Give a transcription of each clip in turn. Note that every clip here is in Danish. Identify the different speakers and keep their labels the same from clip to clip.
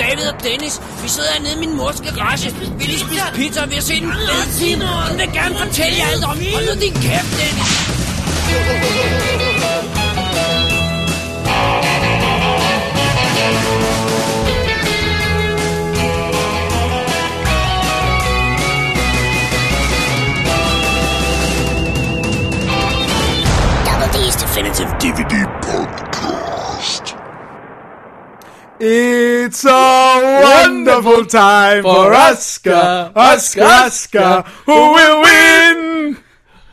Speaker 1: tennis. Vi sidder hernede i min mors garage. Vi lige spise pizza, og vi har set en fed film. Hun vil gerne fortælle jer alt om. Hold nu din kæft, Dennis.
Speaker 2: Double D's Definitive DVD
Speaker 3: It's a wonderful time for Oscar, Oscar, Oscar, who will win?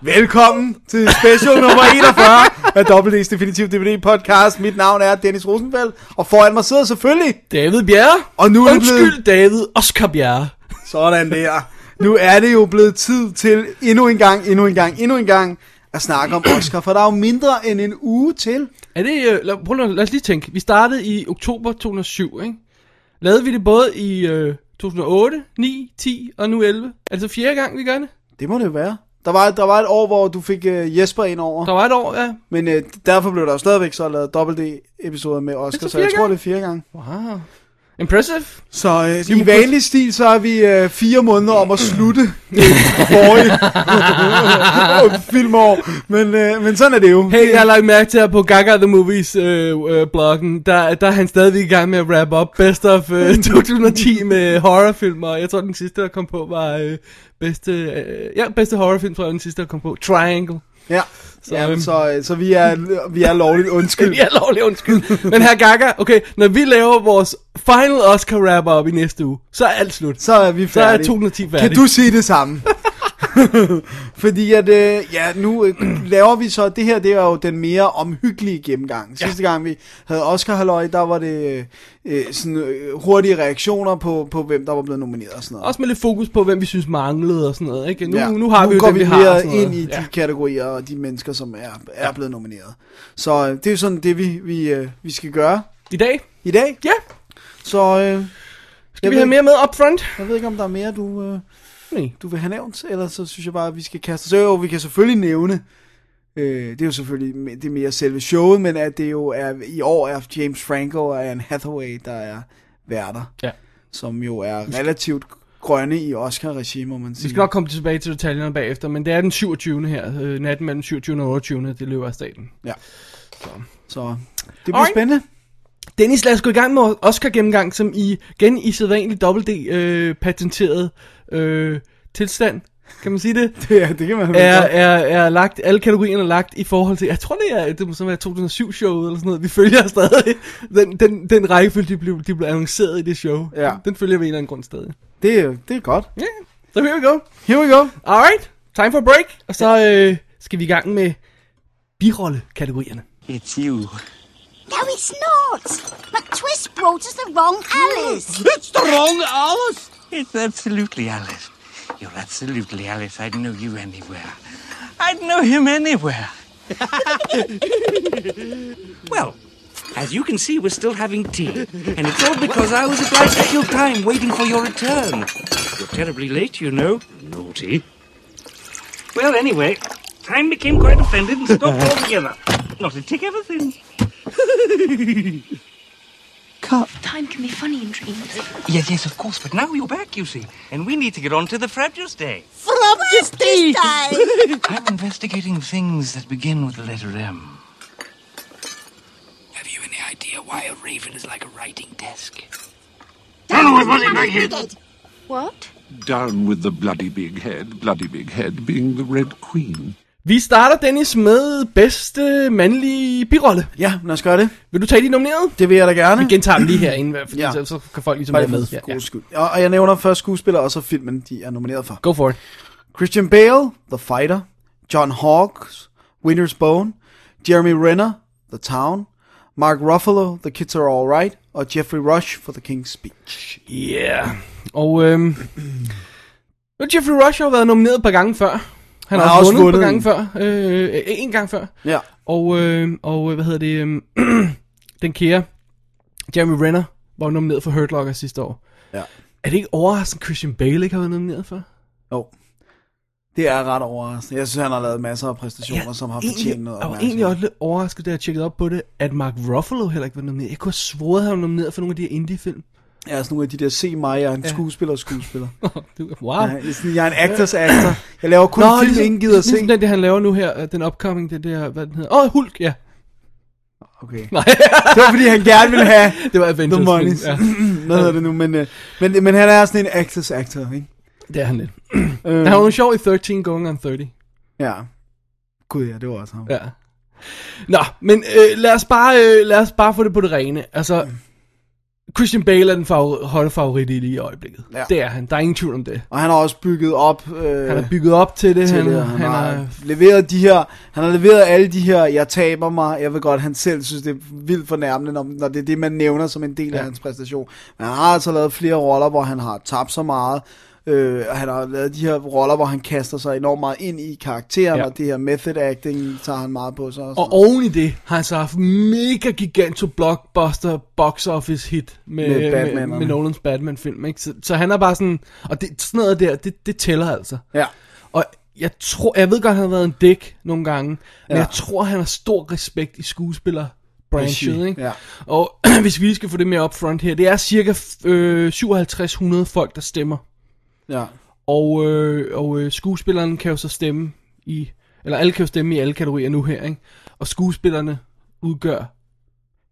Speaker 3: Velkommen til special nummer 41 af WD's Definitive DVD podcast. Mit navn er Dennis Rosenfeldt, og foran mig sidder selvfølgelig...
Speaker 4: David Bjerre.
Speaker 3: Og nu er det blevet-
Speaker 4: Undskyld, David. Oscar Bjerre.
Speaker 3: Sådan der. Nu er det jo blevet tid til endnu en gang, endnu en gang, endnu en gang at snakke om Oscar, for der er jo mindre end en uge til.
Speaker 4: Er det, øh, lad, prøv, lige- lad os lige tænke. Vi startede i oktober 2007, ikke? Lavede vi det både i øh, 2008, 9, 10 og nu 11. Er det så fjerde gang, vi gør det?
Speaker 3: Det må det jo være. Der var, der var et år, hvor du fik øh, Jesper ind over.
Speaker 4: Der var et år, ja.
Speaker 3: Men øh, derfor blev der jo stadigvæk så lavet dobbelt D-episoder med Oscar,
Speaker 4: Det er så
Speaker 3: så jeg
Speaker 4: fire
Speaker 3: tror,
Speaker 4: gange.
Speaker 3: det er fire gange.
Speaker 4: Wow. Impressive.
Speaker 3: Så øh, i vanlig stil, så er vi øh, fire måneder om at slutte det forrige filmår. Men, øh, men sådan er det jo.
Speaker 4: Hey, jeg har lagt mærke til, at på Gaga The Movies øh, øh, bloggen, der, der er han stadigvæk i gang med at wrap up Best of øh, 2010 med horrorfilm, og jeg tror, den sidste, der kom på, var øh, bedste, øh, ja, bedste horrorfilm, tror jeg, den sidste, der kom på. Triangle.
Speaker 3: Ja. Så,
Speaker 4: Så,
Speaker 3: ja,
Speaker 4: øhm.
Speaker 3: så, øh, så vi, er, vi er lovligt undskyld.
Speaker 4: Ja, lovlig undskyld. Men her Gaga, okay, når vi laver vores final Oscar wrap-up i næste uge, så er alt slut.
Speaker 3: Så er vi
Speaker 4: Så er
Speaker 3: færdige.
Speaker 4: 210 færdig.
Speaker 3: Kan du sige det samme? Fordi at, øh, ja, nu øh, laver vi så, det her det er jo den mere omhyggelige gennemgang. Sidste gang vi havde Oscar Halløj, der var det øh, sådan, øh, hurtige reaktioner på, på, hvem der var blevet nomineret og sådan noget.
Speaker 4: Også med lidt fokus på, hvem vi synes manglede og sådan noget, ikke? Nu,
Speaker 3: Ja.
Speaker 4: ja. nu har vi
Speaker 3: nu
Speaker 4: jo
Speaker 3: går
Speaker 4: dem,
Speaker 3: vi
Speaker 4: vi har. og
Speaker 3: mere
Speaker 4: sådan noget.
Speaker 3: ind i de
Speaker 4: ja.
Speaker 3: kategorier og de mennesker, som er, er blevet nomineret. Så øh, det er jo sådan det, vi, vi, øh, vi skal gøre
Speaker 4: I dag,
Speaker 3: i dag.
Speaker 4: ja,
Speaker 3: Så øh,
Speaker 4: skal
Speaker 3: Jeg
Speaker 4: jeg vi
Speaker 3: ved-
Speaker 4: have mere med upfront?
Speaker 3: jeg ved ikke, om der er mere, du... Øh,
Speaker 4: Nej.
Speaker 3: du vil have nævnt, eller så synes jeg bare, at vi skal kaste os over. Vi kan selvfølgelig nævne, øh, det er jo selvfølgelig me- det er mere selve showet, men at det jo er, i år er James Franco og Anne Hathaway, der er værter,
Speaker 4: Ja.
Speaker 3: som jo er relativt grønne i Oscar-regi, må man sige.
Speaker 4: Vi skal nok komme tilbage til detaljerne bagefter, men det er den 27. her, øh, natten mellem 27. og 28. det løber af staten.
Speaker 3: Så det bliver
Speaker 4: Alright.
Speaker 3: spændende.
Speaker 4: Dennis, lad os gå i gang med Oscar-gennemgang, som i, igen i sædvanlig dobbelt D-patenteret øh, tilstand, kan man sige det?
Speaker 3: Det, er- det kan man vel
Speaker 4: er,
Speaker 3: godt.
Speaker 4: er, er lagt, alle kategorierne er lagt i forhold til, jeg tror det er, det må så være 2007-showet eller sådan noget, vi følger stadig den, den, den rækkefølge, de blev, de blev annonceret i det show.
Speaker 3: Ja.
Speaker 4: Den, den følger vi af en eller anden grund stadig.
Speaker 3: det, er- det er godt.
Speaker 4: Ja, yeah. så so here we go.
Speaker 3: Here we go.
Speaker 4: Alright, time for a break, og så øh, skal vi i gang med birolle-kategorierne.
Speaker 5: It's you.
Speaker 2: No, it's not. McTwist brought us the wrong Alice.
Speaker 5: It's the wrong Alice. It's absolutely Alice. You're absolutely Alice. I'd know you anywhere. I'd know him anywhere.
Speaker 6: Well, as you can see, we're still having tea. And it's all because I was obliged to kill time waiting for your return. You're terribly late, you know. Naughty. Well, anyway, time became quite offended and stopped altogether. Not to take everything.
Speaker 7: Time can be funny in dreams.
Speaker 6: Yes, yes, of course, but now you're back, you see. And we need to get on to the Frabjous Day.
Speaker 2: From this day.
Speaker 6: I'm investigating things that begin with the letter M. Have you any idea why a raven is like a writing desk?
Speaker 7: What?
Speaker 8: Down with the bloody big head, bloody big head being the Red Queen.
Speaker 4: Vi starter, Dennis, med bedste mandlige birolle.
Speaker 3: Ja, lad os gøre det.
Speaker 4: Vil du tage de nominerede?
Speaker 3: Det vil jeg da gerne.
Speaker 4: Vi gentager dem lige herinde, fordi
Speaker 3: Ja.
Speaker 4: ja. så, så kan folk ligesom
Speaker 3: Bare
Speaker 4: være
Speaker 3: lige
Speaker 4: med.
Speaker 3: for god skyld. Og, og jeg nævner først skuespillere, og så filmen, de er nomineret for.
Speaker 4: Go for it.
Speaker 3: Christian Bale, The Fighter, John Hawkes, Winter's Bone, Jeremy Renner, The Town, Mark Ruffalo, The Kids Are All Right, og Jeffrey Rush for The King's Speech.
Speaker 4: Yeah. Og øhm, nu Jeffrey Rush har jo været nomineret et par gange før. Han har, også vundet, et par gange før. Øh, øh, en gang før.
Speaker 3: Ja,
Speaker 4: Og, øh, og øh, hvad hedder det? Øh, den kære Jeremy Renner var jo nomineret for Hurt Locker sidste år.
Speaker 3: Ja.
Speaker 4: Er det ikke overraskende, Christian Bale ikke har været nomineret for?
Speaker 3: jo. Det er ret overraskende. Jeg synes, han har lavet masser af præstationer, som har fortjent noget
Speaker 4: Jeg var
Speaker 3: opmærksomhed.
Speaker 4: egentlig også lidt overrasket, da jeg tjekkede op på det, at Mark Ruffalo heller ikke var nomineret. Jeg kunne have svoret, at han var nomineret for nogle af de her indie-film.
Speaker 3: er sådan nogle af de der, se mig, jeg er en skuespiller og skuespiller.
Speaker 4: Du- Wow.
Speaker 3: Nej, det er sådan, jeg er en actors actor. Jeg laver kun Nå, film, ligesom, ingen gider at se.
Speaker 4: ligesom den, det han laver nu her, øh, den upcoming, den der, hvad den hedder, åh, oh, Hulk, ja.
Speaker 3: Okay.
Speaker 4: Nej,
Speaker 3: Det var fordi, han gerne ville have
Speaker 4: det var
Speaker 3: The
Speaker 4: Avengers.
Speaker 3: Money.
Speaker 4: Ja,
Speaker 3: Hvad hedder det nu? Men, øh, men, men han er sådan en actors actor, ikke?
Speaker 4: det er han lidt.
Speaker 3: Øh,
Speaker 4: Han var jo sjov i 13 Going on 30.
Speaker 3: Ja. Gud ja, det var også ham.
Speaker 4: Ja. Nå, men øh, lad, os bare, øh, lad os bare få det på det rene. Altså, Christian Bale er den favor- højde favorit i lige i øjeblikket.
Speaker 3: Ja.
Speaker 4: Det er han. Der er ingen tvivl om det.
Speaker 3: Og han har også bygget op... Øh,
Speaker 4: Han er bygget op til det.
Speaker 3: til
Speaker 4: han,
Speaker 3: det, og
Speaker 4: han,
Speaker 3: han,
Speaker 4: er,
Speaker 3: har leveret de her, han har leveret alle de her, jeg taber mig, jeg ved godt, han selv synes, det er vildt fornærmende, når, når det er det, man nævner som en del ja. af hans præstation. Men han har altså lavet flere roller, hvor han har tabt så meget, øh, og han har lavet de her roller, hvor han kaster sig enormt meget ind i karakteren,
Speaker 4: Ja.
Speaker 3: ja. og det her method acting tager han meget på sig. Og sådan
Speaker 4: Og oven i det har han så haft mega giganto blockbuster box office hit med,
Speaker 3: Med
Speaker 4: med, med,
Speaker 3: Batman'erne.
Speaker 4: med Nolans Batman film. Ikke? Så, så han er bare sådan, og det, sådan noget der, det, det tæller altså.
Speaker 3: noget.
Speaker 4: Og jeg tror, jeg ved godt, han har været en dæk nogle gange, men
Speaker 3: Ja.
Speaker 4: jeg tror, han har stor respekt i skuespiller branchet,
Speaker 3: Regi,
Speaker 4: ikke?
Speaker 3: ja.
Speaker 4: Og hvis vi lige skal få det mere upfront her, det er cirka øh, 5700 folk, der stemmer.
Speaker 3: Ja, ja.
Speaker 4: Og, øh, og øh, skuespilleren kan jo så stemme i, eller alle kan jo stemme i alle kategorier nu her, ikke? Og skuespillerne udgør,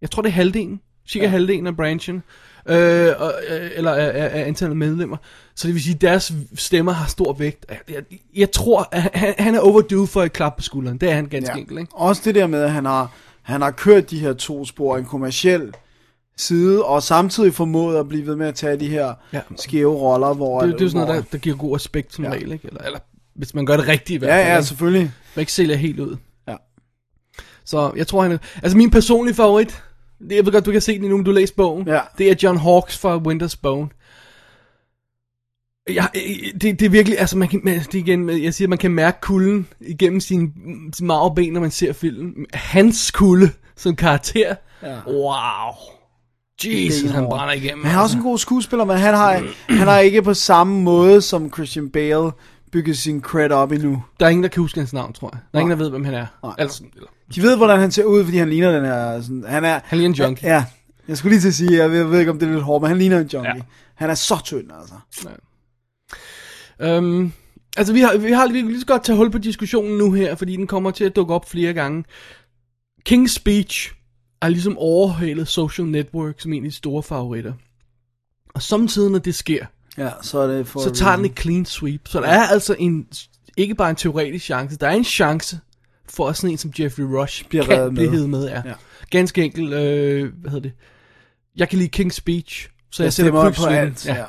Speaker 4: jeg tror det er halvdelen, cirka ja. halvdelen af branchen, øh, og, øh, eller af, af, af antallet af medlemmer. Så det vil sige, at deres stemmer har stor vægt. Jeg, jeg, jeg tror, at han, han er overdue for et klap på skulderen. Det er han ganske ja. enkelt, ikke?
Speaker 3: Også det der med, at han har, han har kørt de her to spor, en kommerciel side, og samtidig formået at blive ved med at tage de her
Speaker 4: Ja.
Speaker 3: ja. skæve roller, hvor...
Speaker 4: Det, er- det er jo sådan
Speaker 3: hvor-
Speaker 4: noget, der, der giver god respekt som ja. regel, ikke? Eller, eller hvis man gør det rigtigt i hvert fald.
Speaker 3: Ja, ja,
Speaker 4: ikke?
Speaker 3: selvfølgelig.
Speaker 4: Man ikke sælger helt ud.
Speaker 3: Ja.
Speaker 4: Så jeg tror, han er... Altså, min personlige favorit, det, jeg ved godt, du kan se den endnu, men du læser bogen,
Speaker 3: Ja.
Speaker 4: det er John Hawks fra Winter's Bone. Ja, øh, det, det er virkelig, altså man kan, man- det er igen, med- jeg siger, man kan mærke kulden igennem sine mm, sine marveben, når man ser filmen. Hans kulde som karakter, ja. wow. Jesus, han
Speaker 3: benhård.
Speaker 4: brænder igennem. altså.
Speaker 3: Men han er også en god skuespiller, men han har, han har ikke på samme måde som Christian Bale bygget sin cred op endnu.
Speaker 4: Der er ingen, der kan huske hans navn, tror jeg. Der er ingen, der ved, hvem han er. Nej. Altså, eller,
Speaker 3: De ved, hvordan han ser ud, fordi han ligner den her... Sådan, han er...
Speaker 4: han er en junkie.
Speaker 3: Ja, jeg skulle lige til at sige, jeg ved, jeg ved ikke, om det er lidt hårdt, men han ligner en junkie.
Speaker 4: Ja.
Speaker 3: Ja. Han er så tynd, altså.
Speaker 4: Øhm, altså, vi har, vi har vi kan lige så godt tage hul på diskussionen nu her, fordi den kommer til at dukke op flere gange. King's Speech er ligesom overhalet Social Network som en af de store favoritter. Og samtidig, når det sker,
Speaker 3: Ja, så er det for...
Speaker 4: så tager den et clean sweep. Så der er altså en, ikke bare en teoretisk chance, der er en chance for at sådan en som Jeffrey Rush
Speaker 3: Bliver
Speaker 4: kan
Speaker 3: reddet
Speaker 4: blive
Speaker 3: med.
Speaker 4: heddet med. Ja.
Speaker 3: Ja.
Speaker 4: Ganske enkelt, øh, hvad hedder det? Jeg kan lide King's Speech, så jeg,
Speaker 3: Jeg
Speaker 4: sætter
Speaker 3: stemmer
Speaker 4: kryds
Speaker 3: på
Speaker 4: ved den.
Speaker 3: alt. Ja.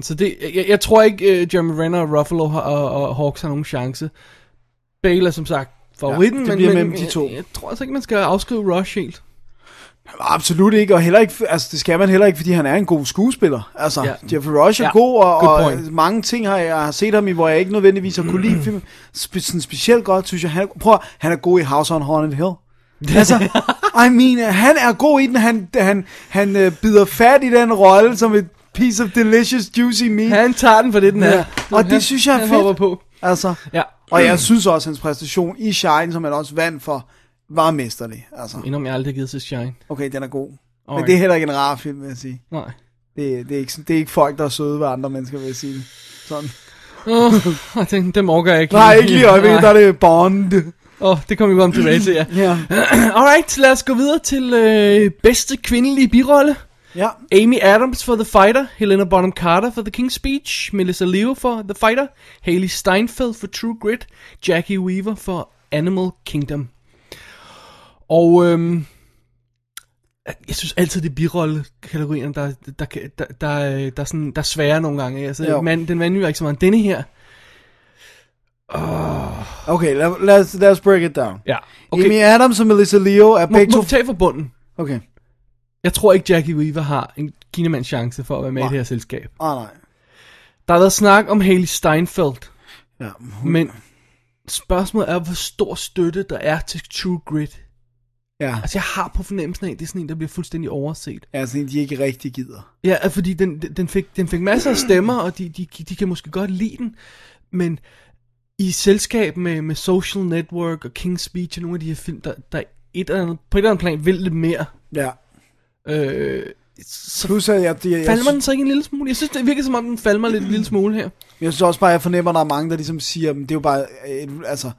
Speaker 4: Så det, jeg, jeg tror ikke, uh, Jeremy Renner og Ruffalo har, og, og Hawks har nogen chance. Bale er som sagt favoritten,
Speaker 3: Ja, det
Speaker 4: men,
Speaker 3: bliver
Speaker 4: men,
Speaker 3: mellem de to.
Speaker 4: Jeg, jeg tror altså ikke, man skal afskrive Rush helt.
Speaker 3: Absolut ikke, og heller ikke, altså det skal man heller ikke, fordi han er en god skuespiller. Altså,
Speaker 4: Ja.
Speaker 3: ja. Jeffrey Rush er
Speaker 4: Ja.
Speaker 3: ja. god, og,
Speaker 4: Good
Speaker 3: og
Speaker 4: point.
Speaker 3: mange ting har jeg har set ham i, hvor jeg ikke nødvendigvis har kunne lide filmen. Spe, sådan specielt godt, synes jeg. Han, er- prøv at- han er god i House on Haunted Hill. altså, I mean, øh, han er god i den, han, han, han øh, bider fat i den rolle som et piece of delicious juicy meat.
Speaker 4: Han tager den for det, den er.
Speaker 3: Ja, og det
Speaker 4: han,
Speaker 3: synes jeg er
Speaker 4: han
Speaker 3: fedt.
Speaker 4: hopper på.
Speaker 3: Altså,
Speaker 4: Ja,
Speaker 3: og jeg synes også, hans præstation i Shine, som han også vandt for, var mesterlig. Altså,
Speaker 4: endnu jeg aldrig har givet til Shine.
Speaker 3: okay, den er god. Men
Speaker 4: Alright.
Speaker 3: det er heller ikke en rar film, vil jeg sige.
Speaker 4: Nej.
Speaker 3: Det, det, er ikke, sådan- det er ikke folk, der er søde ved andre mennesker, vil jeg sige. Sådan.
Speaker 4: Åh, oh, den, dem orker jeg ikke.
Speaker 3: Nej, ikke lige i øjeblikket, der
Speaker 4: Nej.
Speaker 3: er det Bond.
Speaker 4: Åh, oh, det kommer vi godt tilbage til, ja.
Speaker 3: Ja.
Speaker 4: Alright, lad os gå videre til øh, bedste kvindelige birolle.
Speaker 3: ja.
Speaker 4: Amy Adams for The Fighter, Helena Bonham Carter for The King's Speech, Melissa Leo for The Fighter, Haley Steinfeld for True Grit, Jackie Weaver for Animal Kingdom. Og øhm, jeg synes altid, det er birollekategorierne, der, der, kan- der, der, øh, der, er sådan, der er svære nogle gange. ikke? Altså,
Speaker 3: Jo.
Speaker 4: man, den vanlige er ikke så meget. Denne her,
Speaker 3: Okay, lad, lad, os, lad os break it down.
Speaker 4: ja.
Speaker 3: Okay.
Speaker 4: Okay,
Speaker 3: Amy Adams og Melissa Leo er
Speaker 4: må,
Speaker 3: begge to...
Speaker 4: må vi tage for bunden.
Speaker 3: Okay.
Speaker 4: Jeg tror ikke, Jackie Weaver har en kinamands chance for at være med i
Speaker 3: Nej.
Speaker 4: det her selskab.
Speaker 3: Åh, oh, nej.
Speaker 4: Der har været snak om Haley Steinfeld.
Speaker 3: Ja.
Speaker 4: Men spørgsmålet er, hvor stor støtte der er til True Grit.
Speaker 3: Ja,
Speaker 4: Altså, jeg har på fornemmelsen af, at det er sådan en, der bliver fuldstændig overset.
Speaker 3: ja sådan en, de ikke rigtig gider.
Speaker 4: Ja, at fordi den, den- den, fik, den fik masser af stemmer, og de, de, de kan måske godt lide den. Men i selskab med, med Social Network og King's Speech og nogle af de her film, der, der et eller andet, på et eller andet plan vil lidt mere.
Speaker 3: Ja.
Speaker 4: Øh, så
Speaker 3: Plus, at jeg, de, jeg,
Speaker 4: falder den så ikke en lille smule? Jeg synes, det virker som om, den falder mig lidt en lille smule her.
Speaker 3: Jeg synes også bare, jeg fornemmer, at der er mange, der ligesom siger, at det er jo bare et, altså,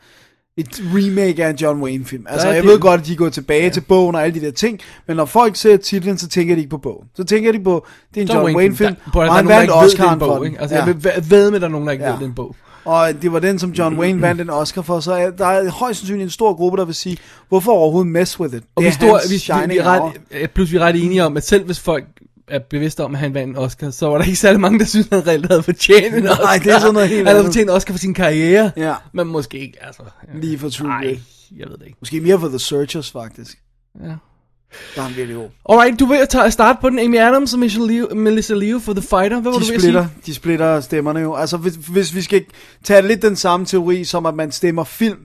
Speaker 3: et remake af en John Wayne-film. Altså,
Speaker 4: Der er
Speaker 3: jeg
Speaker 4: det.
Speaker 3: ved godt, at de går tilbage ja. til bogen og alle de der ting, men når folk ser titlen, så tænker de ikke på bogen. Så tænker de på, det er en John, Wayne-film,
Speaker 4: der, prøv, at-
Speaker 3: og
Speaker 4: der er
Speaker 3: han
Speaker 4: nogen, der
Speaker 3: vandt
Speaker 4: ikke ved, det er en
Speaker 3: Oscar'en for
Speaker 4: bog,
Speaker 3: den.
Speaker 4: ikke? Altså,
Speaker 3: ja.
Speaker 4: jeg vil væ- ved med, at der er nogen, der ikke
Speaker 3: Ja.
Speaker 4: ved, det er en bog.
Speaker 3: Og det var den, som John Wayne vandt en Oscar for, så er- der er højst sandsynligt en stor gruppe, der vil sige, hvorfor overhovedet mess with it? det
Speaker 4: Og vi,
Speaker 3: er
Speaker 4: står,
Speaker 3: hans
Speaker 4: vi, vi,
Speaker 3: shining
Speaker 4: vi er
Speaker 3: hour.
Speaker 4: ret, øh, plus vi er ret enige om, at selv hvis folk er bevidste om, at han vandt en Oscar, så var der ikke særlig mange, der synes, han reelt havde fortjent en Oscar.
Speaker 3: det er sådan noget helt
Speaker 4: Han havde
Speaker 3: andet.
Speaker 4: fortjent en Oscar for sin karriere,
Speaker 3: Ja.
Speaker 4: men måske ikke, altså. ja.
Speaker 3: Lige for True
Speaker 4: Ej,
Speaker 3: Grit.
Speaker 4: jeg ved det ikke.
Speaker 3: Måske mere for The Searchers, faktisk.
Speaker 4: Ja.
Speaker 3: Der er han virkelig god.
Speaker 4: Alright, du vil at tage- starte på den Amy Adams og Michelle Leo, Melissa Leo for The Fighter. Hvad var
Speaker 3: De
Speaker 4: du ved at
Speaker 3: splitter,
Speaker 4: sige?
Speaker 3: de splitter stemmerne jo. Altså, hvis, hvis vi skal tage lidt den samme teori, som at man stemmer film,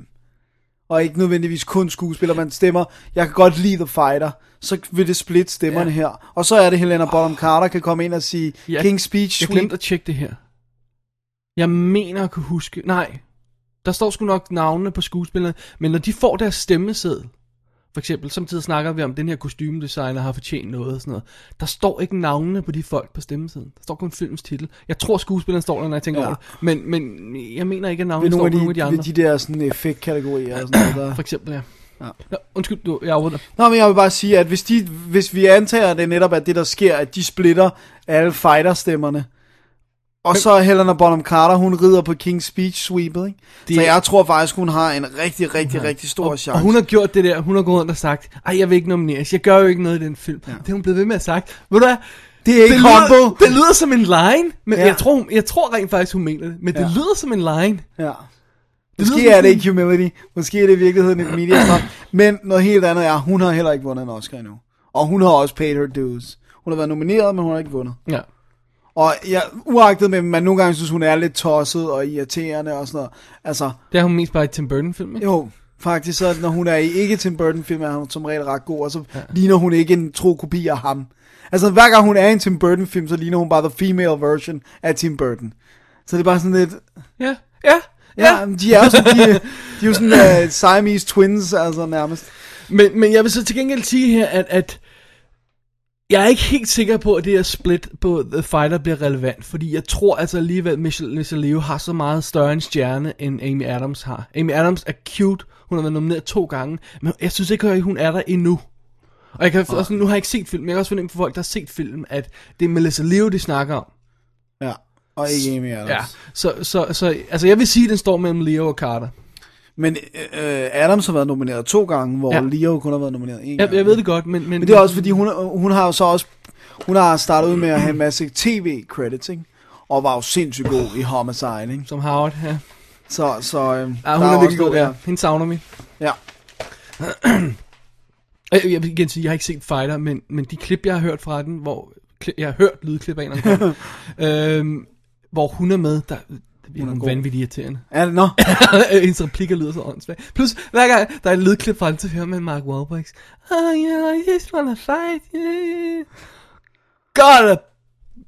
Speaker 3: og ikke nødvendigvis kun skuespiller, man stemmer, jeg kan godt lide The Fighter, så vil det splitte stemmerne ja. her. Og så er det Helena Bonham Carter kan komme ind og sige,
Speaker 4: Ja,
Speaker 3: King's Speech
Speaker 4: Jeg
Speaker 3: Suite.
Speaker 4: glemte at tjekke det her. Jeg mener at kunne huske... Nej, der står sgu nok navnene på skuespillerne, men når de får deres stemmeseddel, for eksempel, samtidig snakker vi om, at den her kostymedesigner har fortjent noget og sådan noget. Der står ikke navnene på de folk på stemmesedlen. Der står kun filmens titel. Jeg tror, skuespilleren står der, når jeg tænker
Speaker 3: Ja.
Speaker 4: ja. over det. Men, men jeg mener ikke, at
Speaker 3: Ved
Speaker 4: navnene står
Speaker 3: nogle af
Speaker 4: på
Speaker 3: de,
Speaker 4: nogle af de andre.
Speaker 3: ved de der sådan, effektkategorier og sådan noget. Der.
Speaker 4: For eksempel, ja.
Speaker 3: Ja.
Speaker 4: ja. Nå, undskyld, du, jeg afbryder.
Speaker 3: Nå, men jeg vil bare sige, at hvis, de, hvis vi antager, at det netop er det, der sker, at de splitter alle fighterstemmerne, og så er Helena Bonham Carter, hun rider på King's Speech sweepet, ikke?
Speaker 4: Det-
Speaker 3: Så jeg tror faktisk, hun har en rigtig, rigtig, rigtig stor
Speaker 4: og,
Speaker 3: chance.
Speaker 4: og hun har gjort det der, hun har gået rundt og sagt, ej, jeg vil ikke nomineres, jeg gør jo ikke noget i den film. Ja. Det er hun blevet ved med at have sagt. Ved du hvad?
Speaker 3: Det er ikke
Speaker 4: lyder,
Speaker 3: humble.
Speaker 4: det lyder som en line, men
Speaker 3: Ja.
Speaker 4: ja. jeg, tror, hun- jeg tror rent faktisk, hun mener det, men ja. det
Speaker 3: Ja.
Speaker 4: lyder som en line.
Speaker 3: Ja.
Speaker 4: Det
Speaker 3: Måske
Speaker 4: lyder
Speaker 3: er det
Speaker 4: sådan-
Speaker 3: ikke humility, måske er det i virkeligheden et media stunt, men noget helt andet er, hun har heller ikke vundet en Oscar endnu. Og hun har også paid her dues. Hun har været nomineret, men hun har ikke vundet.
Speaker 4: Ja.
Speaker 3: Og jeg, uagtet med, at man nogle gange synes, hun er lidt tosset og irriterende og sådan noget. Altså,
Speaker 4: Det er hun mest bare i Tim Burton-film, ikke?
Speaker 3: Jo, faktisk så, når hun er i ikke Tim Burton film, er hun som regel ret god, og så ja. ligner hun ikke en tro kopi af ham. Altså hver gang hun er i en Tim Burton film, så ligner hun bare the female version af Tim Burton. Så det er bare sådan lidt,
Speaker 4: Ja. Ja.
Speaker 3: ja, ja. de er jo sådan, de, de er jo sådan uh, Siamese twins, altså nærmest.
Speaker 4: Men, men jeg vil så til gengæld sige her, at, at jeg er ikke helt sikker på, at det her split på The Fighter bliver relevant, fordi jeg tror altså alligevel, at Michelle, Michelle Leo har så meget større en stjerne, end Amy Adams har. Amy Adams er cute, hun har været nomineret to gange, men jeg synes ikke, at hun er der endnu. Og jeg kan også, nu har jeg ikke set filmen, men jeg kan også fornemme for folk, der har set filmen, at det er Melissa Leo, de snakker om.
Speaker 3: Ja, og ikke Amy Adams.
Speaker 4: Ja, så, så, så altså jeg vil sige, at den står mellem Leo og Carter.
Speaker 3: Men øh, Adams har været nomineret to gange, hvor ja.
Speaker 4: Ja.
Speaker 3: Leo kun har været nomineret én
Speaker 4: Jeg,
Speaker 3: gang.
Speaker 4: jeg ved det godt, men... Men,
Speaker 3: Men det er også fordi, hun, hun har jo så også, hun har startet ud med at have en masse tv-credits, ikke? Og var jo sindssygt god i Homicide, ikke?
Speaker 4: Som Howard, ja.
Speaker 3: Så, så øhm,
Speaker 4: Ja, hun
Speaker 3: der
Speaker 4: er, virkelig
Speaker 3: også
Speaker 4: god,
Speaker 3: noget
Speaker 4: ja. Hende savner vi.
Speaker 3: Ja.
Speaker 4: Og Øh, Jeg, jeg vil igen sige, jeg har ikke set Fighter, men, men de klip, jeg har hørt fra den, hvor kli- jeg har hørt lydklip af en eller anden gang, øhm, hvor hun er med, der det er hun
Speaker 3: god.
Speaker 4: vanvittigt irriterende.
Speaker 3: Er det, nå,
Speaker 4: Hendes replikker lyder så åndssvagt. Plus, hver gang der er et lydklip fra den, så hører man Mark Wahlbergs, Oh yeah, I just wanna fight, yeah. God,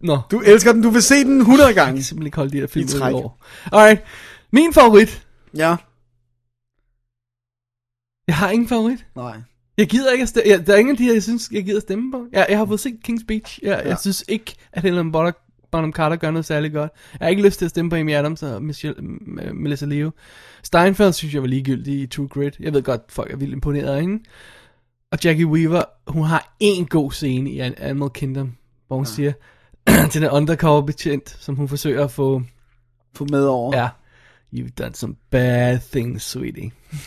Speaker 4: Nå,
Speaker 3: du elsker den, du vil se den 100 gange.
Speaker 4: jeg kan simpelthen ikke holde de her film
Speaker 3: I
Speaker 4: ud i
Speaker 3: træk.
Speaker 4: år. Alright, min favorit.
Speaker 3: Ja.
Speaker 4: Jeg har ingen favorit.
Speaker 3: Nej.
Speaker 4: Jeg gider ikke at stemme. Ja, der er ingen af de her, jeg synes, jeg gider at stemme på. Jeg, jeg har fået set King's Speech. Jeg, ja.
Speaker 3: Ja.
Speaker 4: jeg synes ikke, at Helen Bonham, Bonham Carter gør noget særlig godt. Jeg har ikke lyst til at stemme på Amy Adams og Michelle, M- M- Melissa Leo. Steinfeld synes jeg var ligegyldig i True Grit. Jeg ved godt, folk er vildt imponeret af hende. Og Jackie Weaver, hun har en god scene i An- Animal Kingdom, hvor hun ja. siger til den undercover betjent, som hun forsøger at få...
Speaker 3: Få med over.
Speaker 4: Ja, you've done some bad things, sweetie.
Speaker 3: det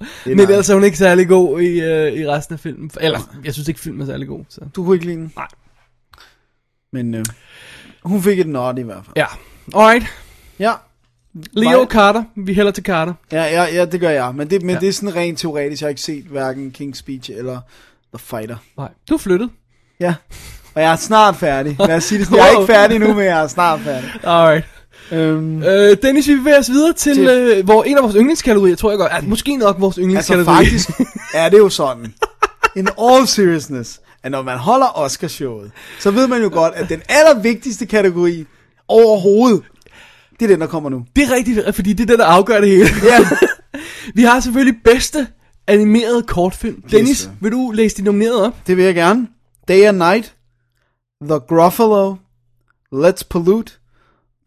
Speaker 3: er
Speaker 4: Men
Speaker 3: nice.
Speaker 4: ellers er hun ikke særlig god i, øh, i resten af filmen. Eller, jeg synes ikke, filmen er særlig god. Så.
Speaker 3: Du kunne ikke lide den?
Speaker 4: Nej.
Speaker 3: Men øh, hun fik et nod i hvert fald.
Speaker 4: Ja. Alright.
Speaker 3: Ja.
Speaker 4: Leo
Speaker 3: Mig-
Speaker 4: Carter. Vi hælder til Carter.
Speaker 3: Ja, ja, ja det gør jeg. Men, det, men ja.
Speaker 4: Ja.
Speaker 3: det er sådan rent teoretisk. Jeg har ikke set hverken King's Speech eller The Fighter.
Speaker 4: Nej. Du er flyttet.
Speaker 3: Ja. Og jeg er snart færdig. Lad os sige det sådan. Jeg er ikke færdig nu, men jeg er snart færdig.
Speaker 4: Alright.
Speaker 3: Øhm,
Speaker 4: Øh, Dennis, vi bevæger os videre til,
Speaker 3: Til-
Speaker 4: Øh, hvor en af vores yndlingskategorier, tror jeg godt. Altså, måske nok vores
Speaker 3: altså
Speaker 4: yndlingskategori.
Speaker 3: faktisk er det jo sådan. In all seriousness, at når man holder Oscarshowet, så ved man jo godt, at den allervigtigste kategori overhovedet, det er den, der kommer nu.
Speaker 4: det er rigtigt, fordi det er det, der afgør det hele.
Speaker 3: Ja.
Speaker 4: vi har selvfølgelig bedste animeret kortfilm. Dennis,
Speaker 3: sir.
Speaker 4: vil du læse de nominerede op?
Speaker 3: Det vil jeg gerne. Day and Night, The Gruffalo, Let's Pollute,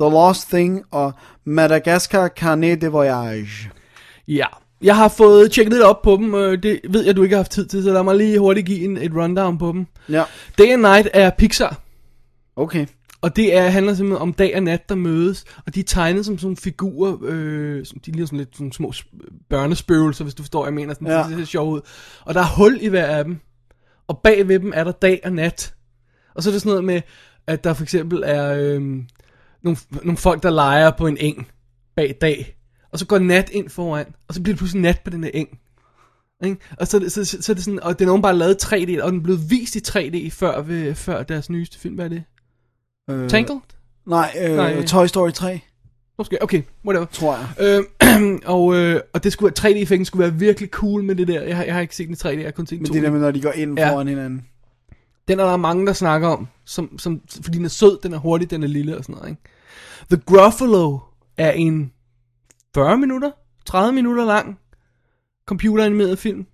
Speaker 3: The Lost Thing og Madagascar Carnet de Voyage.
Speaker 4: Ja. Jeg har fået tjekket lidt op på dem, øh, det ved jeg, du ikke har haft tid til, så lad mig lige hurtigt give en, et rundown på dem.
Speaker 3: Ja,
Speaker 4: Day and Night er Pixar,
Speaker 3: okay.
Speaker 4: og det er, handler simpelthen om dag og nat, der mødes, og de er tegnet som sådan nogle figurer, øh, som- de ligner sådan lidt sådan små sp- børnespøgelser, hvis du forstår, hvad jeg mener, sådan,
Speaker 3: Ja.
Speaker 4: ja. det ser sjovt ud. Og der er hul i hver af dem, og bag ved dem er der dag og nat. Og så er det sådan noget med, at der for eksempel er øh, nogle, nogle folk, der leger på en eng bag dag, og så går nat ind foran, og så bliver det pludselig nat på den her eng. Ikke? Og så, så, så, så er det sådan, og den er åbenbart lavet i 3D, og den er blevet vist i 3D før, ved, før deres nyeste film, hvad er det?
Speaker 3: Øh,
Speaker 4: Tangled?
Speaker 3: Nej, øh,
Speaker 4: Nej.
Speaker 3: nej, Toy Story 3,
Speaker 4: Måske, okay, whatever.
Speaker 3: tror jeg.
Speaker 4: Øhm, og, øh, og det skulle 3D-effekten skulle være virkelig cool med det der. Jeg har, jeg har ikke set den i 3D, jeg har kun set den
Speaker 3: Men
Speaker 4: i
Speaker 3: det
Speaker 4: 2D.
Speaker 3: der med, når de går ind
Speaker 4: Ja.
Speaker 3: ja. foran hinanden.
Speaker 4: Den er der mange, der snakker om, som, som, fordi den er sød, den er hurtig, den er lille og sådan noget. Ikke? The Gruffalo er en 40 minutter, 30 minutter lang computeranimeret film,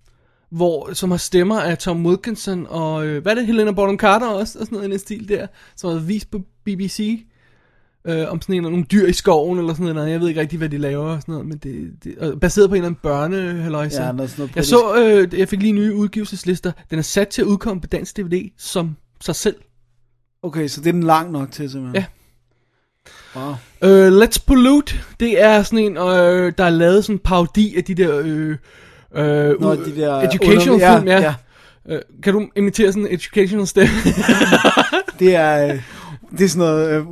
Speaker 4: hvor, som har stemmer af Tom Wilkinson og, øh, hvad er det, Helena Bonham Carter også, og sådan noget i den stil der, som har været vist på BBC, øh, om sådan en, nogle dyr i skoven eller sådan noget, jeg ved ikke rigtig, hvad de laver og sådan noget, men det, det og baseret på en eller anden børnehaløjse.
Speaker 3: Ja, noget sådan noget
Speaker 4: Jeg så, øh, jeg fik lige nye udgivelseslister. Den er sat til at udkomme på dansk DVD som sig selv.
Speaker 3: Okay, så det er den lang nok til, simpelthen.
Speaker 4: Ja.
Speaker 3: Wow.
Speaker 4: Øh, Let's Pollute, det er sådan en, øh, der er lavet sådan en parodi af de der, øh, øh,
Speaker 3: Nå,
Speaker 4: ud-
Speaker 3: de der
Speaker 4: educational
Speaker 3: underlig- ja,
Speaker 4: film, ja.
Speaker 3: ja.
Speaker 4: ja. Øh, kan du imitere sådan en educational stemme?
Speaker 3: Det er, øh, det er sådan noget... Øh,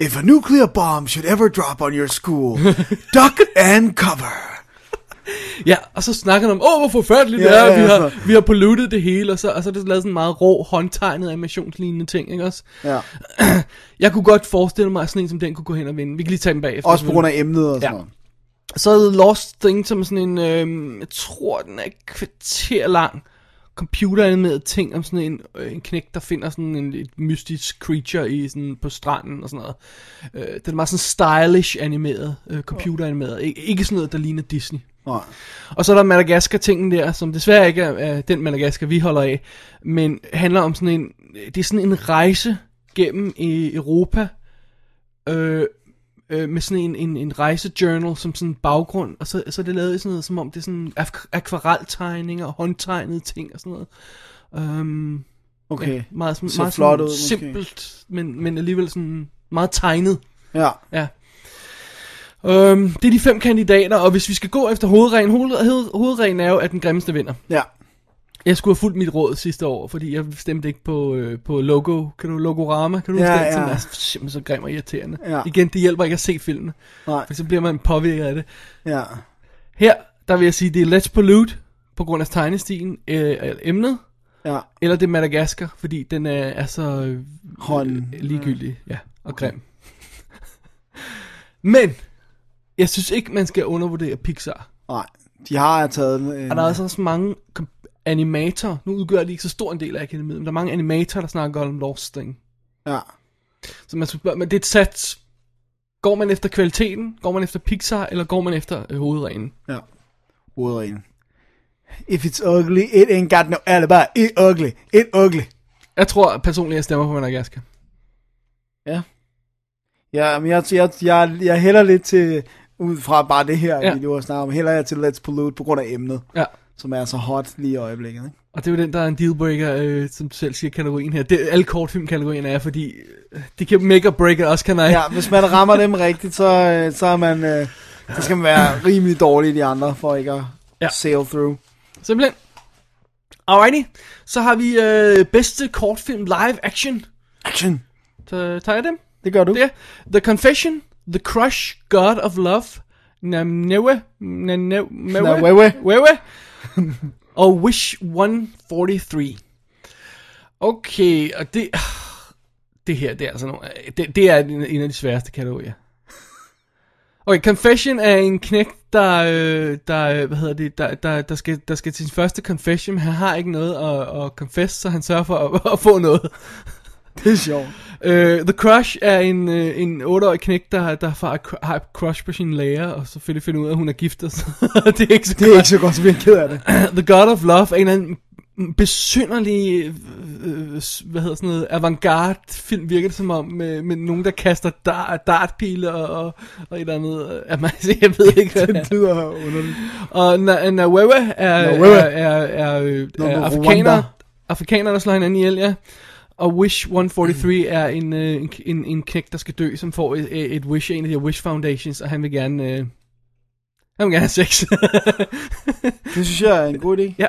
Speaker 3: If a nuclear bomb should ever drop on your school, duck and cover.
Speaker 4: ja, og så snakker han om, åh, hvor forfærdeligt det
Speaker 3: Ja,
Speaker 4: er,
Speaker 3: ja,
Speaker 4: vi
Speaker 3: altså.
Speaker 4: har, vi har polluted det hele, og så, og så er det lavet sådan en meget rå, håndtegnet animationslignende ting, ikke også?
Speaker 3: Ja,
Speaker 4: Jeg kunne godt forestille mig, at sådan en som den kunne gå hen og vinde. Vi kan lige tage den bagefter.
Speaker 3: også på grund af emnet og sådan
Speaker 4: Ja.
Speaker 3: noget.
Speaker 4: Så er The Lost Thing, som er sådan en, øh, jeg tror den er et kvarter lang, computeranimeret ting om sådan en, øh, en knæk, der finder sådan en, et mystisk creature i, sådan på stranden og sådan noget. Øh, den er meget sådan stylish animeret, øh, computeranimeret. Ik- ikke sådan noget, der ligner Disney.
Speaker 3: Nej.
Speaker 4: Og så er der Madagaskar-tingen der, som desværre ikke er, er den Madagaskar, vi holder af, men handler om sådan en, det er sådan en rejse gennem i Europa, øh, øh, med sådan en, en, en rejsejournal som sådan en baggrund, og så, så er det lavet i sådan noget, som om det er sådan ak- akvareltegninger og håndtegnede ting og sådan noget. Um,
Speaker 3: Okay,
Speaker 4: ja, meget sådan,
Speaker 3: Så
Speaker 4: meget
Speaker 3: flot
Speaker 4: sådan
Speaker 3: ud, måske.
Speaker 4: simpelt, men, men alligevel sådan meget tegnet.
Speaker 3: ja.
Speaker 4: Ja. Øhm, det er de fem kandidater, og hvis vi skal gå efter hovedreglen, hoved, hovedreglen er jo, at den grimmeste vinder.
Speaker 3: ja.
Speaker 4: Jeg skulle have fulgt mit råd sidste år, fordi jeg stemte ikke på, øh, på logo. Kan du logorama? Kan du
Speaker 3: Ja,
Speaker 4: huske den?
Speaker 3: ja.
Speaker 4: Som er simpelthen så grim og irriterende.
Speaker 3: Ja.
Speaker 4: Igen, det hjælper ikke at se filmene,
Speaker 3: Nej,
Speaker 4: for så bliver man påvirket af det.
Speaker 3: ja.
Speaker 4: Her, der vil jeg sige, det er Let's Pollute, på grund af tegnestilen, øh, eller emnet,
Speaker 3: Ja,
Speaker 4: eller det er Madagaskar, fordi den er, er så øh,
Speaker 3: hånden.
Speaker 4: ligegyldig, ja, og grim. Men, jeg synes ikke, man skal undervurdere Pixar.
Speaker 3: Nej, de har taget... Øh,
Speaker 4: Og der er altså også mange kom- animatorer, nu udgør de ikke så stor en del af akademiet, men der er mange animatorer, der snakker om Lost Thing.
Speaker 3: Ja,
Speaker 4: Så man skal spørge, men det er et sats. Går man efter kvaliteten? Går man efter Pixar? Eller går man efter øh, hovedreglen?
Speaker 3: ja. Hovedreglen. If it's ugly, it ain't got no alibi. It ugly, it ugly.
Speaker 4: Jeg tror personligt, jeg stemmer på Madagaskar.
Speaker 3: Ja. Ja, men jeg, jeg, jeg, jeg hælder lidt til, ud fra bare det her,
Speaker 4: Ja.
Speaker 3: ja. vi nu har snakket om, hælder jeg til Let's Pollute på grund af emnet,
Speaker 4: Ja.
Speaker 3: som er så hot lige i øjeblikket. Ikke?
Speaker 4: Og det er jo den, der er en dealbreaker, øh, som du selv siger, kategorien her. Det, alle kortfilmkategorien er, fordi øh, det kan make or break it også, kan jeg.
Speaker 3: Ja, hvis man rammer dem rigtigt, så, øh, så, er man, øh, så skal man være rimelig dårlig i de andre, for ikke at
Speaker 4: Ja.
Speaker 3: ja. sail through.
Speaker 4: Simpelthen. Alrighty. Så har vi øh, bedste kortfilm live action.
Speaker 3: Action!
Speaker 4: Så tager jeg dem.
Speaker 3: Det gør du.
Speaker 4: Det er The Confession, The Crush, God of Love, Namnewe,
Speaker 3: Namewe.
Speaker 4: Namewe, Wewe, og Wish 143. Okay, og det, det her, det er altså nogle, det, det er en, en af de sværeste kategorier. Okay, Confession er en knæk, der, øh, der øh, hvad hedder det, der, der, der, skal, der skal til sin første confession, men han har ikke noget at, at confess, så han sørger for at, at få noget.
Speaker 3: Det er sjovt.
Speaker 4: Uh, The Crush er en, uh, en 8-årig knæk, der, der har, har et crush på sin lærer, og selvfølgelig finder ud af, at hun er gift. og Så det er ikke så
Speaker 3: Det er ikke så godt, som jeg er ked af det.
Speaker 4: The God of Love er en eller anden besynderlige, øh, øh, s- hvad hedder sådan noget, avantgarde film, virker det som om, med, med nogen, der kaster dar, dartpile og, og, og et eller andet. øh, at man- Jeg ved ikke, hvad det er.
Speaker 3: Det lyder underligt.
Speaker 4: Og Na- Nawewe er,
Speaker 3: Nawewe.
Speaker 4: er, er, er, øh,
Speaker 3: Nå,
Speaker 4: er
Speaker 3: Rwanda.
Speaker 4: afrikaner, afrikaner, der slår hinanden ihjel, ja. Og Wish 143
Speaker 3: Mm.
Speaker 4: er en, øh, en, en, en knæk, der skal dø, som får et, et et Wish, en af de her Wish Foundations, og han vil gerne... Øh, han vil gerne have sex.
Speaker 3: Det synes jeg er en god idé.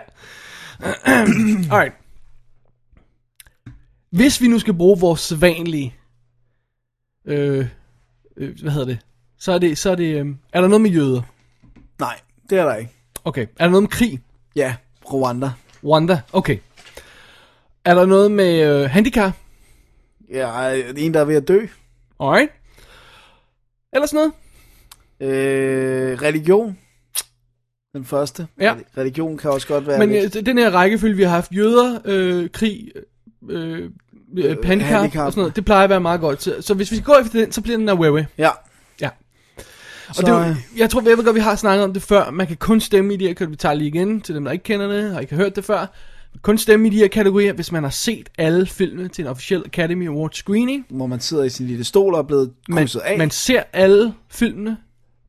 Speaker 4: Alright. Hvis vi nu skal bruge vores sædvanlige... Øh, øh, hvad hedder det? Så er det... Så er, det øh, er der noget med jøder?
Speaker 3: Nej, det er der ikke.
Speaker 4: Okay. Er der noget med krig?
Speaker 3: Ja, Rwanda.
Speaker 4: Rwanda? Okay. Er der noget med øh, handicap?
Speaker 3: Ja, ej, en, der er ved at dø.
Speaker 4: Alright. Ellers noget?
Speaker 3: Øh, religion. Den første.
Speaker 4: Ja.
Speaker 3: Religion kan også godt være...
Speaker 4: Men
Speaker 3: lidt-
Speaker 4: øh, den her rækkefølge, vi har haft jøder, øh, krig, øh, øh, handicap,
Speaker 3: handicap.
Speaker 4: og sådan noget, det plejer at være meget godt. Så, så hvis vi går efter den, så bliver den Awewe.
Speaker 3: ja.
Speaker 4: Ja.
Speaker 3: Så, øh,
Speaker 4: Og det, er jo- jeg tror, jeg ved godt, vi har snakket om det før. Man kan kun stemme i de her kategorier. Vi tager lige igen til dem, der ikke kender det, og ikke har hørt det før. Man kan kun stemme i de her kategorier, hvis man har set alle filmene til en officiel Academy Award screening.
Speaker 3: hvor man sidder i sin lille stol og er blevet
Speaker 4: Man,
Speaker 3: krydset af.
Speaker 4: man ser alle filmene,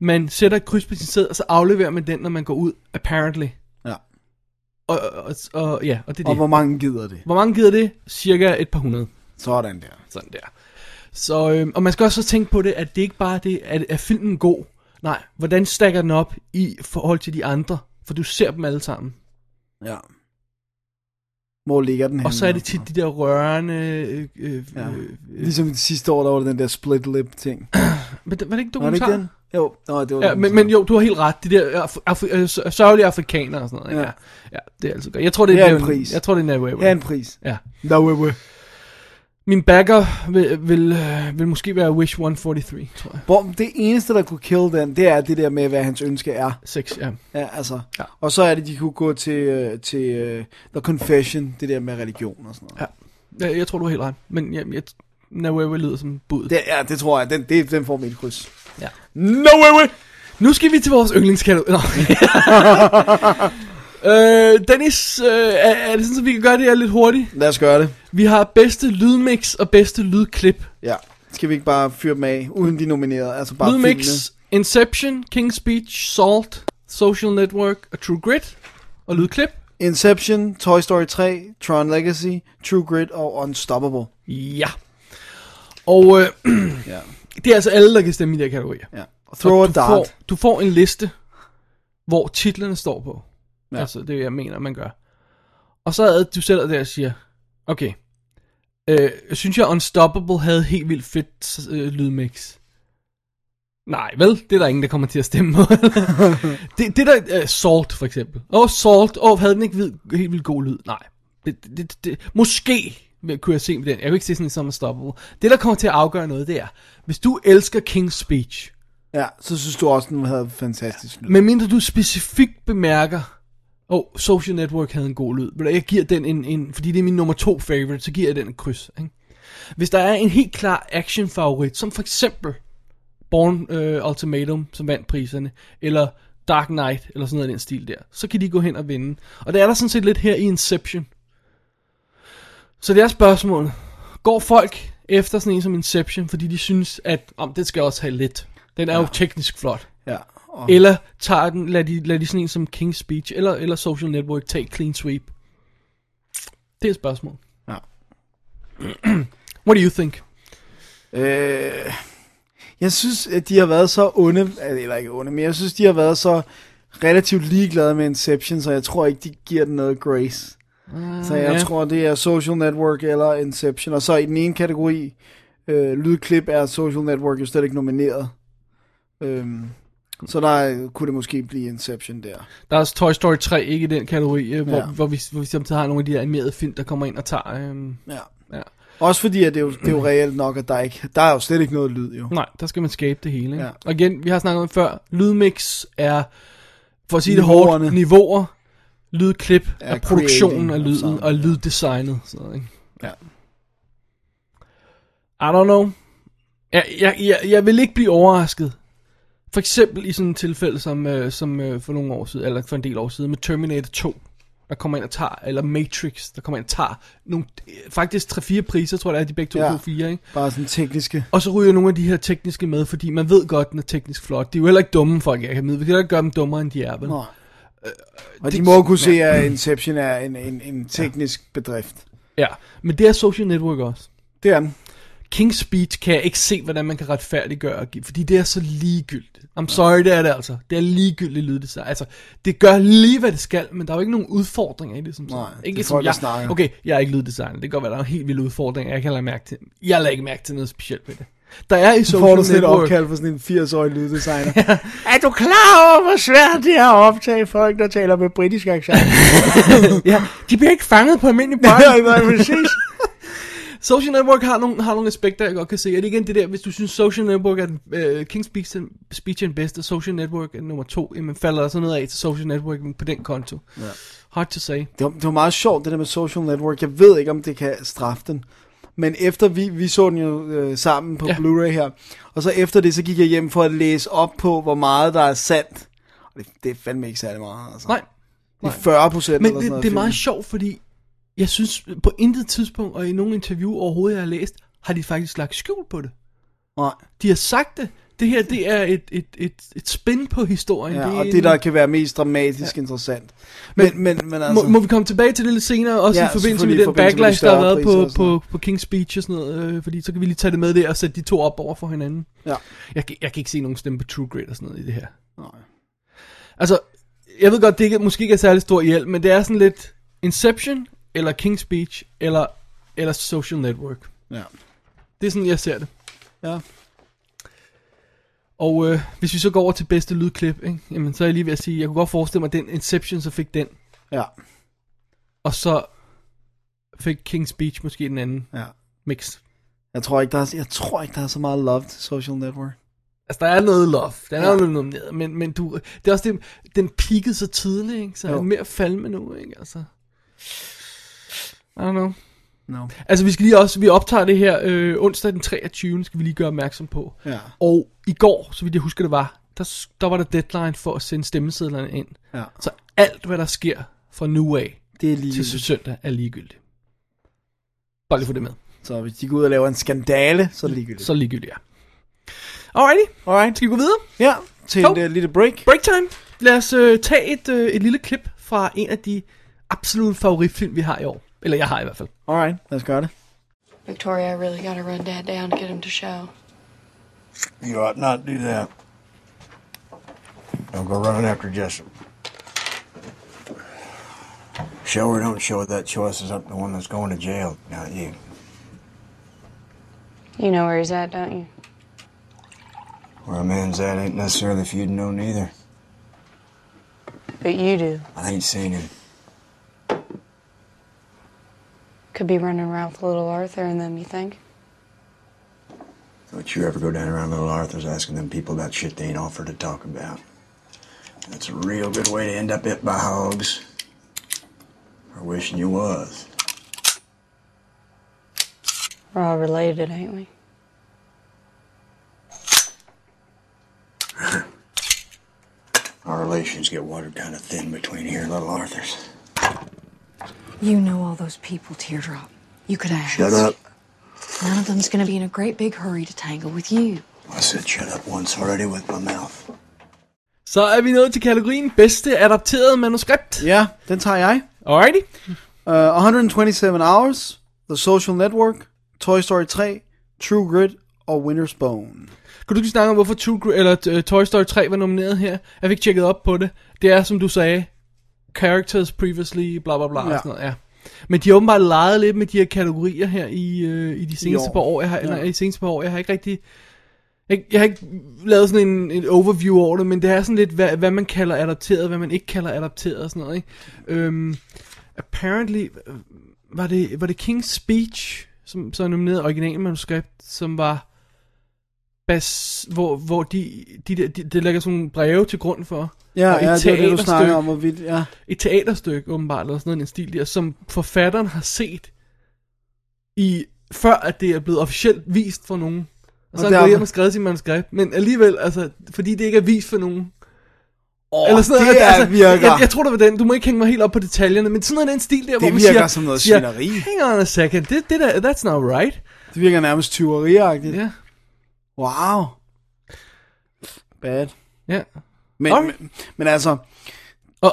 Speaker 4: man sætter et kryds på sin sæd, og så afleverer man den, når man går ud, apparently.
Speaker 3: Ja.
Speaker 4: Og, og, og ja, og det er
Speaker 3: Og
Speaker 4: det.
Speaker 3: hvor mange gider det?
Speaker 4: Hvor mange gider det? Cirka et par hundrede.
Speaker 3: Sådan der.
Speaker 4: Sådan der. Så, øhm, og man skal også så tænke på det, at det ikke bare er det, at er filmen god? Nej, hvordan stakker den op i forhold til de andre? For du ser dem alle sammen.
Speaker 3: Ja. Hvor ligger den
Speaker 4: Og så er
Speaker 3: henne?
Speaker 4: det tit de der rørende... Øh, øh,
Speaker 3: Ja.
Speaker 4: ja.
Speaker 3: Ligesom det sidste år, der var den der split lip ting.
Speaker 4: Men det- var
Speaker 3: Var
Speaker 4: det ikke
Speaker 3: det
Speaker 4: dokumentar?
Speaker 3: ikke den? Jo, Nå, det var
Speaker 4: Ja, men, men jo, du har helt ret. De der af, af, øh, s- sørgelige afrikanere og sådan noget.
Speaker 3: Ja.
Speaker 4: Ja. ja. det er altid godt. Jeg tror, det,
Speaker 3: Det er
Speaker 4: det
Speaker 3: en pris.
Speaker 4: Jeg tror, det er Norway.
Speaker 3: Her er en pris.
Speaker 4: Ja.
Speaker 3: No, we, we.
Speaker 4: Min backer vil, vil, øh, vil måske være Wish 143, tror jeg.
Speaker 3: Hvor det eneste, der kunne kill den, det er det der med, hvad hans ønske er.
Speaker 4: 6, ja.
Speaker 3: Ja, altså. Ja.
Speaker 4: Ja.
Speaker 3: Og så er det, de kunne gå til, øh, til uh, The Confession, det der med religion og sådan noget. Ja.
Speaker 4: Ja. Jeg, jeg tror, du har helt ret. Men jeg, jeg, Nawewe lyder som bud.
Speaker 3: Det, ja, det tror jeg. Den, det, den får mit kryds.
Speaker 4: Ja.
Speaker 3: No, we, we.
Speaker 4: Nu skal vi til vores yndlingskategori. Nå. øh, Dennis, øh, er, er det sådan, at vi kan gøre det her lidt hurtigt?
Speaker 3: Lad os gøre det.
Speaker 4: Vi har bedste lydmix og bedste lydklip.
Speaker 3: Ja. Skal vi ikke bare fyre dem af, uden de nominerede? Altså bare
Speaker 4: lydmix,
Speaker 3: filmene.
Speaker 4: Inception, King's Speech, Salt, Social Network og True Grit. Og lydklip.
Speaker 3: Inception, Toy Story 3, Tron Legacy, True Grit og Unstoppable.
Speaker 4: Ja. Og øh,
Speaker 3: Ja.
Speaker 4: det er altså alle, der kan stemme i de her kategorier.
Speaker 3: ja. Og Throw
Speaker 4: Og
Speaker 3: a
Speaker 4: du
Speaker 3: Dart.
Speaker 4: Får, du får en liste, hvor titlerne står på.
Speaker 3: Ja.
Speaker 4: Ja. Altså, det er jeg mener, man gør. Og så er du sætter der og siger, okay, øh, synes jeg Unstoppable havde helt vildt fedt øh, lydmix? Nej, vel? Det er der ingen, der kommer til at stemme på. det, det der øh, Salt, for eksempel. Åh, oh, Salt. Åh, havde den ikke vid, helt vildt god lyd? Nej. Det, det, det, det, måske vil- kunne jeg se med den. Jeg kan ikke se sådan en som Unstoppable. Det, der kommer til at afgøre noget, det er, hvis du elsker King's Speech,
Speaker 3: Ja, så synes du også, den havde fantastisk lyd.
Speaker 4: men mindre du specifikt bemærker, åh, oh, Social Network havde en god lyd. Ved du, Jeg giver den en, en, fordi det er min nummer to favorite, så giver jeg den et kryds. Ikke? Hvis der er en helt klar action favorit, som for eksempel Born øh, Ultimatum, som vandt priserne, eller Dark Knight, eller sådan noget i den stil der, så kan de gå hen og vinde. Og det er der sådan set lidt her i Inception. Så det er spørgsmålet. Går folk efter sådan en som Inception, fordi de synes, at om det skal også have lidt. Den er jo teknisk flot.
Speaker 3: Ja. Og,
Speaker 4: Eller tager den, lad de, lad de sådan en som King's Speech eller, eller Social Network tage Clean Sweep. Det er et spørgsmål.
Speaker 3: Ja.
Speaker 4: What do you think?
Speaker 3: øh, jeg synes, at de har været så onde, øh, eller ikke onde, men jeg synes, de har været så relativt ligeglade med Inception, så jeg tror ikke, de giver den noget grace. Så jeg
Speaker 4: Ah, ja.
Speaker 3: tror, det er Social Network eller Inception. Og så i den ene kategori, øh, lydklip, er Social Network jo slet ikke nomineret. Øhm, så der kunne det måske blive Inception der.
Speaker 4: Der er også Toy Story 3 ikke i den kategori, øh, hvor,
Speaker 3: Ja.
Speaker 4: ja. hvor, vi, hvor vi samtidig har nogle af de der animerede film, der kommer ind og tager... Øhm,
Speaker 3: Ja.
Speaker 4: ja.
Speaker 3: Også fordi, at det er jo, det er jo reelt nok, at der, ikke, der er jo slet ikke noget lyd, jo.
Speaker 4: Nej, der skal man skabe det hele. Ikke?
Speaker 3: Ja.
Speaker 4: Ja. Og igen, vi har snakket om det før, lydmix er, for at sige det hårdt,
Speaker 3: Niveauerne.
Speaker 4: niveauer, lydklip
Speaker 3: Er
Speaker 4: er, produktionen
Speaker 3: creating
Speaker 4: af
Speaker 3: og
Speaker 4: lyden
Speaker 3: sound,
Speaker 4: og lyddesignet. Sådan, noget, ikke?
Speaker 3: Ja.
Speaker 4: I don't know. Jeg, jeg, jeg, jeg vil ikke blive overrasket. For eksempel i sådan et tilfælde som, øh, som øh, for nogle år siden, eller for en del år siden, med Terminator 2. der kommer ind og tager, eller Matrix, der kommer ind og tager nogle, øh, faktisk 3-4 priser, tror jeg, det er de begge to
Speaker 3: Ja.
Speaker 4: ja. fire, ikke?
Speaker 3: Bare sådan tekniske.
Speaker 4: Og så ryger nogle af de her tekniske med, fordi man ved godt, den er teknisk flot. De er jo heller ikke dumme folk i akademiet, vi kan jo ikke gøre dem dummere, end de er, vel?
Speaker 3: Nå. Øh, Og de må kunne se, at Inception er en, en, en teknisk bedrift.
Speaker 4: Ja, men det er Social Network også.
Speaker 3: Det er den.
Speaker 4: King's Speech kan jeg ikke se, hvordan man kan retfærdiggøre, at give, fordi det er så ligegyldigt. I'm sorry, det er det altså. Det er ligegyldigt lyddesign. Altså, det gør lige, hvad det skal, men der er jo ikke nogen udfordringer i det, som sådan.
Speaker 3: Nej,
Speaker 4: ikke
Speaker 3: det er
Speaker 4: som
Speaker 3: folk, der
Speaker 4: jeg,
Speaker 3: snakker.
Speaker 4: Okay, jeg er ikke lyddesigner. Det kan godt være, der er helt vilde udfordringer. Jeg kan lade mærke til Jeg lader ikke mærke til noget specielt ved det. Der er i
Speaker 3: Så får
Speaker 4: Social
Speaker 3: du sådan et
Speaker 4: Network...
Speaker 3: opkald fra sådan en 80-årig lyddesigner. er du klar over, hvor svært det er at optage folk, der taler med britisk accent?
Speaker 4: ja, de bliver ikke fanget på almindelig
Speaker 3: nej,
Speaker 4: bånd.
Speaker 3: nej, præcis.
Speaker 4: Social Network har nogle, har nogle aspekter, jeg godt kan se. Og det er igen det der, hvis du synes Social Network er den, uh, King's Speech, er- Speech er den bedste, og Social Network er nummer to, jamen falder der så noget af til Social Network på den konto. Ja. Hard to say.
Speaker 3: Det var, det var meget sjovt, det der med social network. Jeg ved ikke, om det kan straffe den. Men efter vi, vi så den jo øh, sammen på ja.
Speaker 4: Ja.
Speaker 3: Blu-ray her, og så efter det, så gik jeg hjem for at læse op på, hvor meget der er sandt. Og det, det er fandme ikke særlig meget, altså.
Speaker 4: Nej,
Speaker 3: Det er 40 procent
Speaker 4: men
Speaker 3: eller sådan
Speaker 4: det,
Speaker 3: noget.
Speaker 4: det er
Speaker 3: af
Speaker 4: meget
Speaker 3: filmen.
Speaker 4: sjovt, fordi jeg synes på intet tidspunkt, og i nogle interview overhovedet, jeg har læst, har de faktisk lagt skjul på det.
Speaker 3: Nej.
Speaker 4: De har sagt det. Det her, det er et, et, et, et spin på historien.
Speaker 3: Ja,
Speaker 4: er
Speaker 3: og
Speaker 4: en-
Speaker 3: det, der kan være mest dramatisk ja. interessant. Men, men, men, men altså...
Speaker 4: Må, må vi komme tilbage til det lidt senere, også
Speaker 3: Ja,
Speaker 4: ja, i forbindelse med
Speaker 3: selvfølgelig, i
Speaker 4: den
Speaker 3: forbindelse med de
Speaker 4: backlash, der har
Speaker 3: større
Speaker 4: været
Speaker 3: priser
Speaker 4: på,
Speaker 3: og sådan
Speaker 4: på, på King's Speech og sådan noget, øh, fordi så kan vi lige tage det med der og sætte de to op over for hinanden.
Speaker 3: Ja.
Speaker 4: Jeg, kan- jeg kan ikke se nogen stemme på True Grit og sådan noget i det her.
Speaker 3: Nej.
Speaker 4: Altså, jeg ved godt, det ikke, måske ikke er særlig stor hjælp, men det er sådan lidt Inception, eller King's Speech, eller, eller Social Network.
Speaker 3: Ja.
Speaker 4: Det er sådan, jeg ser det.
Speaker 3: Ja.
Speaker 4: Og øh, hvis vi så går over til bedste lydklip, ikke? Jamen, så er jeg lige ved at sige, jeg kunne godt forestille mig, at den Inception, så fik den,
Speaker 3: Ja.
Speaker 4: og så fik King's Speech måske den anden
Speaker 3: Ja.
Speaker 4: mix.
Speaker 3: Jeg tror ikke, der er, jeg tror ikke, der er så meget love til social network.
Speaker 4: Altså, der er noget love. Den er
Speaker 3: Ja.
Speaker 4: jo blevet nomineret, men, men du, det er også det, den peakede så tidligt, ikke? Så er
Speaker 3: Jo.
Speaker 4: den mere falme nu, ikke? Altså, I don't know.
Speaker 3: No.
Speaker 4: Altså, vi skal lige også, vi optager det her øh, onsdag den 23. skal vi lige gøre opmærksom på.
Speaker 3: Ja.
Speaker 4: Og i går, så vidt jeg husker det var, der, s- der var der deadline for at sende stemmesedlerne ind.
Speaker 3: Ja.
Speaker 4: Så alt, hvad der sker fra nu af
Speaker 3: Det er
Speaker 4: til
Speaker 3: lige
Speaker 4: søndag, er ligegyldigt. Bare lige få det med.
Speaker 3: Så hvis de går ud og laver en skandale, så er det ligegyldigt.
Speaker 4: Så er det ligegyldigt, ja. Alrighty,
Speaker 3: Alright.
Speaker 4: skal vi gå videre?
Speaker 3: Ja, til
Speaker 4: Hov.
Speaker 3: en uh, lille break.
Speaker 4: Break time. Lad os øh, tage et, øh, et lille klip fra en af de absolut favoritfilm, vi har i år. Eller jeg har i hvert fald.
Speaker 3: Alright, lad os gøre det.
Speaker 9: Victoria, I really gotta run Dad down to get him to show.
Speaker 10: You ought not do that. Don't go running after Jessup. Show or don't show, that choice is up to one that's going to jail, not you.
Speaker 9: You know where he's at, don't you?
Speaker 10: Where a man's at ain't necessarily if you'd known either.
Speaker 9: But you do.
Speaker 10: I ain't seen him.
Speaker 9: Could be running around with little Arthur and them, you think?
Speaker 10: Don't you ever go down around Little Arthur's asking them people about shit they ain't offered to talk about. That's a real good way to end up hit by hogs. Or wishing you was.
Speaker 9: We're all related, ain't we?
Speaker 10: Our relations get watered kind of thin between here and Little Arthur's.
Speaker 2: You know all those people, Teardrop. You could ask.
Speaker 10: Shut up.
Speaker 2: None of them's gonna be in a great big hurry to tangle with you.
Speaker 10: I said shut up once already with my mouth.
Speaker 4: Så er vi nået til kategorien bedste adapteret manuskript.
Speaker 3: Ja, den tager jeg.
Speaker 4: Alrighty.
Speaker 3: Uh, 127 Hours, The Social Network, Toy Story 3, True Grit og Winter's Bone.
Speaker 4: Kan du ikke snakke om, hvorfor True, Gr- eller, øh, Toy Story 3 var nomineret her? Jeg fik tjekket op på det. Det er, som du sagde, characters previously, bla bla bla ja.
Speaker 3: Ja.
Speaker 4: og sådan noget, ja. Men de har åbenbart leget lidt med de her kategorier her i, øh, i de seneste
Speaker 3: år.
Speaker 4: par år. Jeg har, eller,
Speaker 3: Ja.
Speaker 4: i de seneste par år. Jeg har ikke rigtig... Jeg, jeg har ikke lavet sådan en, en overview over det, men det er sådan lidt, hvad, hvad man kalder adapteret, hvad man ikke kalder adapteret og sådan noget, ikke? Øhm, apparently øh, var det, var det King's Speech, som så nominerede originalmanuskript, som var bas, hvor, hvor de, de, der, de, det lægger sådan nogle breve til grund for.
Speaker 3: Ja,
Speaker 4: Og et
Speaker 3: ja, det er det, du
Speaker 4: teaterstykke.
Speaker 3: snakker om, hvorvidt, ja.
Speaker 4: Et teaterstykke, åbenbart, eller sådan noget, i den stil der, som forfatteren har set i, før at det er blevet officielt vist for nogen. Og så
Speaker 3: Og
Speaker 4: har han
Speaker 3: der-
Speaker 4: gået hjem og skrevet sit manuskript, men alligevel, altså, fordi det ikke er vist for nogen,
Speaker 3: Åh,
Speaker 4: Eller sådan
Speaker 3: det
Speaker 4: noget.
Speaker 3: er- virker.
Speaker 4: Jeg, jeg, tror, det var den. Du må ikke hænge mig helt op på detaljerne, men sådan noget i den stil der, hvor man
Speaker 3: virker
Speaker 4: siger,
Speaker 3: som noget
Speaker 4: siger,
Speaker 3: svineri.
Speaker 4: Hang on a second, det, det der, that's not right.
Speaker 3: Det virker nærmest tyveriagtigt.
Speaker 4: Ja.
Speaker 3: Wow. Bad.
Speaker 4: Ja.
Speaker 3: Men,
Speaker 4: Nå.
Speaker 3: men, men altså,
Speaker 4: Og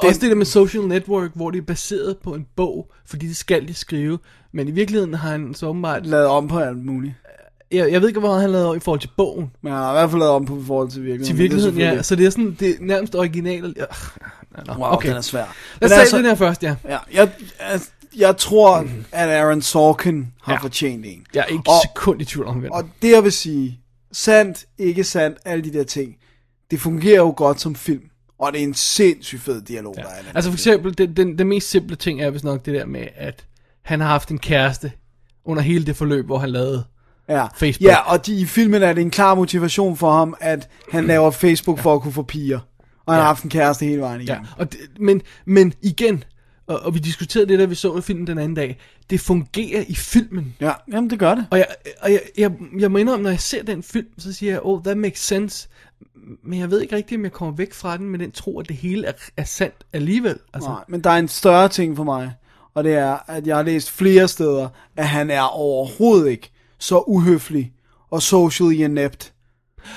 Speaker 3: Den-
Speaker 4: den... også det der med social network, hvor det er baseret på en bog, fordi det skal de skrive. Men i virkeligheden har han så åbenbart...
Speaker 3: lavet om på alt muligt.
Speaker 4: Jeg, jeg ved ikke, hvor meget han lavede om i forhold til bogen.
Speaker 3: Men han har i hvert fald lavet om på i forhold til virkeligheden.
Speaker 4: Til
Speaker 3: men det er
Speaker 4: virkeligheden, ja.
Speaker 3: selvfølgelig-
Speaker 4: Så det er sådan, det er nærmest originalt. Ja. Nå,
Speaker 3: Wow, okay. den er svær.
Speaker 4: Lad
Speaker 3: Men
Speaker 4: os altså... den her først, ja.
Speaker 3: Ja, jeg, altså, jeg tror, at Aaron Sorkin har ja. fortjent en.
Speaker 4: Jeg er ikke
Speaker 3: Og-
Speaker 4: og... sekund i tvivl om, hvem.
Speaker 3: Og det jeg vil sige, sandt, ikke sandt, alle de der ting, det fungerer jo godt som film. Og det er en sindssygt fed dialog, ja. der er i den.
Speaker 4: Altså for eksempel, den, den, den mest simple ting er vist nok det der med, at han har haft en kæreste under hele det forløb, hvor han lavede.
Speaker 3: ja.
Speaker 4: Facebook.
Speaker 3: Ja, og de, i filmen er det en klar motivation for ham, at han laver Facebook for at kunne få piger. Og han har haft en kæreste hele vejen
Speaker 4: Ja.
Speaker 3: igennem.
Speaker 4: Og det, men, men igen, og, og vi diskuterede det, da vi så filmen den anden dag, det fungerer i filmen.
Speaker 3: Ja, jamen det gør det.
Speaker 4: Og jeg, og jeg, jeg, jeg må indrømme, når jeg ser den film, så siger jeg, oh, that makes sense. Men jeg ved ikke rigtigt, om jeg kommer væk fra den med den tro, at det hele er, er sandt alligevel. Altså,
Speaker 3: Nej, men der er en større ting for mig, og det er, at jeg har læst flere steder, at han er overhovedet ikke så uhøflig og socially inept,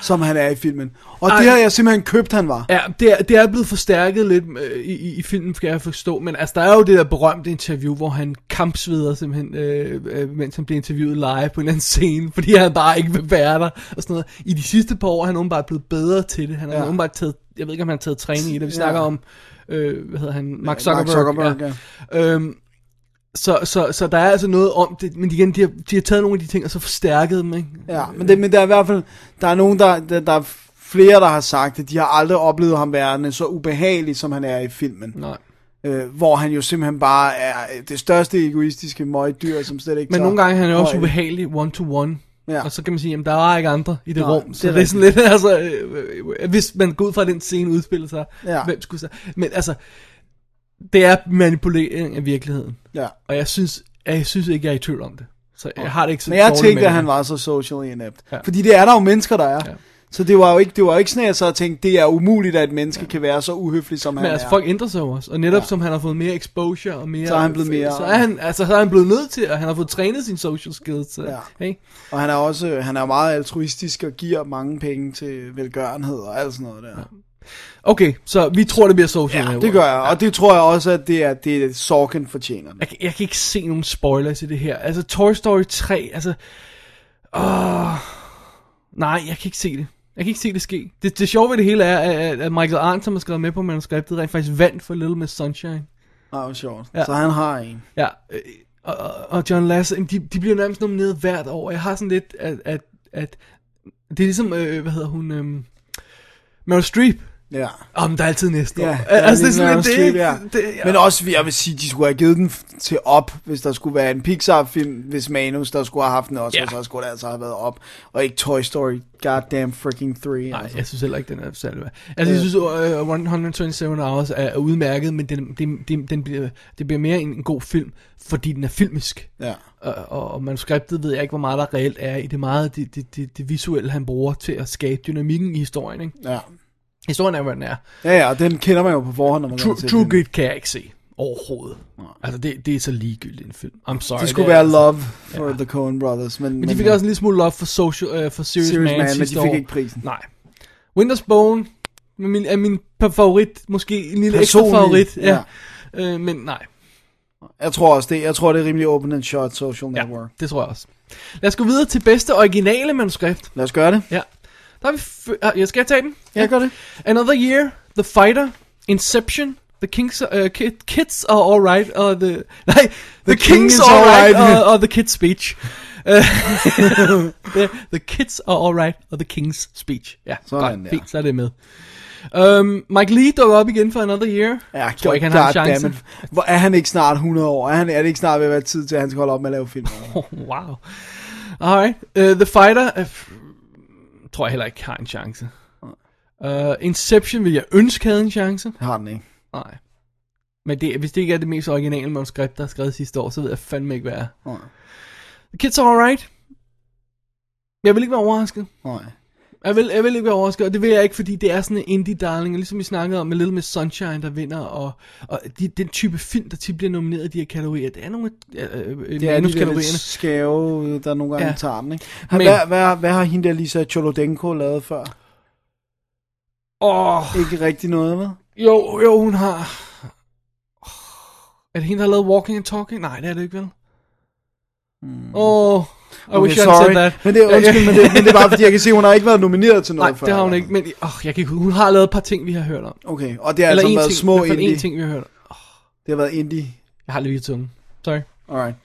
Speaker 3: som han er i filmen. Og Ej.
Speaker 4: Ej.
Speaker 3: det har jeg simpelthen købt, han var.
Speaker 4: Ja, det er, det er blevet forstærket lidt øh, i, i- i filmen, skal jeg forstå. Men altså, der er jo det der berømte interview, hvor han kampsveder simpelthen, øh, øh, mens han bliver interviewet live på en eller anden scene, fordi han bare ikke vil være der og sådan noget. I de sidste par år er han åbenbart blevet bedre til det. Han har
Speaker 3: Ja.
Speaker 4: ja. åbenbart taget, jeg ved ikke om han har taget træning i det. Vi
Speaker 3: Ja.
Speaker 4: snakker om, øh, hvad hedder han, Mark
Speaker 3: Ja,
Speaker 4: Zuckerberg.
Speaker 3: Mark Zuckerberg,
Speaker 4: ja. Øhm, så, så, så der er altså noget om det, men igen, de har, de har taget nogle af de ting og så forstærket dem, ikke?
Speaker 3: Ja, men, det, men der er i hvert fald, der er nogen, der, der, der er flere, der har sagt, at de har aldrig oplevet ham værende så ubehagelig, som han er i filmen.
Speaker 4: Nej.
Speaker 3: Øh, hvor han jo simpelthen bare er øh, det største egoistiske møgdyr, som slet ikke
Speaker 4: Men
Speaker 3: tager
Speaker 4: nogle gange er han jo også
Speaker 3: højde.
Speaker 4: ubehagelig Altså, one-to-one.
Speaker 3: Ja.
Speaker 4: Ja. Og så kan man sige, at der var ikke andre i det
Speaker 3: Nej,
Speaker 4: Nej, rum.
Speaker 3: det
Speaker 4: Så
Speaker 3: er
Speaker 4: det er, sådan lidt, altså, øh, øh, hvis man går ud fra at den scene udspiller sig,
Speaker 3: Ja.
Speaker 4: ja. hvem skulle så... Men altså, det er manipulering af virkeligheden.
Speaker 3: Ja.
Speaker 4: Og jeg synes, jeg synes ikke, jeg er i tvivl om det. Så jeg har det ikke så
Speaker 3: Men jeg
Speaker 4: dårligt
Speaker 3: tænkte,
Speaker 4: med
Speaker 3: at
Speaker 4: det.
Speaker 3: han var så socially inept. Ja.
Speaker 4: Ja.
Speaker 3: Fordi det er der jo mennesker, der er. Ja.
Speaker 4: Ja.
Speaker 3: Så det var jo ikke, det var jo ikke sådan, at jeg sad og tænkte, det er umuligt, at et menneske ja. kan være så uhøflig, som han
Speaker 4: Men altså,
Speaker 3: er.
Speaker 4: folk ændrer sig jo også. Og netop ja. som han har fået mere exposure og mere...
Speaker 3: Så er han blevet mere-
Speaker 4: Så er han, altså, så er han blevet nødt til, og han har fået trænet sine social skills. Så,
Speaker 3: Ja.
Speaker 4: ja. ikke?
Speaker 3: Og han er også han er jo meget altruistisk og giver mange penge til velgørenhed og alt sådan noget der.
Speaker 4: Okay, så vi tror, det bliver social
Speaker 3: Ja,
Speaker 4: network.
Speaker 3: det gør jeg. Og det tror jeg også, at det er det, er Sorkin fortjener.
Speaker 4: Jeg, kan- jeg kan ikke se nogen spoilers i det her. Altså, Toy Story 3, altså... Åh, nej, jeg kan ikke se det. Jeg kan ikke se det ske. Det, det sjove ved det hele er, at, at Michael Arndt, som har skrevet med på manuskriptet, rent faktisk vandt for Little Miss Sunshine.
Speaker 3: Det er jo sjovt. Ja.
Speaker 4: Ja.
Speaker 3: Så han har en.
Speaker 4: Ja, øh, og, og- og John Lasseter, de, de bliver nærmest nomineret hvert år. Jeg har sådan lidt, at... at, at det er ligesom, øh, hvad hedder hun... Øh, Meryl Streep.
Speaker 3: Ja.
Speaker 4: Om men der er altid næste
Speaker 3: Ja,
Speaker 4: år. Altså,
Speaker 3: der er lige Meryl Streep,
Speaker 4: ikke-
Speaker 3: ja.
Speaker 4: det-
Speaker 3: Men også, jeg vil sige, de skulle have givet den f- til op, hvis der skulle være en Pixar-film, hvis Manus, der skulle have haft den også,
Speaker 4: Ja.
Speaker 3: yeah. så skulle det altså have været op. Og ikke Toy Story, goddamn freaking 3.
Speaker 4: Nej,
Speaker 3: altså.
Speaker 4: jeg synes heller ikke, den er særlig værd. Altså,
Speaker 3: Øh.
Speaker 4: jeg synes, at uh, 127 Hours er, er udmærket, men den, den, den, den bliver, det bliver mere en, en god film, fordi den er filmisk.
Speaker 3: Ja.
Speaker 4: Og, og, og manuskriptet ved jeg ikke, hvor meget der reelt er i det meget det, det, det, det visuelle, han bruger til at skabe dynamikken i historien. Ikke?
Speaker 3: Ja.
Speaker 4: Historien er, hvad den er.
Speaker 3: Ja, ja, og den kender man jo på forhånd, når man
Speaker 4: True,
Speaker 3: går til
Speaker 4: True
Speaker 3: den.
Speaker 4: Grit kan jeg ikke se overhovedet. Altså, det, det er så ligegyldigt en film. I'm sorry.
Speaker 3: Det skulle
Speaker 4: er
Speaker 3: være
Speaker 4: altså-
Speaker 3: Love for the Coen Brothers, men,
Speaker 4: Men de fik også en lille smule love for, social, uh, for Serious,
Speaker 3: Serious Man, men de
Speaker 4: sidste
Speaker 3: fik
Speaker 4: år.
Speaker 3: ikke prisen.
Speaker 4: Nej. Winter's Bone er min, er min pa- favorit, måske en lille
Speaker 3: Personlig,
Speaker 4: ekstra favorit. Ja. ja. Øh, men nej,
Speaker 3: Jeg tror også det. Jeg tror, det er rimelig open and shut social
Speaker 4: ja,
Speaker 3: network.
Speaker 4: det tror jeg også. Lad os gå videre til bedste originale manuskript.
Speaker 3: Lad os gøre det.
Speaker 4: Ja. Der er vi... F- ah, jeg skal jeg tage den?
Speaker 3: Jeg gør det.
Speaker 4: Another Year, The Fighter, Inception, The Kings, uh, kid, Kids Are Alright, og The... Nej, The, the
Speaker 3: King
Speaker 4: Kings
Speaker 3: is
Speaker 4: Are Alright,
Speaker 3: Alright.
Speaker 4: og, og uh, The Kids Speech. Uh, the, the Kids Are Alright, og The Kings Speech. Ja,
Speaker 3: Sådan
Speaker 4: godt,
Speaker 3: der.
Speaker 4: fint, så er det med. Um, Mike Lee dukker op igen for Another Year.
Speaker 3: Ja,
Speaker 4: tror ikke, han har en chance.
Speaker 3: goddammit. Hvor er han ikke snart 100 år? Er, han, er det ikke snart ved at være tid til, at han skal holde op med at lave film?
Speaker 4: Oh, wow. Alright. Uh, the Fighter, uh, tror jeg heller ikke har en chance. Uh, Inception vil jeg ønske havde en chance.
Speaker 3: Det har den ikke.
Speaker 4: Nej. Men det, hvis det ikke er det mest originale manuskript, der er skrevet sidste år, så ved jeg fandme ikke, hvad er.
Speaker 3: Nej.
Speaker 4: The kids are alright. Jeg vil ikke være overrasket.
Speaker 3: Nej.
Speaker 4: Jeg vil, jeg vil ikke være overrasket, og det vil jeg ikke, fordi det er sådan en indie darling, og ligesom vi snakkede om med Little Miss Sunshine, der vinder, og, og de, den type film, der tit bliver nomineret i de her kategorier, det er nogle af øh, øh,
Speaker 3: Det er de der lidt
Speaker 4: manuskategorierne.
Speaker 3: skæve, der nogle gange
Speaker 4: Ja.
Speaker 3: ja. tager den, ikke? Men,
Speaker 4: Men-
Speaker 3: hvad, hvad, hvad har hende der Lisa Cholodenko lavet før?
Speaker 4: Åh,
Speaker 3: Ikke rigtig noget, hvad?
Speaker 4: jo, jo, hun har... Er det hende, der har lavet Walking and Talking? Nej, det er det ikke, vel? Åh, I
Speaker 3: Hmm. Okay,
Speaker 4: wish I
Speaker 3: sorry.
Speaker 4: had said that.
Speaker 3: Men det,
Speaker 4: Ja,
Speaker 3: undskyld,
Speaker 4: ja.
Speaker 3: men, det, men det er bare, fordi jeg kan se, at hun har ikke været nomineret til noget
Speaker 4: Nej,
Speaker 3: før.
Speaker 4: det har hun ikke, men åh, jeg kan ikke, hun har lavet et par ting, vi har hørt om.
Speaker 3: Okay, og det har altså
Speaker 4: en
Speaker 3: været
Speaker 4: ting,
Speaker 3: små
Speaker 4: i hvert fald
Speaker 3: indie.
Speaker 4: en ting, vi har hørt om.
Speaker 3: Det har været indie.
Speaker 4: Jeg har lige i tungen. Sorry.
Speaker 3: Alright.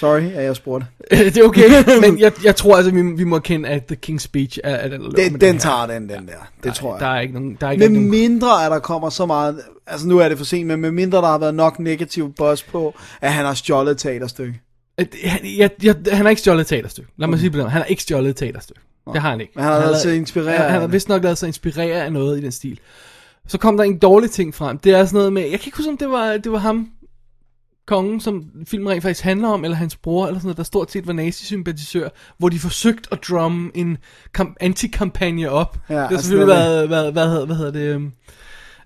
Speaker 3: Sorry, at jeg spurgte.
Speaker 4: det er okay, men jeg, jeg tror altså, vi, vi må kende, at The King's Speech er, er den, der løber
Speaker 3: Den,
Speaker 4: med
Speaker 3: den
Speaker 4: her.
Speaker 3: tager den, den der. Det tror jeg.
Speaker 4: Der er ikke nogen... Der er ikke
Speaker 3: Med
Speaker 4: nogen
Speaker 3: mindre, at der kommer så meget... Altså, nu er det for sent, men med mindre, der har været nok negativ buzz på, at han har stjålet et teaterstykke.
Speaker 4: At han, jeg, jeg, han har ikke stjålet et teaterstykke. Lad mig sige på den måde. Han har ikke stjålet et teaterstykke. Det har han ikke.
Speaker 3: Men han har lavet sig inspirere
Speaker 4: Han, han
Speaker 3: af
Speaker 4: har
Speaker 3: det.
Speaker 4: vist nok lavet sig inspirere af noget i den stil. Så kom der en dårlig ting frem. Det er sådan noget med, jeg kan ikke huske, om det var, det var ham, kongen, som filmen rent faktisk handler om, eller hans bror, eller sådan noget, der stort set var nazisympatisør, hvor de forsøgte at drumme en kam- antikampagne op.
Speaker 3: Ja,
Speaker 4: det har
Speaker 3: altså
Speaker 4: selvfølgelig
Speaker 3: noget
Speaker 4: været, hvad, hvad, hedder- hvad hedder det... øhm,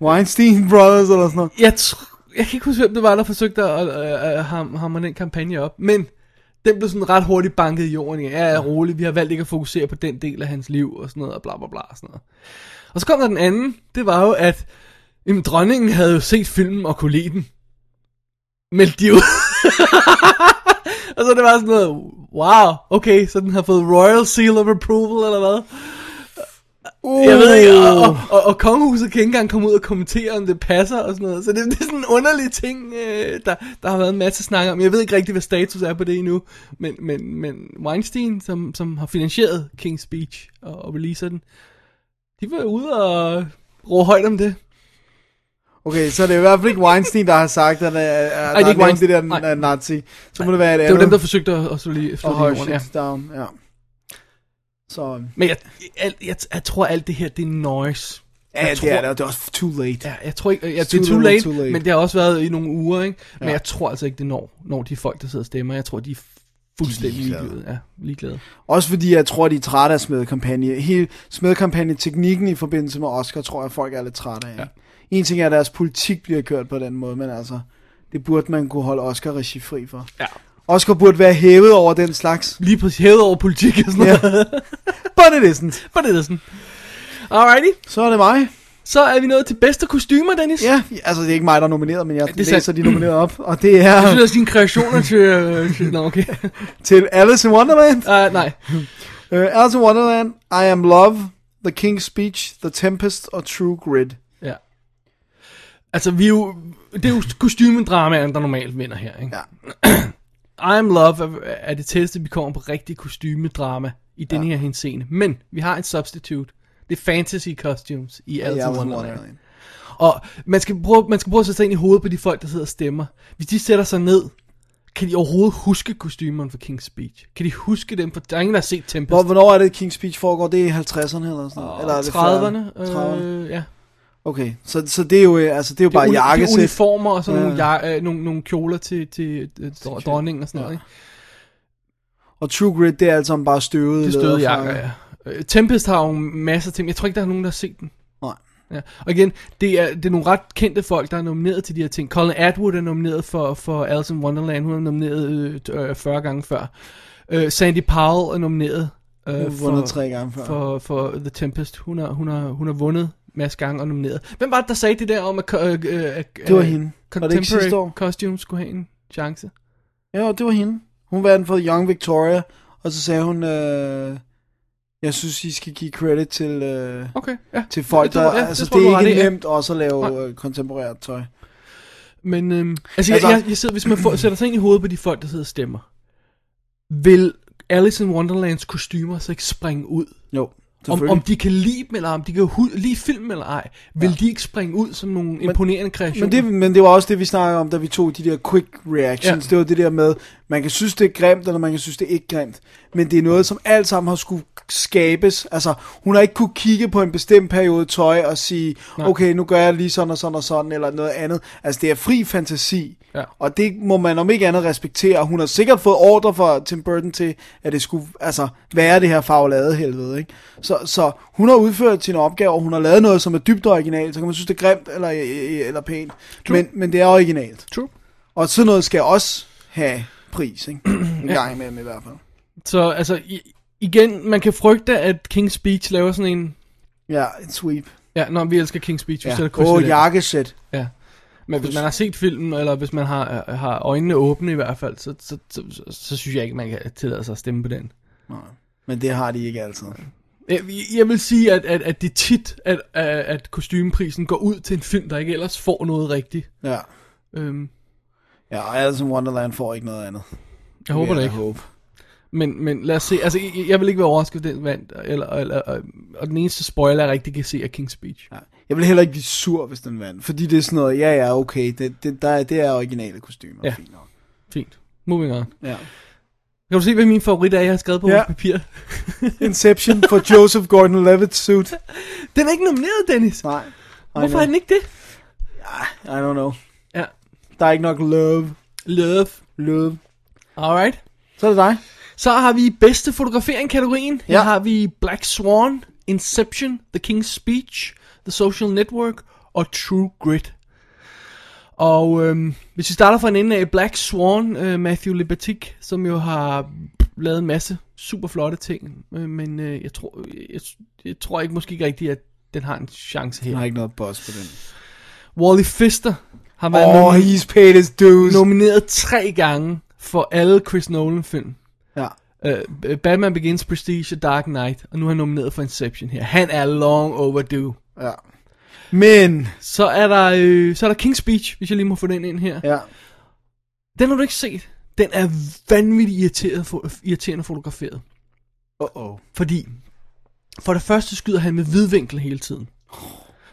Speaker 3: Weinstein Brothers eller sådan noget.
Speaker 4: jeg, tr- jeg kan ikke huske, hvem det var, der forsøgte at øh, øh, ham- hamre den kampagne op, men den blev sådan ret hurtigt banket i jorden. Ja, ja, rolig, vi har valgt ikke at fokusere på den del af hans liv, og sådan noget, og bla bla bla, og sådan noget. Og så kom der den anden, det var jo, at jamen, dronningen havde jo set filmen og kunne lide den. Meldte de ud. og så det var sådan noget, wow, okay, så den har fået Royal Seal of Approval, eller hvad? Jeg ved ikke, og, og,
Speaker 3: Uh.
Speaker 4: og, og kongehuset kan ikke engang komme ud og kommentere, om det passer og sådan noget. Så det, det er sådan en underlig ting, øh, der, der har været en masse snak om. Jeg ved ikke rigtig, hvad status er på det endnu. Men, men, men Weinstein, som, som har finansieret King's Speech og, og releaser den, de var ude og råbe højt om det.
Speaker 3: Okay, så det er i hvert fald ikke Weinstein, der har sagt, at, at, at Ej,
Speaker 4: det er
Speaker 3: det er
Speaker 4: ikke
Speaker 3: ikke det der
Speaker 4: Weinstein.
Speaker 3: Nej. nazi. Så må det være et
Speaker 4: Det var
Speaker 3: andet.
Speaker 4: dem, der forsøgte at, at slå lige efter
Speaker 3: og højre
Speaker 4: jorden. Ja.
Speaker 3: shit down. Ja. Så
Speaker 4: Men jeg, jeg, jeg, jeg tror, alt det her, det er noise.
Speaker 3: ja,
Speaker 4: jeg
Speaker 3: det er
Speaker 4: tror-
Speaker 3: det, og det er også too late.
Speaker 4: Ja, jeg tror ikke, ja,
Speaker 3: It's
Speaker 4: det
Speaker 3: too
Speaker 4: er too
Speaker 3: little,
Speaker 4: late,
Speaker 3: too late.
Speaker 4: men det har også været i nogle uger, ikke? Men
Speaker 3: Ja.
Speaker 4: jeg tror altså ikke, det når, når de folk, der sidder og stemmer. Jeg tror, de er fuldstændig
Speaker 3: Ligeglade.
Speaker 4: ligeglade. Ja, ligeglade.
Speaker 3: Også fordi jeg tror, de er trætte af smedekampagne. Hele smedekampagne-teknikken i forbindelse med Oscar, tror jeg, folk er lidt trætte af. Ja. En ting er, at deres politik bliver kørt på den måde, men altså, det burde man kunne holde Oscar-regi fri for.
Speaker 4: Ja.
Speaker 3: Oscar burde være hævet over den slags.
Speaker 4: Lige præcis hævet over politik og sådan
Speaker 3: Ja.
Speaker 4: noget.
Speaker 3: But it isn't.
Speaker 4: For det er sådan. Alrighty,
Speaker 3: Så er det mig.
Speaker 4: så er vi nået til bedste kostymer, Dennis.
Speaker 3: Ja, altså det er ikke mig, der er nomineret, men jeg
Speaker 4: det er
Speaker 3: læser
Speaker 4: sandt.
Speaker 3: de nominerede op. Og det er
Speaker 4: Jeg synes, at dine kreationer til... øh, til Nå, okay.
Speaker 3: til Alice in Wonderland.
Speaker 4: Uh, nej.
Speaker 3: Uh, Alice in Wonderland, I Am Love, The King's Speech, The Tempest og True Grit.
Speaker 4: Ja. Altså, vi er jo... Det er jo kostymedramaen, der normalt vinder her, ikke?
Speaker 3: Ja.
Speaker 4: I Am Love er, er det tætteste, vi kommer på rigtig kostymedrama i den her henseende. Men vi har en substitute. Det er fantasy costumes i Alice in Wonderland. Og man skal, prøve, man skal prøve at sætte sig ind i hovedet på de folk, der sidder og stemmer. Hvis de sætter sig ned, kan de overhovedet huske kostymerne fra King's Speech? Kan de huske dem? For der er ingen, der har set Tempest.
Speaker 3: Hvor, hvornår er det, King's Speech foregår? Det er i 50'erne eller sådan noget? Eller er det
Speaker 4: 30'erne.
Speaker 3: 40'erne? 30'erne.
Speaker 4: Øh, ja.
Speaker 3: Okay, så, så det er jo, øh, altså, det er jo
Speaker 4: Det er
Speaker 3: bare
Speaker 4: uni-
Speaker 3: jakkesæt.
Speaker 4: Det er uniformer og sådan
Speaker 3: Ja.
Speaker 4: ja. nogle, ja, øh, nogle, nogle kjoler til, til øh, dro- dronningen og sådan ja. noget. Ikke?
Speaker 3: Og True Grit, det er altså bare støvede
Speaker 4: Det støde jakker,
Speaker 3: læderfrakker.
Speaker 4: ja. Øh, Tempest har jo masser af ting. Jeg tror ikke, der er nogen, der har set den.
Speaker 3: Nej.
Speaker 4: Ja. Og igen, det er, det er nogle ret kendte folk, der er nomineret til de her ting. Colin Atwood er nomineret for, for Alice in Wonderland. Hun er nomineret øh, t- øh, 40 gange før. Øh, Sandy Powell er nomineret
Speaker 3: Hun
Speaker 4: øh,
Speaker 3: har vundet
Speaker 4: for,
Speaker 3: tre gange før.
Speaker 4: for, for The Tempest. Hun har, hun har, hun har vundet masse gange og nomineret. Hvem var det, der sagde det der om, at, øh, øh, at
Speaker 3: Det var hende. Var det ikke sidste
Speaker 4: Contemporary
Speaker 3: år?
Speaker 4: costumes skulle have en chance?
Speaker 3: Ja, det var hende. Hun vandt for Young Victoria, og så sagde hun, øh, jeg synes, I skal give credit til, øh,
Speaker 4: Okay, ja.
Speaker 3: til folk,
Speaker 4: Det tror-
Speaker 3: der...
Speaker 4: ja, det
Speaker 3: altså,
Speaker 4: tror
Speaker 3: det
Speaker 4: jeg, du
Speaker 3: er
Speaker 4: har
Speaker 3: ikke
Speaker 4: ret i, ja.
Speaker 3: nemt også at lave
Speaker 4: Nej.
Speaker 3: øh, kontemporært tøj.
Speaker 4: Men øhm, altså, altså,
Speaker 3: Altså-
Speaker 4: jeg, jeg, jeg sidder, hvis man får, sætter sig ind i hovedet på de folk, der sidder og stemmer, vil Alice in Wonderlands kostymer så ikke springe ud?
Speaker 3: Jo,
Speaker 4: Om,
Speaker 3: selvfølgelig.
Speaker 4: om de kan lide dem, eller om de kan hu- lide filmen eller ej, vil ja. de ikke springe ud som nogle imponerende kreationer?
Speaker 3: Men det, men det var også det, vi snakkede om, da vi tog de der quick reactions. Ja.
Speaker 4: Ja.
Speaker 3: Det var det der med, Man kan synes, det er grimt, eller man kan synes, det er ikke grimt. Men det er noget, som alt sammen har skulle skabes. Altså, hun har ikke kunne kigge på en bestemt periode tøj og sige, Nej. okay, nu gør jeg lige sådan og sådan og sådan, eller noget andet. Altså, det er fri fantasi.
Speaker 4: Ja.
Speaker 3: Og det må man om ikke andet respektere. Hun har sikkert fået ordre fra Tim Burton til, at det skulle altså, være det her faglade helvede. Ikke? Så, så hun har udført sine opgaver, og hun har lavet noget, som er dybt originalt. Så kan man synes, det er grimt eller, øh, eller pænt. Men, men det er originalt.
Speaker 4: True.
Speaker 3: Og sådan noget skal også have pris, ikke? En gang imellem i hvert fald.
Speaker 4: Så altså, i, igen, man kan frygte, at King's Speech laver sådan en...
Speaker 3: Ja, et sweep.
Speaker 4: Ja, når vi elsker King's Speech, vi
Speaker 3: Ja.
Speaker 4: sætter kryds
Speaker 3: Åh,
Speaker 4: ved
Speaker 3: oh,
Speaker 4: den.
Speaker 3: jakkesæt.
Speaker 4: Ja. Men hvis man har set filmen, eller hvis man har, øh, har øjnene åbne i hvert fald, så, så, så, så, så synes jeg ikke, man kan tillade sig at stemme på den. Øh,
Speaker 3: Men det har de ikke altid.
Speaker 4: Jeg, jeg vil sige, at, at, at det er tit, at, at, at kostymeprisen går ud til en film, der ikke ellers får noget rigtigt.
Speaker 3: Ja.
Speaker 4: Øhm,
Speaker 3: Ja, og Alice in Wonderland får ikke noget andet.
Speaker 4: jeg håber det
Speaker 3: Jeg
Speaker 4: ikke.
Speaker 3: håber.
Speaker 4: Men, men lad os se. Altså, jeg, jeg vil ikke være overrasket, hvis den vandt. Eller, eller, og, og den eneste spoiler, jeg rigtig kan se, er King's Speech.
Speaker 3: Ja. Jeg vil heller ikke blive sur, hvis den vandt. Fordi det er sådan noget, ja ja, okay, det, det, der, er- det er originale kostymer.
Speaker 4: Ja.
Speaker 3: Fint nok.
Speaker 4: Fint. Moving on.
Speaker 3: Ja.
Speaker 4: Kan du se, hvad min favorit er, jeg har skrevet på
Speaker 3: Ja.
Speaker 4: ja. vores papir?
Speaker 3: Inception for Joseph Gordon-Levitt suit.
Speaker 4: Den er ikke nomineret, Dennis.
Speaker 3: Nej. I
Speaker 4: Hvorfor
Speaker 3: know.
Speaker 4: er den ikke det?
Speaker 3: I don't know.
Speaker 4: Ja.
Speaker 3: Der er ikke nok love.
Speaker 4: Love.
Speaker 3: Love.
Speaker 4: Alright.
Speaker 3: Så er det dig.
Speaker 4: Så har vi bedste fotografering-kategorien. Her
Speaker 3: Ja.
Speaker 4: har vi Black Swan, Inception, The King's Speech, The Social Network og True Grit. Og øhm, hvis vi starter fra en ende af Black Swan, øh, Matthew Libatic, som jo har lavet en masse super flotte ting, øh, men øh, jeg, tror, jeg, jeg tror ikke måske ikke rigtigt, at den har en chance her.
Speaker 3: Der er ikke noget boss på den.
Speaker 4: Wally Fister har været
Speaker 3: Åh, oh,
Speaker 4: nomi-
Speaker 3: he's paid his dues.
Speaker 4: nomineret tre gange for alle Chris Nolan-film.
Speaker 3: Ja.
Speaker 4: Uh, Batman Begins, Prestige og Dark Knight, og nu er han nomineret for Inception her. Han er long overdue.
Speaker 3: ja. Men,
Speaker 4: Så er der, øh, så er der King's Speech, hvis jeg lige må få den ind her. Ja.
Speaker 3: ja.
Speaker 4: Den har du ikke set. Den er vanvittigt irriteret fo- irriterende fotograferet.
Speaker 3: Uh-oh.
Speaker 4: Fordi, for det første skyder han med hvidvinkel hele tiden.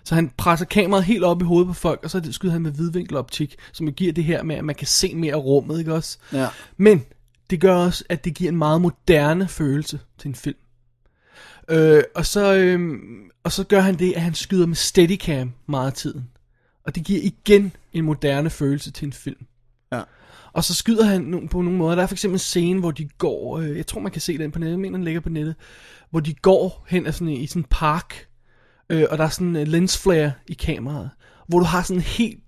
Speaker 4: Så han presser kameraet helt op i hovedet på folk, og så det- skyder han med hvidvinkeloptik, som jo giver det her med, at man kan se mere af rummet, ikke også?
Speaker 3: Ja.
Speaker 4: Men det gør også, at det giver en meget moderne følelse til en film. Øh, og, så, øh, og så gør han det, at han skyder med steadicam meget af tiden. Og det giver igen en moderne følelse til en film.
Speaker 3: Ja.
Speaker 4: Og så skyder han no- på nogle måder. Der er for eksempel en scene, hvor de går, øh, jeg tror man kan se den på nettet, jeg mener den ligger på nettet, hvor de går hen ad sådan, en- i sådan en park, øh, og der er sådan en lens flare i kameraet, hvor du har sådan en helt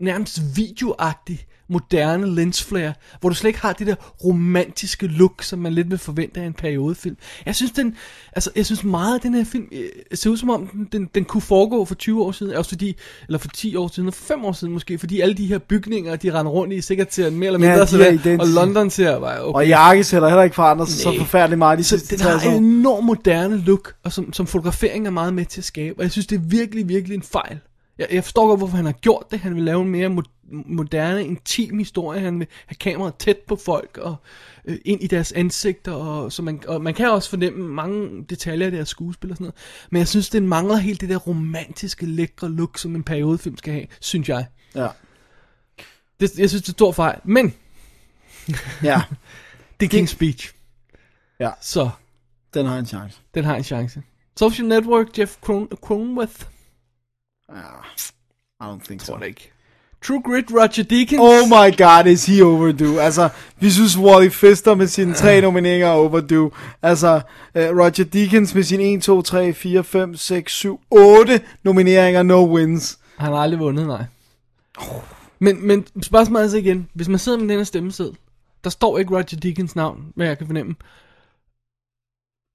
Speaker 4: nærmest videoagtig, moderne lensflare, hvor du slet ikke har det der romantiske look, som man lidt vil forvente af en periodefilm. Jeg synes, den, altså, jeg synes meget af den her film øh, ser ud som om, den, den, den kunne foregå for 20 år siden, også fordi, eller for 10 år siden, og for 5 år siden måske, fordi alle de her bygninger, de render rundt i, sikkert ser mere
Speaker 3: Ja,
Speaker 4: eller mindre
Speaker 3: de er
Speaker 4: sådan,
Speaker 3: identiske.
Speaker 4: og London ser bare, okay.
Speaker 3: Og jakke sætter heller ikke forandret sig så
Speaker 4: Nej.
Speaker 3: forfærdeligt meget de
Speaker 4: Så
Speaker 3: sidste
Speaker 4: den har
Speaker 3: 60 år.
Speaker 4: en enorm moderne look, og som, som fotografering er meget med til at skabe. Og jeg synes, det er virkelig, virkelig en fejl. Jeg, jeg forstår godt, hvorfor han har gjort det. Han vil lave en mere mo- moderne, intim historie. Han vil have kameraet tæt på folk og øh, ind i deres ansigter. Og, så man, og man kan også fornemme mange detaljer af deres skuespil og sådan noget. Men jeg synes, den mangler helt det der romantiske, lækre look, som en periodefilm skal have, synes jeg.
Speaker 3: Ja.
Speaker 4: Det, jeg synes, det er en stor fejl. Men
Speaker 3: ja,
Speaker 4: det er King's Speech.
Speaker 3: Ja.
Speaker 4: Så
Speaker 3: den har en chance.
Speaker 4: Den har en chance. Social Network, Jeff Cron- Cronenworth.
Speaker 3: I don't think so.
Speaker 4: Tror det ikke. True Grit, Roger Deakins.
Speaker 3: Oh my god, is he overdue? Altså, vi synes Wally Fister med sine tre nomineringer er overdue. Altså, øh, Roger Deakins med sine 1, 2, 3, 4, 5, 6, 7, 8 nomineringer, no wins.
Speaker 4: Han har aldrig vundet, nej.
Speaker 3: Oh.
Speaker 4: Men, men spørgsmålet er altså igen, hvis man sidder med den her stemmeseddel, der står ikke Roger Deakins navn, hvad jeg kan fornemme.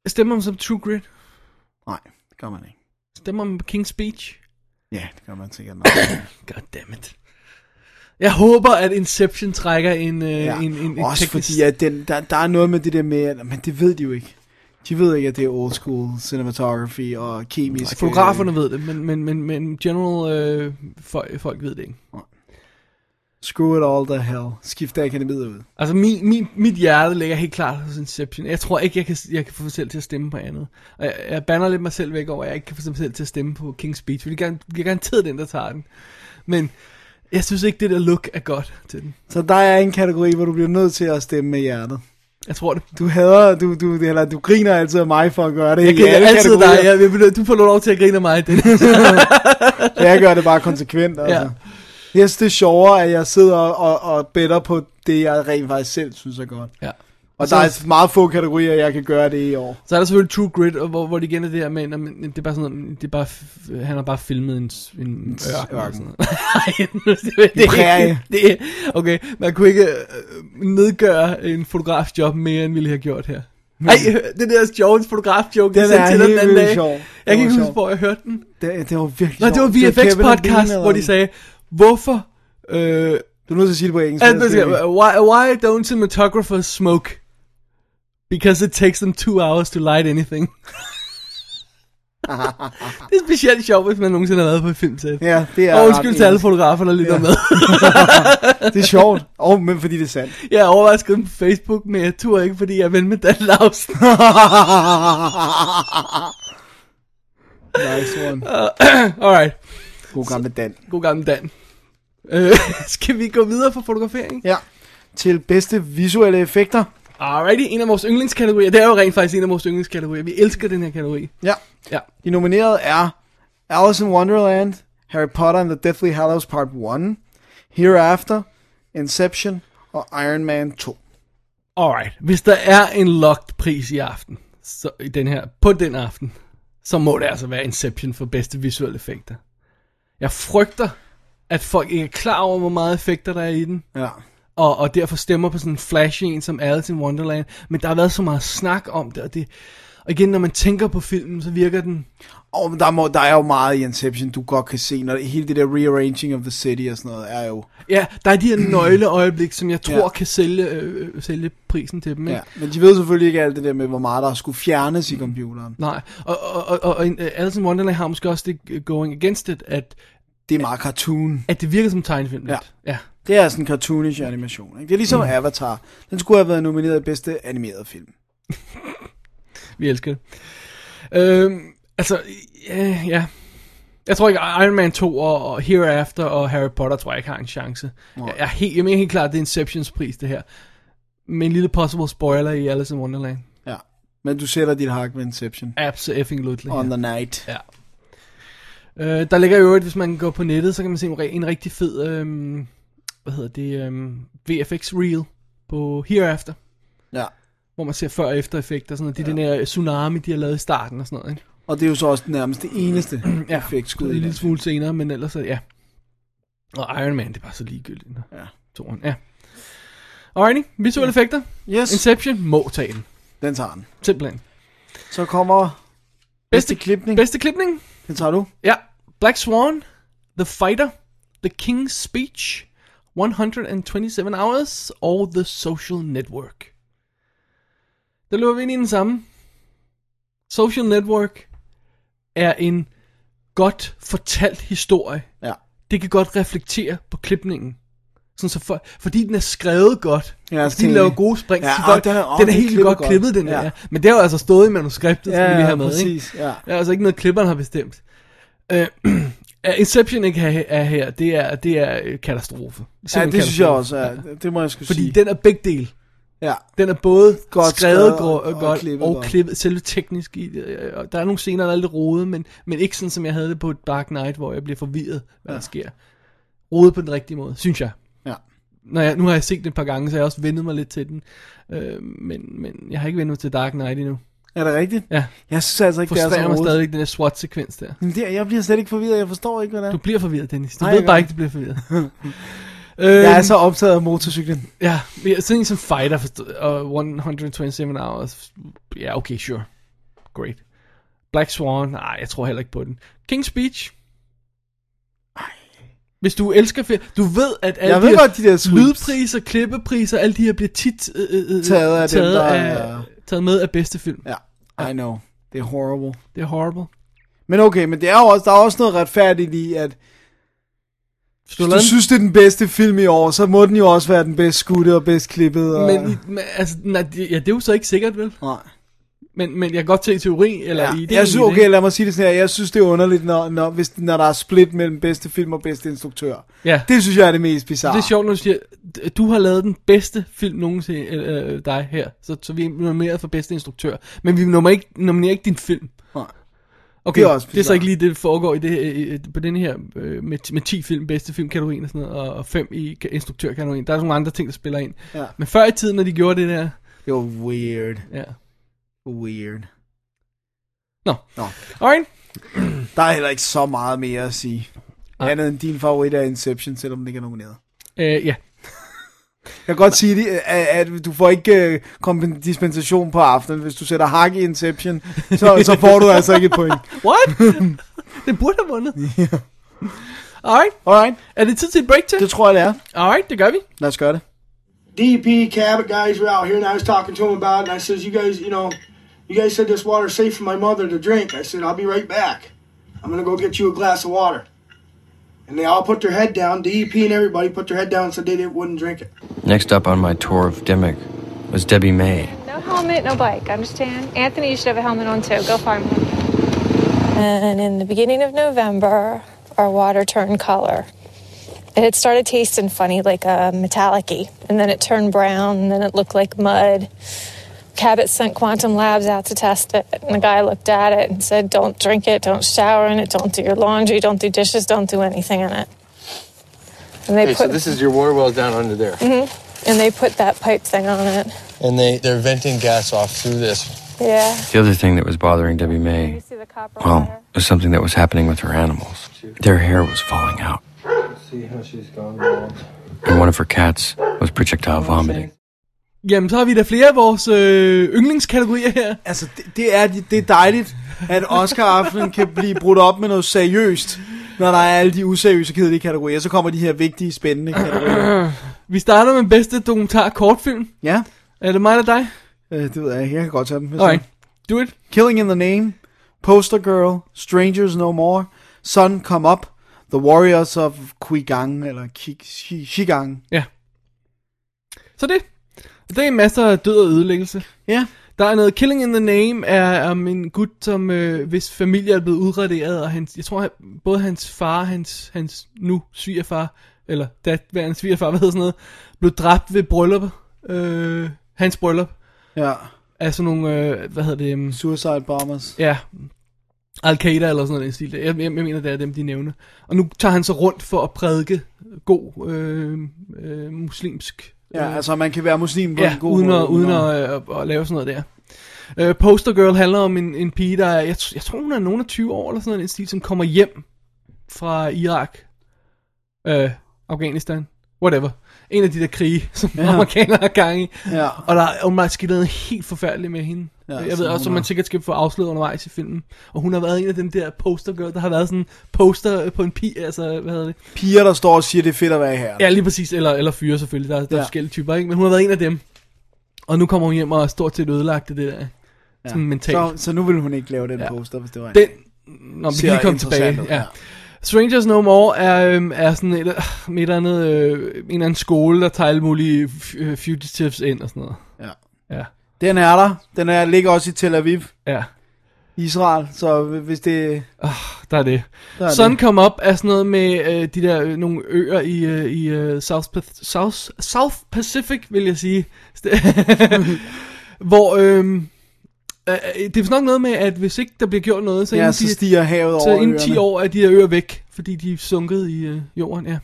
Speaker 4: Stemmer man som True Grit?
Speaker 3: Nej, det gør man ikke.
Speaker 4: Stemmer man på King's Speech?
Speaker 3: Ja, det gør man sikkert nok.
Speaker 4: Goddammit. Jeg håber, at Inception trækker en, øh,
Speaker 3: Ja.
Speaker 4: en, en, en
Speaker 3: Også
Speaker 4: teknisk...
Speaker 3: fordi, at den, der, der er noget med det der med, at, men det ved de jo ikke. De ved ikke, at det er old school cinematography og kemisk...
Speaker 4: Altså, Fotograferne ved det, men, men, men, men general øh, folk, folk ved det ikke.
Speaker 3: øh, Screw it all the hell. Skift akademiet ud.
Speaker 4: Altså, min, min, mit hjerte ligger helt klart hos Inception. Jeg tror ikke, jeg kan, jeg kan få mig selv til at stemme på andet. Og jeg, jeg banner lidt mig selv væk over, at jeg ikke kan få mig selv til at stemme på King's Speech, fordi det er gar- det er garanteret den, der tager den. Men Jeg synes ikke, det der look er godt til den.
Speaker 3: Så der er en kategori, hvor du bliver nødt til at stemme med hjertet.
Speaker 4: Jeg tror det.
Speaker 3: Du hader, du, du, eller du griner altid af mig for at gøre det.
Speaker 4: Jeg
Speaker 3: i
Speaker 4: griner
Speaker 3: alle
Speaker 4: altid dig.
Speaker 3: kategorier.
Speaker 4: Jeg, jeg, du får lov til at grine af mig. Den.
Speaker 3: jeg gør det bare konsekvent. Altså.
Speaker 4: Ja.
Speaker 3: Ja. Jeg synes, det er sjovere, at jeg sidder og, og bedder på det, jeg rent faktisk selv synes er godt.
Speaker 4: ja.
Speaker 3: Og der er meget få kategorier, jeg kan gøre det i år.
Speaker 4: Så er der selvfølgelig True Grit, og hvor, hvor det igen er det her med, "Nå, men det er bare sådan noget, det er bare, f- han har bare filmet en, s- en ørken. eller sådan noget. Nej, det, er- det, er
Speaker 3: Prærie.
Speaker 4: ikke- det, er- okay, man kunne ikke øh, nedgøre en fotografs job mere, end ville have gjort her. Ej, øh, det der Jones fotograf joke,
Speaker 3: Den
Speaker 4: jeg sendte
Speaker 3: er
Speaker 4: til dig den
Speaker 3: helt
Speaker 4: anden
Speaker 3: vildt
Speaker 4: dag.
Speaker 3: sjov. Den
Speaker 4: Jeg kan
Speaker 3: var
Speaker 4: ikke huske,
Speaker 3: sjov.
Speaker 4: hvor jeg hørte den.
Speaker 3: Det, det var virkelig
Speaker 4: Nej, det var
Speaker 3: sjovt.
Speaker 4: VFX
Speaker 3: Kevin og Bean,
Speaker 4: podcast,
Speaker 3: eller
Speaker 4: hvor de
Speaker 3: hvad?
Speaker 4: sagde, hvorfor... Øh,
Speaker 3: Du er nødt til at sige det på engelsk.
Speaker 4: And
Speaker 3: ellers
Speaker 4: basically,
Speaker 3: kan jeg ikke.
Speaker 4: why, why don't cinematographers smoke? Because it takes them two hours to light anything. det er specielt sjovt, hvis man nogensinde har været på et filmsæt.
Speaker 3: Ja, det er
Speaker 4: Og
Speaker 3: ret
Speaker 4: undskyld til alle
Speaker 3: engelsk.
Speaker 4: fotografer, der lytter
Speaker 3: Ja.
Speaker 4: med.
Speaker 3: Det er sjovt. Og oh, men fordi det er sandt.
Speaker 4: jeg overvejede at skrive på Facebook, men jeg turde ikke, fordi jeg er ven med Dan Lausen.
Speaker 3: nice one.
Speaker 4: Alright,
Speaker 3: God gamle Dan.
Speaker 4: god gammel Dan. Øh, skal vi gå videre for fotografering?
Speaker 3: Ja. Til bedste visuelle effekter.
Speaker 4: Alrighty, en af vores yndlingskategorier. Det er jo rent faktisk en af vores yndlingskategorier. Vi elsker den her kategori.
Speaker 3: Ja.
Speaker 4: Ja.
Speaker 3: De nominerede er Alice in Wonderland, Harry Potter and the Deathly Hallows Part 1, Hereafter, Inception og Iron Man 2.
Speaker 4: Alright, hvis der er en locked pris i aften, så i den her, på den aften, så må det altså være Inception for bedste visuelle effekter. Jeg frygter, at folk ikke er klar over, hvor meget effekter der er i den,
Speaker 3: Ja.
Speaker 4: og, og derfor stemmer på sådan en flashy en som Alice in Wonderland, men der har været så meget snak om det, og det... Og igen, når man tænker på filmen, så virker den...
Speaker 3: Og der, må, der er jo meget i Inception, du godt kan se, når hele det der rearranging of the city og sådan noget er jo...
Speaker 4: Ja, der er de her nøgleøjeblik, som jeg tror
Speaker 3: Ja.
Speaker 4: ja. kan sælge, øh, øh, sælge prisen til dem. Ikke?
Speaker 3: Ja. Men Mm. de ved selvfølgelig ikke alt det der med, hvor meget der skulle fjernes i computeren.
Speaker 4: Nej, og, og, og, og, og øh, Alice in Wonderland har måske også det øh, going against it, at,
Speaker 3: Det er meget cartoon.
Speaker 4: At det virker som tegnefilm lidt. Ja. ja.
Speaker 3: Det er sådan en cartoonish animation. Ikke? Det er ligesom mm. Avatar. Den skulle have været nomineret i bedste animerede film.
Speaker 4: Vi elsker det. Øhm, altså, ja, ja. Jeg tror ikke, Iron Man 2 og, og Hereafter og Harry Potter, tror jeg ikke har en chance. Jeg, jeg, er helt, jeg mener helt klart, at det er Inceptions pris, det her. Med en lille possible spoiler i Alice in Wonderland.
Speaker 3: Ja. Men du sætter dit hak med Inception.
Speaker 4: Absolutely.
Speaker 3: On the night.
Speaker 4: Ja. Øh, der ligger jo øvrigt, hvis man går på nettet, så kan man se en, re- en rigtig fed, øhm, hvad hedder det, øhm, VFX reel på Hereafter.
Speaker 3: Ja.
Speaker 4: Hvor man ser før- og efter-effekter og sådan noget. Det er den der tsunami, de har lavet i starten og sådan noget. Ikke?
Speaker 3: Og det er jo så også nærmest det eneste
Speaker 4: Ja,
Speaker 3: effektskud.
Speaker 4: en
Speaker 3: i
Speaker 4: lille
Speaker 3: den.
Speaker 4: smule senere, men ellers så, ja. Og Iron Man, det er bare så ligegyldigt.
Speaker 3: Ja.
Speaker 4: Toren, ja. Alrighty, visuelle effekter.
Speaker 3: Yes,
Speaker 4: Inception må tage den.
Speaker 3: den tager den.
Speaker 4: Simpelthen.
Speaker 3: Så kommer bedste klipning.
Speaker 4: Bedste klipning?
Speaker 3: Den tager du.
Speaker 4: Ja. Black Swan, The Fighter, The King's Speech, 127 Hours og The Social Network. Der løber vi ind i den samme. Social Network er en godt fortalt historie,
Speaker 3: Ja.
Speaker 4: det kan godt reflektere på klipningen. Sådan så for, fordi den er skrevet godt,
Speaker 3: Ja,
Speaker 4: ja,
Speaker 3: altså,
Speaker 4: fordi den
Speaker 3: det-
Speaker 4: laver gode spring,
Speaker 3: Ja,
Speaker 4: ja,
Speaker 3: og
Speaker 4: folk,
Speaker 3: den
Speaker 4: den
Speaker 3: er-
Speaker 4: er,
Speaker 3: og
Speaker 4: den er
Speaker 3: den
Speaker 4: helt
Speaker 3: klipper
Speaker 4: godt
Speaker 3: godt.
Speaker 4: klippet, den ja.
Speaker 3: Ja.
Speaker 4: der. Men det er jo altså stået i manuskriptet, ja, som vi har med,
Speaker 3: præcis.
Speaker 4: ikke?
Speaker 3: Ja.
Speaker 4: Det er altså ikke noget, klipperen har bestemt. Øh, at Inception ikke er, er her, det er, det er øh, katastrofe.
Speaker 3: ja,
Speaker 4: Simpelthen
Speaker 3: det synes jeg
Speaker 4: katastrofe.
Speaker 3: også. Ja. Det må jeg skulle
Speaker 4: Fordi
Speaker 3: sige.
Speaker 4: den er begge dele.
Speaker 3: Ja.
Speaker 4: Den er både
Speaker 3: Godt
Speaker 4: godt
Speaker 3: skrevet
Speaker 4: skrevet og,
Speaker 3: og
Speaker 4: og
Speaker 3: klippet
Speaker 4: godt klippet og
Speaker 3: godt.
Speaker 4: klippet, selve teknisk i det. øh, og Der er nogle scener, der er lidt rodet, men, men ikke sådan, som jeg havde det på Dark Knight, hvor jeg bliver forvirret, hvad ja. der sker. Rodet på den rigtige måde, synes jeg.
Speaker 3: Ja.
Speaker 4: Når jeg. Nu har jeg set den et par gange, så jeg har også vendet mig lidt til den. Øh, men, men jeg har ikke vendt mig til Dark Knight endnu.
Speaker 3: Er det rigtigt?
Speaker 4: Ja.
Speaker 3: Jeg synes altså ikke, det er så
Speaker 4: Frustrerer mig
Speaker 3: rodet.
Speaker 4: stadigvæk den der SWAT-sekvens der.
Speaker 3: Men det- Jeg bliver slet ikke forvirret. Jeg forstår ikke, hvad det er.
Speaker 4: Du bliver forvirret, Dennis. Du
Speaker 3: Nej,
Speaker 4: Ej, ved
Speaker 3: jeg
Speaker 4: bare
Speaker 3: gør.
Speaker 4: ikke, du bliver forvirret. øh,
Speaker 3: Jeg er så optaget af motorcyklen.
Speaker 4: Ja, men jeg- sådan en som Fighter forstå- og 127 Hours. Ja, okay, sure. Great. Black Swan, nej, jeg tror heller ikke på den. King's Speech. Hvis du elsker film, du ved, at alle
Speaker 3: Jeg
Speaker 4: de,
Speaker 3: ved
Speaker 4: her
Speaker 3: godt, de der sweeps.
Speaker 4: lydpriser, klippepriser, alle de her bliver tit øh, øh, øh,
Speaker 3: Taget af dem,
Speaker 4: taget,
Speaker 3: der
Speaker 4: af,
Speaker 3: er-
Speaker 4: taget med af bedste film.
Speaker 3: Ja, I know. Det er horrible.
Speaker 4: Det er horrible.
Speaker 3: Men okay, men det er jo også, der er også noget retfærdigt i, at
Speaker 4: Hvis
Speaker 3: hvis
Speaker 4: har
Speaker 3: du
Speaker 4: lavet en-
Speaker 3: synes, det er den bedste film i år, så må den jo også være den bedst skudte og bedst klippet. Og...
Speaker 4: men, i- men altså, nej, det- ja, det er jo så ikke sikkert, vel?
Speaker 3: Nej.
Speaker 4: Men, men jeg kan godt se teori, eller ja, ideen.
Speaker 3: Jeg synes,
Speaker 4: i det,
Speaker 3: okay,
Speaker 4: ikke?
Speaker 3: lad mig sige det sådan her. Jeg synes, det er underligt, når, når, hvis, når der er split mellem bedste film og bedste instruktør.
Speaker 4: Ja.
Speaker 3: Det synes jeg er det mest bizarre.
Speaker 4: Det er sjovt, når du siger, at du har lavet den bedste film nogensinde, øh, øh, dig her, så, så vi er nomineret for bedste instruktør, men vi nominerer ikke, nominerer ikke din film.
Speaker 3: Nej.
Speaker 4: Okay,
Speaker 3: Det
Speaker 4: det
Speaker 3: er
Speaker 4: er,
Speaker 3: også
Speaker 4: det er så
Speaker 3: bizarrt.
Speaker 4: ikke lige det, der foregår i det, her, øh, på den her øh, med, med 10 film, bedste filmkategorien og sådan noget, og 5 i ka- instruktørkategorien. Der er nogle andre ting, der spiller ind.
Speaker 3: Ja.
Speaker 4: Men før i tiden, når de gjorde det der,
Speaker 3: Det var weird.
Speaker 4: ja.
Speaker 3: Weird.
Speaker 4: Nå.
Speaker 3: Nå.
Speaker 4: Alright.
Speaker 3: Der er heller ikke så meget mere at sige.
Speaker 4: Nej.
Speaker 3: Andet end din favorit er Inception, selvom den ikke er nomineret.
Speaker 4: Øh, ja.
Speaker 3: Jeg kan godt sige, det, at, at du får ikke øh, kompen- dispensation på aftenen. Hvis du sætter hak i Inception, så, så får du altså ikke et point.
Speaker 4: What? den burde have vundet. Alright.
Speaker 3: Alright,
Speaker 4: Er det tid til et break til?
Speaker 3: det tror jeg, det er.
Speaker 4: Alright, det gør vi.
Speaker 3: Lad os gøre det.
Speaker 10: DP Cabot guys were out here, and I was talking to him about it. And I says, "You guys, you know, you guys said this water's safe for my mother to drink." I said, "I'll be right back. I'm gonna go get you a glass of water." And they all put their head down. DEP and everybody put their head down and said they didn't, wouldn't drink it.
Speaker 6: Next up on my tour of Dimmock was Debbie May.
Speaker 11: No helmet, no bike, understand? Anthony, you should have a helmet on too. Go find one.
Speaker 2: And in the beginning of November, our water turned color. It had started tasting funny, like uh, metallic y, and then it turned brown, and then it looked like mud. Cabot sent Quantum Labs out to test it, and the guy looked at it and said, Don't drink it, don't shower in it, don't do your laundry, don't do dishes, don't do anything in it. And they
Speaker 8: Okay,
Speaker 2: put
Speaker 8: so this is your water well down under there.
Speaker 2: Mhm. and they put that pipe thing on it.
Speaker 8: And they, they're venting gas off through this.
Speaker 2: Yeah.
Speaker 6: The other thing that was bothering Debbie May, well, was something that was happening with her animals. Their hair was falling out,
Speaker 8: See how she's gone wild.
Speaker 6: and one of her cats was projectile vomiting.
Speaker 4: Jamen, så har vi da flere af vores øh, yndlingskategorier her.
Speaker 3: Altså, det, det, er, det er dejligt, at Oscar-aftenen kan blive brudt op med noget seriøst, når der er alle de useriøse, kedelige kategorier. Så kommer de her vigtige, spændende kategorier.
Speaker 4: Vi starter med bedste dokumentar kortfilm.
Speaker 3: Ja.
Speaker 4: Er det mig eller dig?
Speaker 3: Øh, det ved jeg ikke. Jeg kan godt tage dem. hvis
Speaker 4: Okay.
Speaker 3: jeg-
Speaker 4: Do it.
Speaker 3: Killing in the Name, Poster Girl, Strangers No More, Sun Come Up, The Warriors of Qigang, eller Qi- Qi- Qigang.
Speaker 4: Så det. Og det er masser af død og ødelæggelse.
Speaker 3: Ja.
Speaker 4: Der er noget Killing in the Name er om en gut, som øh, hvis familie er blevet udraderet, og hans, jeg tror han, både hans far og hans, hans nu svigerfar, eller datværende svigerfar, hvad hedder sådan noget, blev dræbt ved bryllup. Øh, hans bryllup.
Speaker 3: Ja.
Speaker 4: Af sådan nogle, øh, hvad hedder det? Um,
Speaker 3: Suicide Bombers.
Speaker 4: Ja. Al-Qaida eller sådan noget i den stil. Jeg, jeg, jeg mener, det er dem, de nævner. Og nu tager han så rundt for at prædike god øh, øh, muslimsk
Speaker 3: Ja, altså man kan være muslim på
Speaker 4: ja,
Speaker 3: en god
Speaker 4: uden,
Speaker 3: måde.
Speaker 4: at, uden at, at, øh, at lave sådan noget der. Uh, Poster Girl handler om en, en pige, der er, jeg, tr- jeg tror hun er nogen af 20 år eller sådan noget, i den stil, som kommer hjem fra Irak, uh, Afghanistan, whatever. En af de der krige, som
Speaker 3: Ja.
Speaker 4: ja. amerikanere har gang i.
Speaker 3: Ja.
Speaker 4: Og der er åbenbart sket noget helt forfærdeligt med hende.
Speaker 3: Ja,
Speaker 4: Ja,
Speaker 3: så
Speaker 4: jeg ved
Speaker 3: hun
Speaker 4: også, at
Speaker 3: har-
Speaker 4: man sikkert skal få afsløret undervejs i filmen. Og hun har været en af dem der poster girl, der har været sådan poster på en pige, altså hvad hedder det?
Speaker 3: Piger, der står og siger, det er fedt at være her.
Speaker 4: Ja, lige præcis. Eller, eller fyre selvfølgelig. Der, er- der ja.
Speaker 3: Ja.
Speaker 4: er forskellige typer, ikke? Men hun har været en af dem. Og nu kommer hun hjem og er stort set ødelagt af det der.
Speaker 3: Ja.
Speaker 4: Ja. Sådan mentalt.
Speaker 3: Så, så nu vil hun ikke lave den ja. poster, hvis det var en.
Speaker 4: Den... Nå, vi kan
Speaker 3: Ser
Speaker 4: lige komme
Speaker 3: interessant
Speaker 4: tilbage.
Speaker 3: ud,
Speaker 4: ja.
Speaker 3: ja.
Speaker 4: Strangers No More er, øhm, er sådan et, øh, med et eller andet, øh, en eller anden skole, der tager alle mulige f- øh, fugitives ind og sådan noget.
Speaker 3: Ja.
Speaker 4: Ja.
Speaker 3: Den er der. Den er, ligger også i Tel Aviv,
Speaker 4: Ja,
Speaker 3: Israel. Så hvis det...
Speaker 4: der er det.
Speaker 3: Der er
Speaker 4: Sådan
Speaker 3: det.
Speaker 4: kom op er sådan noget med øh, de der øh, nogle øer i, øh, i øh, South, Path- South, South Pacific, vil jeg sige. St- Hvor øh, øh, det er vist nok noget med, at hvis ikke der bliver gjort noget, så,
Speaker 3: Ja,
Speaker 4: inden
Speaker 3: så stiger havet
Speaker 4: så
Speaker 3: over
Speaker 4: inden 10
Speaker 3: øerne.
Speaker 4: år er de der øer væk, fordi de er sunket i øh, jorden, ja.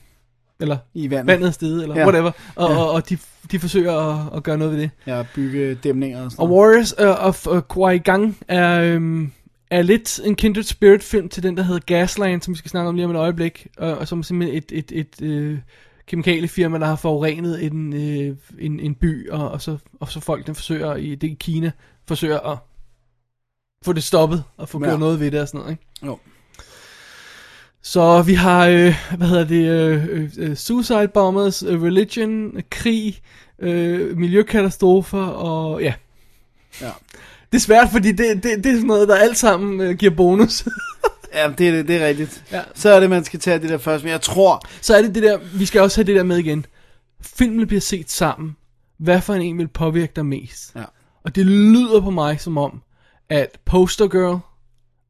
Speaker 4: Eller
Speaker 3: I vandet.
Speaker 4: vandet er steget, eller
Speaker 3: Ja.
Speaker 4: ja. whatever. Og,
Speaker 3: Ja.
Speaker 4: ja. og, og de, de forsøger at, at gøre noget ved det.
Speaker 3: Ja, bygge dæmninger og sådan
Speaker 4: Og Warriors uh, of uh, Kwaigang er, øhm, er lidt en kindred spirit film til den, der hedder Gasland, som vi skal snakke om lige om et øjeblik, og, og som er simpelthen et, et, et øh, kemikaliefirma, der har forurenet en, øh, en, en by, og, og, så, og så folk, den forsøger i, det er i Kina, forsøger at få det stoppet, og få
Speaker 3: Ja.
Speaker 4: ja. gjort noget ved det og sådan noget, ikke?
Speaker 3: Jo.
Speaker 4: Så vi har, øh, hvad hedder det, øh, øh, øh, suicide bombers, øh, religion, øh, krig, øh, miljøkatastrofer og ja.
Speaker 3: Ja.
Speaker 4: Det er svært, fordi det, det, det er sådan noget, der alt sammen øh, giver bonus.
Speaker 3: Ja, det er, det, det er rigtigt.
Speaker 4: Ja.
Speaker 3: Så er det, man skal tage det der først. Men jeg tror...
Speaker 4: Så er det det der, vi skal også have det der med igen. Filmen bliver set sammen. Hvad for en en vil påvirke dig mest?
Speaker 3: Ja.
Speaker 4: Og det lyder på mig som om, at Poster Girl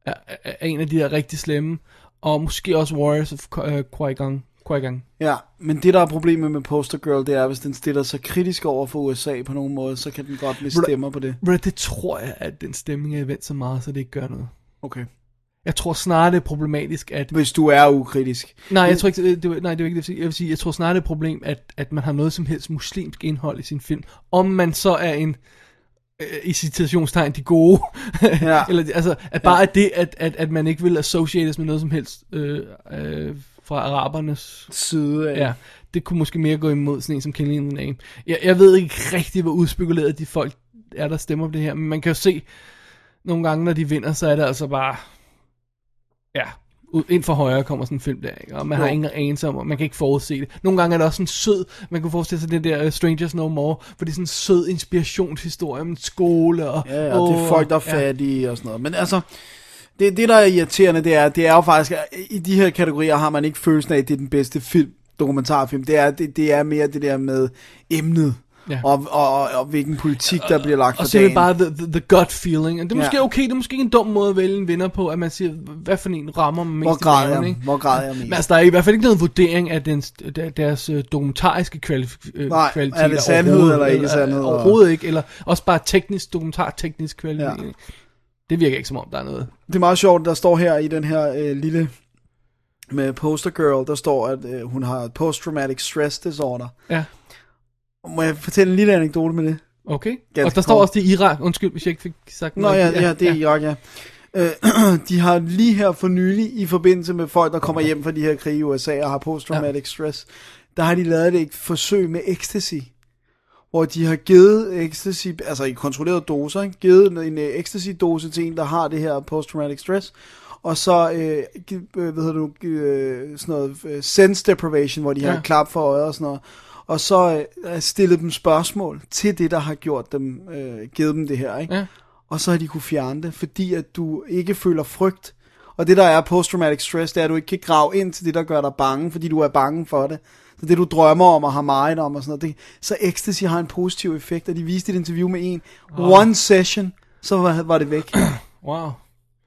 Speaker 4: er, er, er en af de der rigtig slemme, og måske også Warriors of Qui- øh, Qui-Gon. Qui-Gon.
Speaker 3: Ja, men det der er problemet med Poster Girl, det er, hvis den stiller sig kritisk over for USA på nogen måde, så kan den godt miste
Speaker 4: Ved du-
Speaker 3: stemmer på det.
Speaker 4: Ved du, det tror jeg, at den stemning er vendt så meget, så det ikke gør noget.
Speaker 3: Okay.
Speaker 4: Jeg tror snarere, det er problematisk, at...
Speaker 3: Hvis du er ukritisk.
Speaker 4: Nej, jeg tror ikke, øh, det, det, var- nej, det var ikke det, jeg ville sige. jeg vil sige. Jeg tror snarere, det er et problem, at, at man har noget som helst muslimsk indhold i sin film. Om man så er en, øh, i citationstegn, de gode.
Speaker 3: Ja.
Speaker 4: Eller, altså, at bare ja. det, at, at, at man ikke vil associeres med noget som helst øh, øh, fra arabernes
Speaker 3: side af.
Speaker 4: Ja, Øh, det kunne måske mere gå imod sådan en som Killing in the Name. øh, Jeg, jeg ved ikke rigtig, hvor udspekuleret de folk er, der stemmer på det her, men man kan jo se, nogle gange, når de vinder, så er det altså bare, ja, ud- ind for højre kommer sådan en film der, ikke? og man har
Speaker 3: Jo.
Speaker 4: ingen anelse om, og man kan ikke forudse det. Nogle gange er det også sådan sød, man kunne forestille sig den der øh, Strangers No More, for det er sådan en sød inspirationshistorie om en skole. Og,
Speaker 3: Ja, ja, det er
Speaker 4: åh,
Speaker 3: folk, der er fattige og sådan noget. Men altså, det, det der er irriterende, det er, det er jo faktisk, at i de her kategorier har man ikke følelsen af, at det er den bedste film, dokumentarfilm. Det er, det, det er mere det der med emnet,
Speaker 4: Ja.
Speaker 3: ja. og, og, og, og hvilken politik, der bliver lagt for
Speaker 4: Og så er det
Speaker 3: dagen.
Speaker 4: bare the, the, the gut feeling. Og det er måske
Speaker 3: Ja.
Speaker 4: okay, det er måske ikke en dum måde at vælge en vinder på, at man siger, hvad for en rammer man mest
Speaker 3: Hvor
Speaker 4: i
Speaker 3: græder
Speaker 4: maven,
Speaker 3: jeg?
Speaker 4: ikke?
Speaker 3: Hvor græder jeg mest?
Speaker 4: Men altså, der er i hvert fald ikke noget vurdering af den, der- deres øh, dokumentariske kvalif- øh,
Speaker 3: Nej, er
Speaker 4: kvalitet.
Speaker 3: det sandhed eller ikke sandhed, og-
Speaker 4: Overhovedet ikke, eller også bare teknisk, dokumentarteknisk kvalitet. Ja. Det virker ikke som om, der er noget.
Speaker 3: Det er meget sjovt, der står her i den her øh, lille med Poster Girl, der står, at øh, hun har post-traumatic stress disorder.
Speaker 4: Ja.
Speaker 3: Må jeg fortælle en lille anekdote med det?
Speaker 4: Okay.
Speaker 3: Ganske
Speaker 4: og der står
Speaker 3: kort.
Speaker 4: også det i Irak. Undskyld, hvis jeg ikke fik sagt
Speaker 3: Nå
Speaker 4: noget.
Speaker 3: ja,
Speaker 4: rigtigt.
Speaker 3: ja, det er Irak, ja. Øh, de har lige her for nylig, i forbindelse med folk, der kommer hjem fra de her krige i USA og har posttraumatic ja. stress, der har de lavet et forsøg med ecstasy, hvor de har givet ecstasy, altså i kontrollerede doser, ikke? givet en øh, ecstasy-dose til en, der har det her posttraumatic stress, og så, øh, gi- øh, hvad hedder du, øh, sådan noget øh, sense deprivation, hvor de ja.
Speaker 4: Ja.
Speaker 3: har klap for øjet og sådan noget, og så øh, stillet dem spørgsmål til det, der har gjort dem, øh, givet dem det her, ikke?
Speaker 4: Ja.
Speaker 3: Og så har de kunne fjerne det, fordi at du ikke føler frygt. Og det, der er posttraumatic stress, det er, at du ikke kan grave ind til det, der gør dig bange, fordi du er bange for det. Så det, du drømmer om og har meget om og sådan noget. Det, så ecstasy har en positiv effekt, og de viste et interview med en.
Speaker 4: Wow.
Speaker 3: One session, så var, var det væk.
Speaker 4: Wow.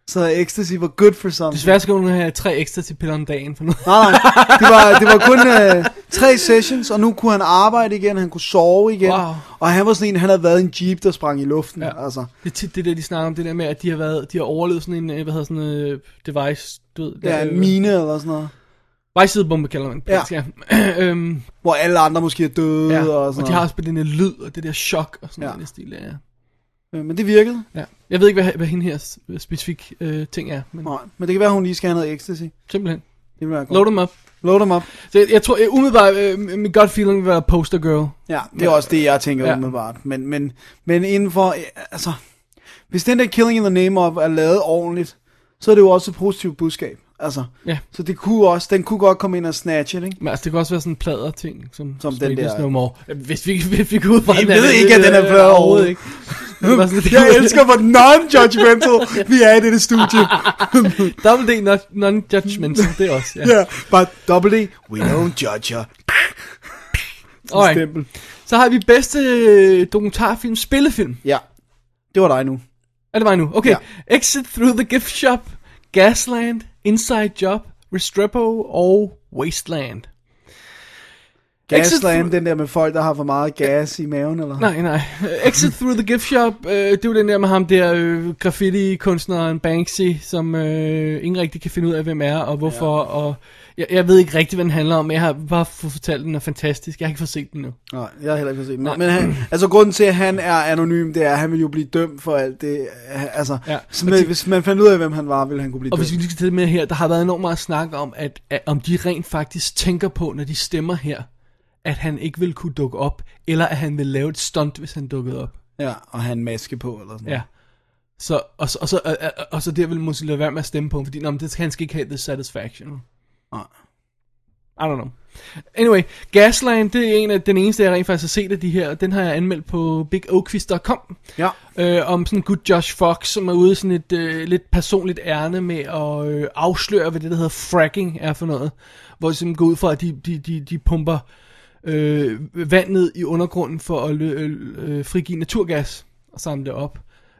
Speaker 3: Så ecstasy var good for something.
Speaker 4: Desværre skal hun have tre ekstra til piller om dagen. For nu.
Speaker 3: Nej, nej. Det var, det var kun øh, tre sessions, og nu kunne han arbejde igen, han kunne sove igen.
Speaker 4: Wow.
Speaker 3: Og han var sådan en, han havde været i en jeep, der sprang i luften. Ja. Altså.
Speaker 4: Det er tit det der, de snakker om, det der med, at de har, været, de har overlevet sådan en, øh, hvad hedder sådan en øh, device, du ved.
Speaker 3: Ja,
Speaker 4: der,
Speaker 3: en mine eller sådan noget.
Speaker 4: Vejsidebombe kalder man det.
Speaker 3: Ja.
Speaker 4: Ja. øhm,
Speaker 3: Hvor alle andre måske er døde
Speaker 4: ja.
Speaker 3: og sådan
Speaker 4: og de har
Speaker 3: noget.
Speaker 4: også på den der lyd og det der chok og sådan ja. noget stil. Ja.
Speaker 3: Øh, Men det virkede.
Speaker 4: Ja. Jeg ved ikke, hvad, hvad hende her s- specifik øh, ting er. Men...
Speaker 3: Nej, men det kan være, hun lige skal have noget ecstasy.
Speaker 4: Simpelthen.
Speaker 3: Det vil være godt.
Speaker 4: Load them up.
Speaker 3: Load them up.
Speaker 4: Så jeg, jeg tror, jeg, umiddelbart, øh, min gut feeling vil være poster girl.
Speaker 3: Ja, det er også det, jeg tænker
Speaker 4: Ja.
Speaker 3: ja. umiddelbart. Men, men, men inden for, øh, altså, hvis den der Killing in the Name of er lavet ordentligt, så er det jo også et positivt budskab. Altså,
Speaker 4: Ja.
Speaker 3: så det kunne også, den kunne godt komme ind og snatche det, ikke?
Speaker 4: Men altså, det kan også være sådan en plader ting, som,
Speaker 3: Som den
Speaker 4: Strangers
Speaker 3: der-
Speaker 4: No More. Hvis vi, hvis vi går ud fra
Speaker 3: Vi
Speaker 4: den
Speaker 3: ved
Speaker 4: er det-
Speaker 3: ikke, at den er
Speaker 4: øh,
Speaker 3: plader
Speaker 4: overhovedet. ikke. Det var sådan, det-
Speaker 3: Jeg elsker, hvor non-judgmental vi er i dette studie.
Speaker 4: Double D not- non-judgmental, det er også, ja.
Speaker 3: Ja, yeah, but double D, we don't judge her.
Speaker 4: Alright.
Speaker 3: Stempel.
Speaker 4: Så har vi bedste øh, dokumentarfilm, spillefilm.
Speaker 3: Ja, det var dig nu.
Speaker 4: Er det mig nu? Okay. Ja. Exit Through the Gift Shop, Gasland, Inside Job, Restrepo og Wasteland. Exit
Speaker 3: Gasland, den der med folk, der har for meget gas i maven, eller?
Speaker 4: Nej, nej. Øh, Exit Through the Gift Shop, øh, det er jo den der med ham der øh, graffiti-kunstneren Banksy, som øh, ingen rigtig kan finde ud af, hvem er og hvorfor. Ja. Og jeg, jeg ved ikke rigtig, hvad den handler om, men jeg har bare fået fortalt, at den er fantastisk. Jeg har ikke fået set den nu.
Speaker 3: Nej, jeg har heller ikke set den.
Speaker 4: Nej.
Speaker 3: Men han, altså grunden til, at han er anonym, det er, at han vil jo blive dømt for alt det. øh, Altså,
Speaker 4: Ja.
Speaker 3: ja. hvis, man, hvis man fandt ud af, hvem han var, ville han kunne blive
Speaker 4: Og
Speaker 3: dømt.
Speaker 4: hvis vi lige skal til det med her, der har været enormt meget snak om, at, at om de rent faktisk tænker på, når de stemmer her, at han ikke vil kunne dukke op, eller at han vil lave et stunt, hvis han dukkede op.
Speaker 3: Ja, og have en maske på, eller sådan
Speaker 4: Ja.
Speaker 3: noget.
Speaker 4: Så, og, så, og, så, og, og, og så der vil måske lade være med at stemme på ham, fordi nå, men det, han skal ikke have the satisfaction.
Speaker 3: Nej.
Speaker 4: I don't know. Anyway, Gasland, det er en af den eneste, jeg rent faktisk har set af de her. Den har jeg anmeldt på bigoquiz.com.
Speaker 3: Ja.
Speaker 4: Øh, om sådan en good Josh Fox, som er ude i sådan et øh, lidt personligt ærne med at øh, afsløre, hvad det der hedder fracking er for noget. Hvor det simpelthen går ud fra, at de, de, de, de pumper øh, vand ned i undergrunden for at lø, øh, øh, frigive naturgas og samle det op.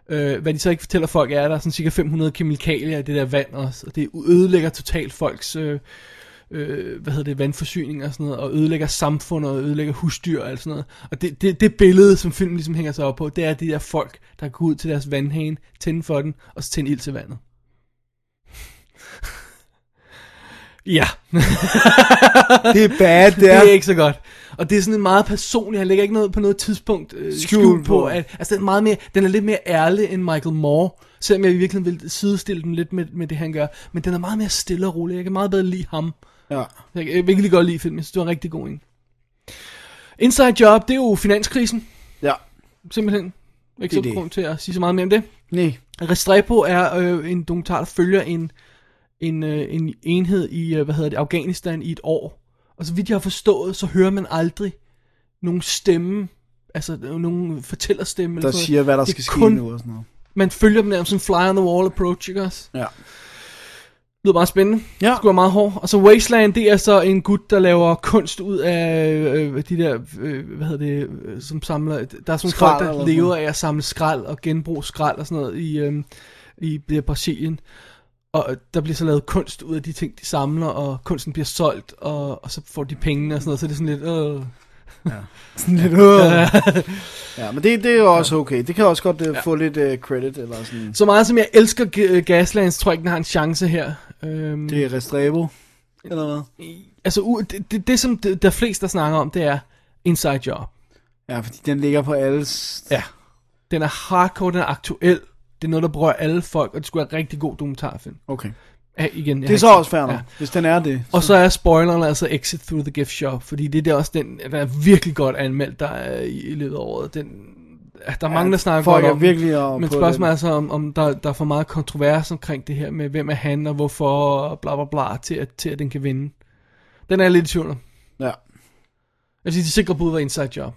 Speaker 4: Øh, hvad de så ikke fortæller folk er, at der er sådan cirka 500 kemikalier i det der vand også, og det ødelægger totalt folks... Øh, øh, hvad hedder det, vandforsyning og sådan noget, og ødelægger samfundet, og ødelægger husdyr og alt sådan noget. Og det, det, det billede, som filmen ligesom hænger sig op på, det er de der folk, der går ud til deres vandhane, tænde for den, og så tænde ild til vandet. ja.
Speaker 3: det er bad, det er.
Speaker 4: Det er ikke så godt. Og det er sådan meget personligt, han lægger ikke noget på noget tidspunkt øh, skjul
Speaker 3: Skjul
Speaker 4: på.
Speaker 3: på.
Speaker 4: At, altså den er, meget mere, den er lidt mere ærlig end Michael Moore, selvom jeg virkelig vil sidestille den lidt med, med det, han gør. Men den er meget mere stille og rolig. Jeg kan meget bedre lide ham.
Speaker 3: Ja.
Speaker 4: Jeg kan virkelig godt lide filmen. Jeg synes, det var en rigtig god en. Inside Job, det er jo finanskrisen.
Speaker 3: Ja.
Speaker 4: Simpelthen. Ikke
Speaker 3: Det er
Speaker 4: så
Speaker 3: det.
Speaker 4: grund til at sige så meget mere om det.
Speaker 3: Nej.
Speaker 4: Restrepo er øh, en dokumentar, der følger en, en, øh, en enhed i, øh, hvad hedder det, Afghanistan i et år. Og så vidt jeg har forstået, så hører man aldrig nogen stemme, altså øh, nogen fortællerstemme.
Speaker 3: Der
Speaker 4: sådan noget.
Speaker 3: siger, hvad der
Speaker 4: Det er
Speaker 3: skal ske
Speaker 4: kun-
Speaker 3: nu og sådan noget.
Speaker 4: Man følger dem nærmest som fly on the wall approach, ikke også?
Speaker 3: Ja.
Speaker 4: lyder meget spændende. Ja. Det skulle være meget hård. Og så Wasteland, det er så en gut, der laver kunst ud af øh, de der, øh, hvad hedder det, øh, som samler, der er sådan
Speaker 3: Skrald
Speaker 4: folk,
Speaker 3: eller
Speaker 4: der
Speaker 3: sådan
Speaker 4: lever
Speaker 3: noget.
Speaker 4: af at samle skrald og genbruge skrald og sådan noget i, øh, i det her Brasilien. Og øh, der bliver så lavet kunst ud af de ting, de samler, og kunsten bliver solgt, og, og så får de pengene og sådan noget, så det er sådan lidt, øh. Ja.
Speaker 3: Sådan lidt, øh. ja, men det, det er jo også okay. Det kan også godt uh, få lidt uh, credit eller sådan.
Speaker 4: Så meget som jeg elsker G- øh, Gaslands, tror jeg ikke, den har en chance her. Øhm,
Speaker 3: Det er Restrepo, eller hvad?
Speaker 4: Altså, u- det, det, det som det, der flest, der snakker om, det er Inside Job.
Speaker 3: Ja, fordi den ligger på alles...
Speaker 4: Ja. Den er hardcore, den er aktuel. Det er noget, der berører alle folk, og det skulle være en rigtig god dokumentarfilm.
Speaker 3: Okay.
Speaker 4: Ja, igen,
Speaker 3: Det
Speaker 4: jeg har
Speaker 3: er så
Speaker 4: ikke-
Speaker 3: også fair nok, hvis den er det.
Speaker 4: Og så er spoileren altså Exit Through the Gift Shop, fordi det er der også den, der er virkelig godt anmeldt der er i, i løbet af året. Den, ja, der er
Speaker 3: Ja,
Speaker 4: mange, der snakker
Speaker 3: folk
Speaker 4: godt
Speaker 3: er
Speaker 4: om den.
Speaker 3: virkelig oppe
Speaker 4: Men
Speaker 3: på
Speaker 4: spørgsmålet
Speaker 3: den.
Speaker 4: er så, om, om der, der er for meget kontrovers omkring det her med, hvem er han og hvorfor, og bla bla bla, til at, til at den kan vinde. Den er jeg lidt i tvivl om.
Speaker 3: Ja.
Speaker 4: Jeg synes, de sikre bud var Inside Job.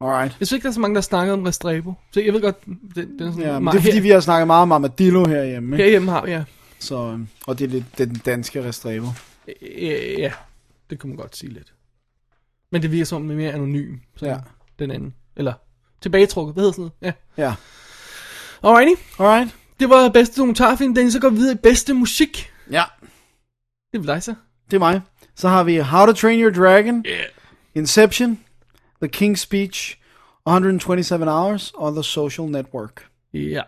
Speaker 3: Alright.
Speaker 4: Jeg synes ikke, der er så mange, der snakker om Restrepo. Så jeg ved godt, den, den er sådan
Speaker 3: Ja, men
Speaker 4: meget-
Speaker 3: det er fordi, vi har snakket meget om Armadillo herhjemme. Ikke?
Speaker 4: Herhjemme har vi, ja.
Speaker 3: Så, øhm, og det er lidt det er den danske Restrepo.
Speaker 4: Øh, Ja, det kunne man godt sige lidt. Men det virker som om, den er mere anonym. Så ja.
Speaker 3: Ja.
Speaker 4: Den anden. Eller tilbagetrukket, hvad hedder sådan noget? Ja.
Speaker 3: Ja.
Speaker 4: Alrighty.
Speaker 3: Alright.
Speaker 4: Det var bedste dokumentarfilm. Den så går vi videre i bedste musik.
Speaker 3: Ja.
Speaker 4: Det er vel dig så.
Speaker 3: Det er mig. Så har vi How to Train Your Dragon, yeah. Inception, The King's Speech, 127 Hours og The Social Network.
Speaker 4: Ja.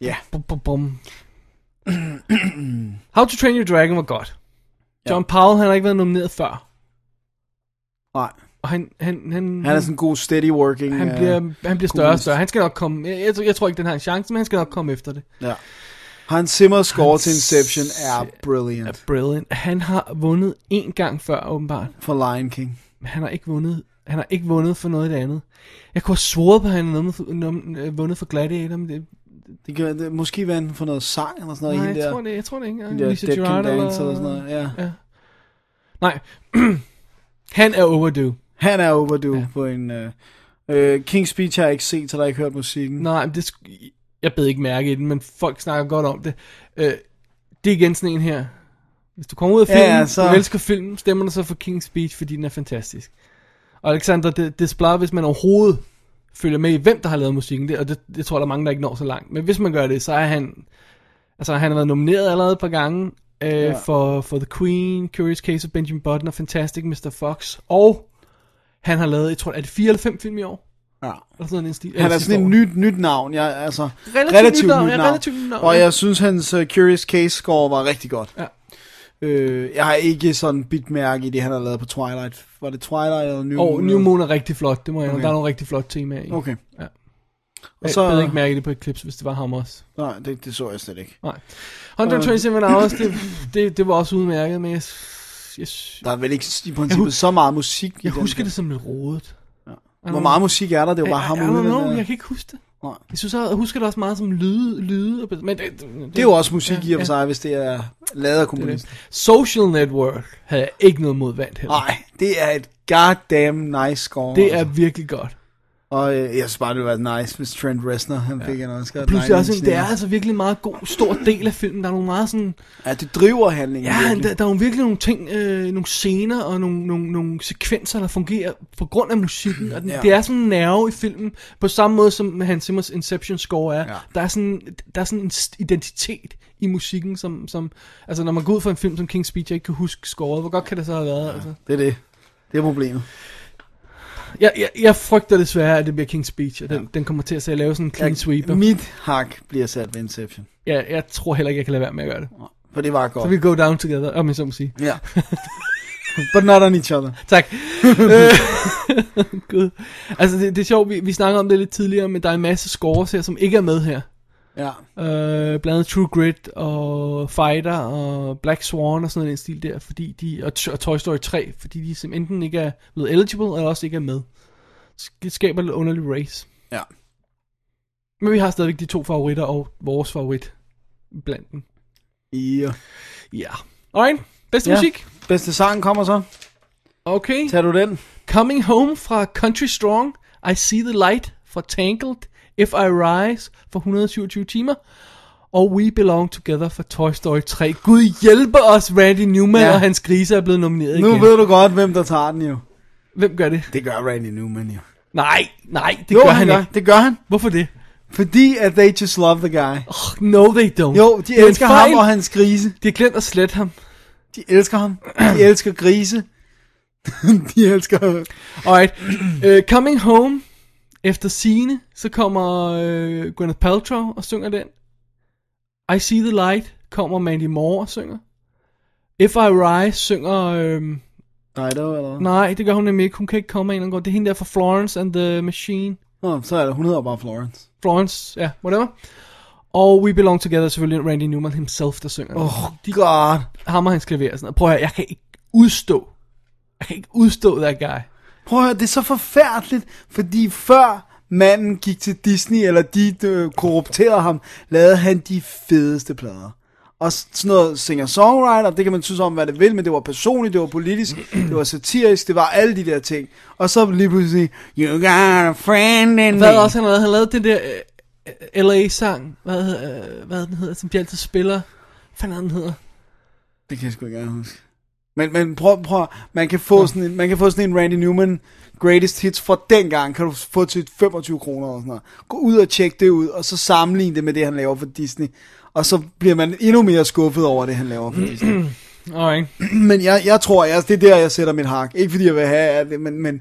Speaker 3: Ja.
Speaker 4: Bum, bum, bum. How to Train Your Dragon var godt. John Powell, han har ikke været nomineret før.
Speaker 3: Nej.
Speaker 4: Og han, han, han,
Speaker 3: Han er sådan en god steady working.
Speaker 4: Mhm. han,
Speaker 3: øh,
Speaker 4: bliver, han bliver større og
Speaker 3: kommunist.
Speaker 4: større. Han skal nok komme. Jeg, jeg, tror- jeg tror ikke, den har en chance, men han skal nok komme efter det.
Speaker 3: øh, Ja. Hans Zimmer score til Inception er brilliant. Er
Speaker 4: brilliant. Han har vundet en gang før, åbenbart.
Speaker 3: For Lion King.
Speaker 4: Men han har ikke vundet. Han har ikke vundet for noget af det andet. Jeg kunne have svoret på, at han havde nom- nom- øh, vundet for Gladiator, men det,
Speaker 3: Det kan det, måske være inden for noget sang eller sådan noget.
Speaker 4: Nej,
Speaker 3: hende
Speaker 4: jeg
Speaker 3: der,
Speaker 4: tror det- jeg tror det ikke engang.
Speaker 3: hende der
Speaker 4: Lisa
Speaker 3: Dead Can
Speaker 4: Gerrard
Speaker 3: Dance
Speaker 4: eller-
Speaker 3: eller sådan noget. Ja.
Speaker 4: ja. Nej. han er overdue.
Speaker 3: Han er overdue ja. på en... Øh, øh, King's Speech har jeg ikke set, så der har jeg ikke hørt musikken.
Speaker 4: Nej, men det, sk- jeg bed ikke mærke i den, men folk snakker godt om det. Øh, det er igen sådan en her. Hvis du kommer ud af
Speaker 3: Ja,
Speaker 4: filmen, ja,
Speaker 3: ja,
Speaker 4: så...
Speaker 3: så-
Speaker 4: du elsker filmen, stemmer du så for King's Speech, fordi den er fantastisk. Og Alexander, det, det spørger, hvis man overhovedet følger med i, hvem der har lavet musikken, det, og det, det tror jeg, der er mange, der ikke når så langt. Men hvis man gør det, så er han... Altså, han har været nomineret allerede et par gange øh, ja.
Speaker 3: Ja.
Speaker 4: for, for The Queen, Curious Case of Benjamin Button og Fantastic Mr. Fox. Og han har lavet, jeg tror, er det fire eller fem film i år?
Speaker 3: Ja.
Speaker 4: Eller sådan en stil.
Speaker 3: Han
Speaker 4: eller
Speaker 3: er
Speaker 4: sidste
Speaker 3: sådan et
Speaker 4: år.
Speaker 3: nyt, nyt navn. Jeg, altså,
Speaker 4: Relativt nyt navn, ja, relativt nyt navn,
Speaker 3: Og
Speaker 4: ja.
Speaker 3: jeg synes, hans uh, Curious Case score var rigtig godt.
Speaker 4: Ja.
Speaker 3: Øh, jeg har ikke sådan bidt mærke i det, han har lavet på Twilight. Var det Twilight eller New
Speaker 4: Og New Moon er rigtig flot, det må jeg okay.
Speaker 3: Okay.
Speaker 4: Der er nogle rigtig flotte temaer i.
Speaker 3: Okay.
Speaker 4: Ja.
Speaker 3: Og
Speaker 4: Og så...
Speaker 3: så-
Speaker 4: Jeg ved ikke mærke det på et klips, hvis det var ham også.
Speaker 3: Nej, det, det så jeg slet ikke.
Speaker 4: Nej. 127
Speaker 3: Og-
Speaker 4: Hours, det, det, det var også udmærket, men jeg, jeg,
Speaker 3: Der er vel ikke i
Speaker 4: Jeg hu-
Speaker 3: princippet så meget musik. i
Speaker 4: jeg
Speaker 3: den
Speaker 4: husker
Speaker 3: der.
Speaker 4: det som lidt rodet. Ja.
Speaker 3: Hvor meget musik er der? Det er jo bare ham
Speaker 4: I, I don't
Speaker 3: ude i den
Speaker 4: know,
Speaker 3: der-
Speaker 4: jeg kan ikke huske det.
Speaker 3: Nej.
Speaker 4: Jeg synes, jeg husker det også meget som lyde, lyde og- men det,
Speaker 3: Det er jo også musik i og for sig, hvis det er lavet af komponisten.
Speaker 4: Social Network havde jeg ikke noget mod vandt heller.
Speaker 3: Nej, det er et goddamn nice score. altså.
Speaker 4: Det er virkelig godt.
Speaker 3: Og øh, jeg synes bare, det var nice, hvis Trent Reznor, han ja. fik en Oscar.
Speaker 4: Plus
Speaker 3: Nej,
Speaker 4: også,
Speaker 3: men
Speaker 4: det er altså virkelig en meget god, stor del af filmen. Der er nogle meget sådan...
Speaker 3: Ja, det driver handlingen
Speaker 4: Ja,
Speaker 3: virkelig.
Speaker 4: der, der er jo virkelig nogle ting, øh, nogle scener og nogle, nogle, nogle sekvenser, der fungerer på grund af musikken. Og den,
Speaker 3: Ja.
Speaker 4: ja. Det er sådan en nerve i filmen, på samme måde som Hans Zimmers Inception score er. Ja. Der, er sådan, der er sådan en st- identitet i musikken, som, som... Altså, når man går ud for en film som King's Speech, jeg ikke kan huske scoret, hvor godt kan det så have været? Ja. Altså?
Speaker 3: Det er det. Det er problemet.
Speaker 4: Jeg, jeg, jeg frygter desværre, at det bliver King's Speech, og den, ja. den kommer til at se- lave sådan en clean
Speaker 3: Jeg-
Speaker 4: sweeper.
Speaker 3: Mit hak bliver sat ved Inception.
Speaker 4: Ja, jeg tror heller ikke, jeg kan lade være med at gøre det.
Speaker 3: For det var godt.
Speaker 4: Så vi go down together, om jeg så må sige.
Speaker 3: Ja. But not on each other.
Speaker 4: Tak. Øh, Gud. Altså, det, det er sjovt, vi, vi snakker om det lidt tidligere, men der er en masse scores her, som ikke er med her.
Speaker 3: Ja.
Speaker 4: Øh, blandt andet True Grit og Fighter og Black Swan og sådan noget i den stil der, fordi de, og, t- og Toy Story 3, fordi de simpelthen enten ikke er blevet eligible, eller også ikke er med. Så Det skaber lidt underlig race.
Speaker 3: Ja.
Speaker 4: Men vi har stadigvæk de to favoritter og vores favorit blandt dem.
Speaker 3: Ja.
Speaker 4: Ja. Alright, bedste ja. musik.
Speaker 3: Bedste sang kommer så.
Speaker 4: Okay.
Speaker 3: Tager du den?
Speaker 4: Coming Home fra Country Strong, I See the Light fra Tangled, If I Rise fra 127 timer, og We Belong Together fra Toy Story 3. Gud hjælpe os, Randy Newman
Speaker 3: Ja.
Speaker 4: ja. og hans grise er blevet nomineret
Speaker 3: Nu
Speaker 4: igen.
Speaker 3: ved du godt, hvem der tager den jo.
Speaker 4: Hvem gør det?
Speaker 3: Det gør Randy Newman jo.
Speaker 4: Nej, nej, det
Speaker 3: jo,
Speaker 4: gør han,
Speaker 3: gør.
Speaker 4: ikke.
Speaker 3: Det gør han.
Speaker 4: Hvorfor det?
Speaker 3: Fordi at they just love the guy.
Speaker 4: Oh, no, they don't.
Speaker 3: Jo, de
Speaker 4: Det er en
Speaker 3: elsker
Speaker 4: fejl.
Speaker 3: ham og hans grise.
Speaker 4: De har glemt at slette ham.
Speaker 3: De elsker ham. De elsker grise. de elsker...
Speaker 4: Alright. Uh, coming Home. Efter sine så kommer uh, Gwyneth Paltrow og synger den. I See The Light kommer Mandy Moore og synger. If I Rise synger... øhm,
Speaker 3: Nej, det var eller
Speaker 4: nej, det gør hun nemlig ikke. Hun kan ikke komme af en eller anden grund. Det er hende der fra Florence and the Machine.
Speaker 3: Nå, så er det. Hun hedder bare Florence.
Speaker 4: Florence, ja, whatever. Og We Belong Together er selvfølgelig Randy Newman himself, der synger. den.
Speaker 3: Åh, oh, god.
Speaker 4: Hammer hans klaver og sådan noget. Prøv at høre, jeg kan ikke udstå. Jeg kan ikke udstå that guy.
Speaker 3: Prøv at høre, det er så forfærdeligt, fordi før manden gik til Disney, eller de øh, korrupterede ham, lavede han de fedeste plader. Og s- sådan noget singer-songwriter, det kan man synes om, hvad det vil, men det var personligt, det var politisk, det var satirisk, det var alle de der ting. Og så lige pludselig, you got a friend in
Speaker 4: Hvad
Speaker 3: me.
Speaker 4: også han lavede? Han lavede den der øh, LA-sang. Hvad, hed- øh, hvad den hedder, som de altid spiller. Hvad fanden er den hedder?
Speaker 3: Det kan jeg sgu ikke engang huske. Men, men prøv, prøv, man kan, få sådan en, man kan få sådan en Randy Newman greatest hits fra dengang, kan du få til 25 kroner og sådan noget. Gå ud og tjek det ud, og så sammenligne det med det, han laver for Disney. Og så bliver man endnu mere skuffet over det, han laver for Disney.
Speaker 4: Alright.
Speaker 3: men jeg, jeg tror, jeg, det er der, jeg sætter min hak. Ikke fordi jeg vil have at det, men, men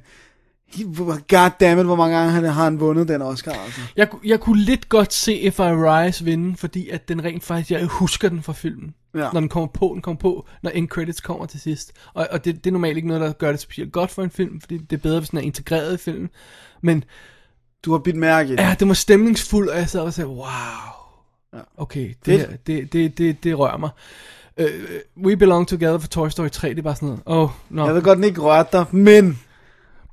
Speaker 3: goddammit, hvor mange gange han, har han vundet den Oscar. Altså.
Speaker 4: Jeg, ku- jeg kunne lidt godt se If I Rise vinde, fordi at den rent faktisk, jeg husker den fra filmen.
Speaker 3: Ja.
Speaker 4: Ja. Når den kommer på, den kommer på, når end credits kommer til sidst. Og, og det, det er normalt ikke noget, der gør det specielt godt for en film, fordi det er bedre, hvis den er integreret i filmen. Men
Speaker 3: Du har bidt mærke i det.
Speaker 4: ja, det var stemningsfuld, og jeg sad og sagde, wow. Okay, det,
Speaker 3: Fedt.
Speaker 4: her, det, det, det, det rører mig. Uh, We Belong Together for Toy Story 3, det er bare sådan noget. Åh, oh, no.
Speaker 3: Jeg ved godt, den ikke rørte dig, men...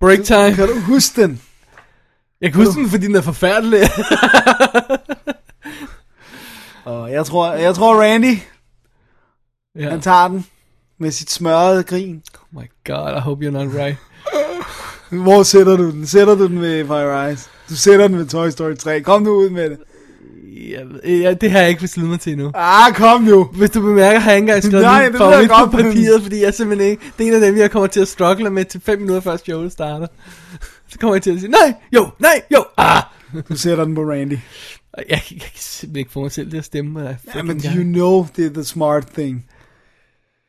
Speaker 4: Break time.
Speaker 3: Kan du huske den?
Speaker 4: Jeg kan huske den, fordi den er forfærdelig.
Speaker 3: Og jeg tror, jeg tror Randy,
Speaker 4: ja.
Speaker 3: Han tager den med sit smørrede grin.
Speaker 4: Oh my god, I hope you're not right.
Speaker 3: Hvor sætter du den? Sætter du den ved Fire Eyes? Du sætter den ved Toy Story 3. Kom nu ud med det.
Speaker 4: Jeg, ved- ja, det har jeg ikke besluttet mig til endnu.
Speaker 3: Ah, kom nu.
Speaker 4: Hvis du bemærker, har jeg ikke engang skrevet
Speaker 3: Nej,
Speaker 4: Nej,
Speaker 3: det ved
Speaker 4: min
Speaker 3: jeg
Speaker 4: favorit
Speaker 3: godt,
Speaker 4: på
Speaker 3: men-
Speaker 4: papiret, fordi jeg simpelthen ikke... Det er en af dem, jeg kommer til at struggle med til 5 minutter før showet starter. Så kommer jeg til at sige, nej, jo, nej, jo, ah!
Speaker 3: Du sætter den på Randy.
Speaker 4: Og Jeg, jeg kan simpelthen ikke få mig selv til at stemme. og jeg
Speaker 3: Ja,
Speaker 4: fucking
Speaker 3: men
Speaker 4: gerne-
Speaker 3: you know, det er the smart thing.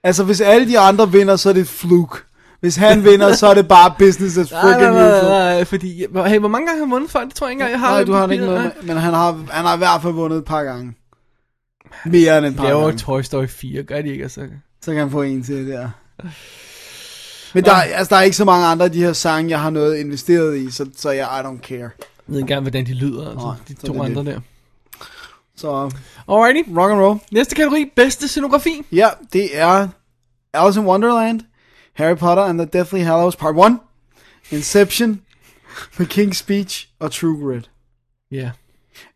Speaker 3: Altså, hvis alle de andre vinder, så er det et fluke. Hvis han vinder, så er det bare business as
Speaker 4: Nej,
Speaker 3: freaking
Speaker 4: nej, nej,
Speaker 3: usual.
Speaker 4: nej, nej, fordi, hey, hvor mange gange har han vundet før? Det tror jeg ikke engang, jeg har.
Speaker 3: Nej,
Speaker 4: det
Speaker 3: du
Speaker 4: på
Speaker 3: har det ikke
Speaker 4: papiret,
Speaker 3: noget med, men han har, han har i hvert fald vundet et par gange. Mere end et par
Speaker 4: nej. Laver
Speaker 3: gange.
Speaker 4: Toy Story 4, gør de ikke? Altså.
Speaker 3: Så kan han få en til der. Men der, er- altså, der er ikke så mange andre af de her sange, jeg har noget investeret i, så, så jeg I don't care.
Speaker 4: Jeg ved ikke engang, hvordan de lyder, altså,
Speaker 3: Nej,
Speaker 4: de
Speaker 3: så er
Speaker 4: to
Speaker 3: det
Speaker 4: andre
Speaker 3: det.
Speaker 4: der.
Speaker 3: Så
Speaker 4: Alrighty.
Speaker 3: rock and roll.
Speaker 4: Næste kategori, bedste scenografi.
Speaker 3: Ja, det er Alice in Wonderland, Harry Potter and the Deathly Hallows Part 1, Inception, The King's Speech og True Grit.
Speaker 4: Ja. Yeah.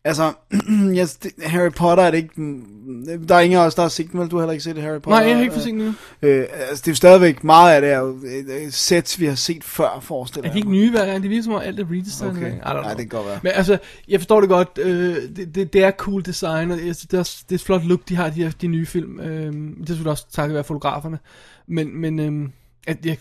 Speaker 3: Altså, jeg, det- Harry Potter er det ikke... mm, Der er ingen af os, der har set den, vel? Du har heller ikke set Harry Potter?
Speaker 4: Nej, jeg har ikke
Speaker 3: øh,
Speaker 4: fået set den endnu.
Speaker 3: Øh, altså, det er jo stadigvæk meget af det er jo øh, øh, sets, vi har set før, forestiller
Speaker 4: Er de ikke nye hver gang? Det virker som om alt er redesignet.
Speaker 3: Okay.
Speaker 4: hver gang. I don't
Speaker 3: Nej,
Speaker 4: know.
Speaker 3: det kan godt være.
Speaker 4: Men altså, jeg forstår det godt. Øh, det, det, det, er cool design, og det, det, er, også- det er et flot look, de har, de, her, de nye film. Øh, det skulle også takket være fotograferne. Men, men øh, at jeg,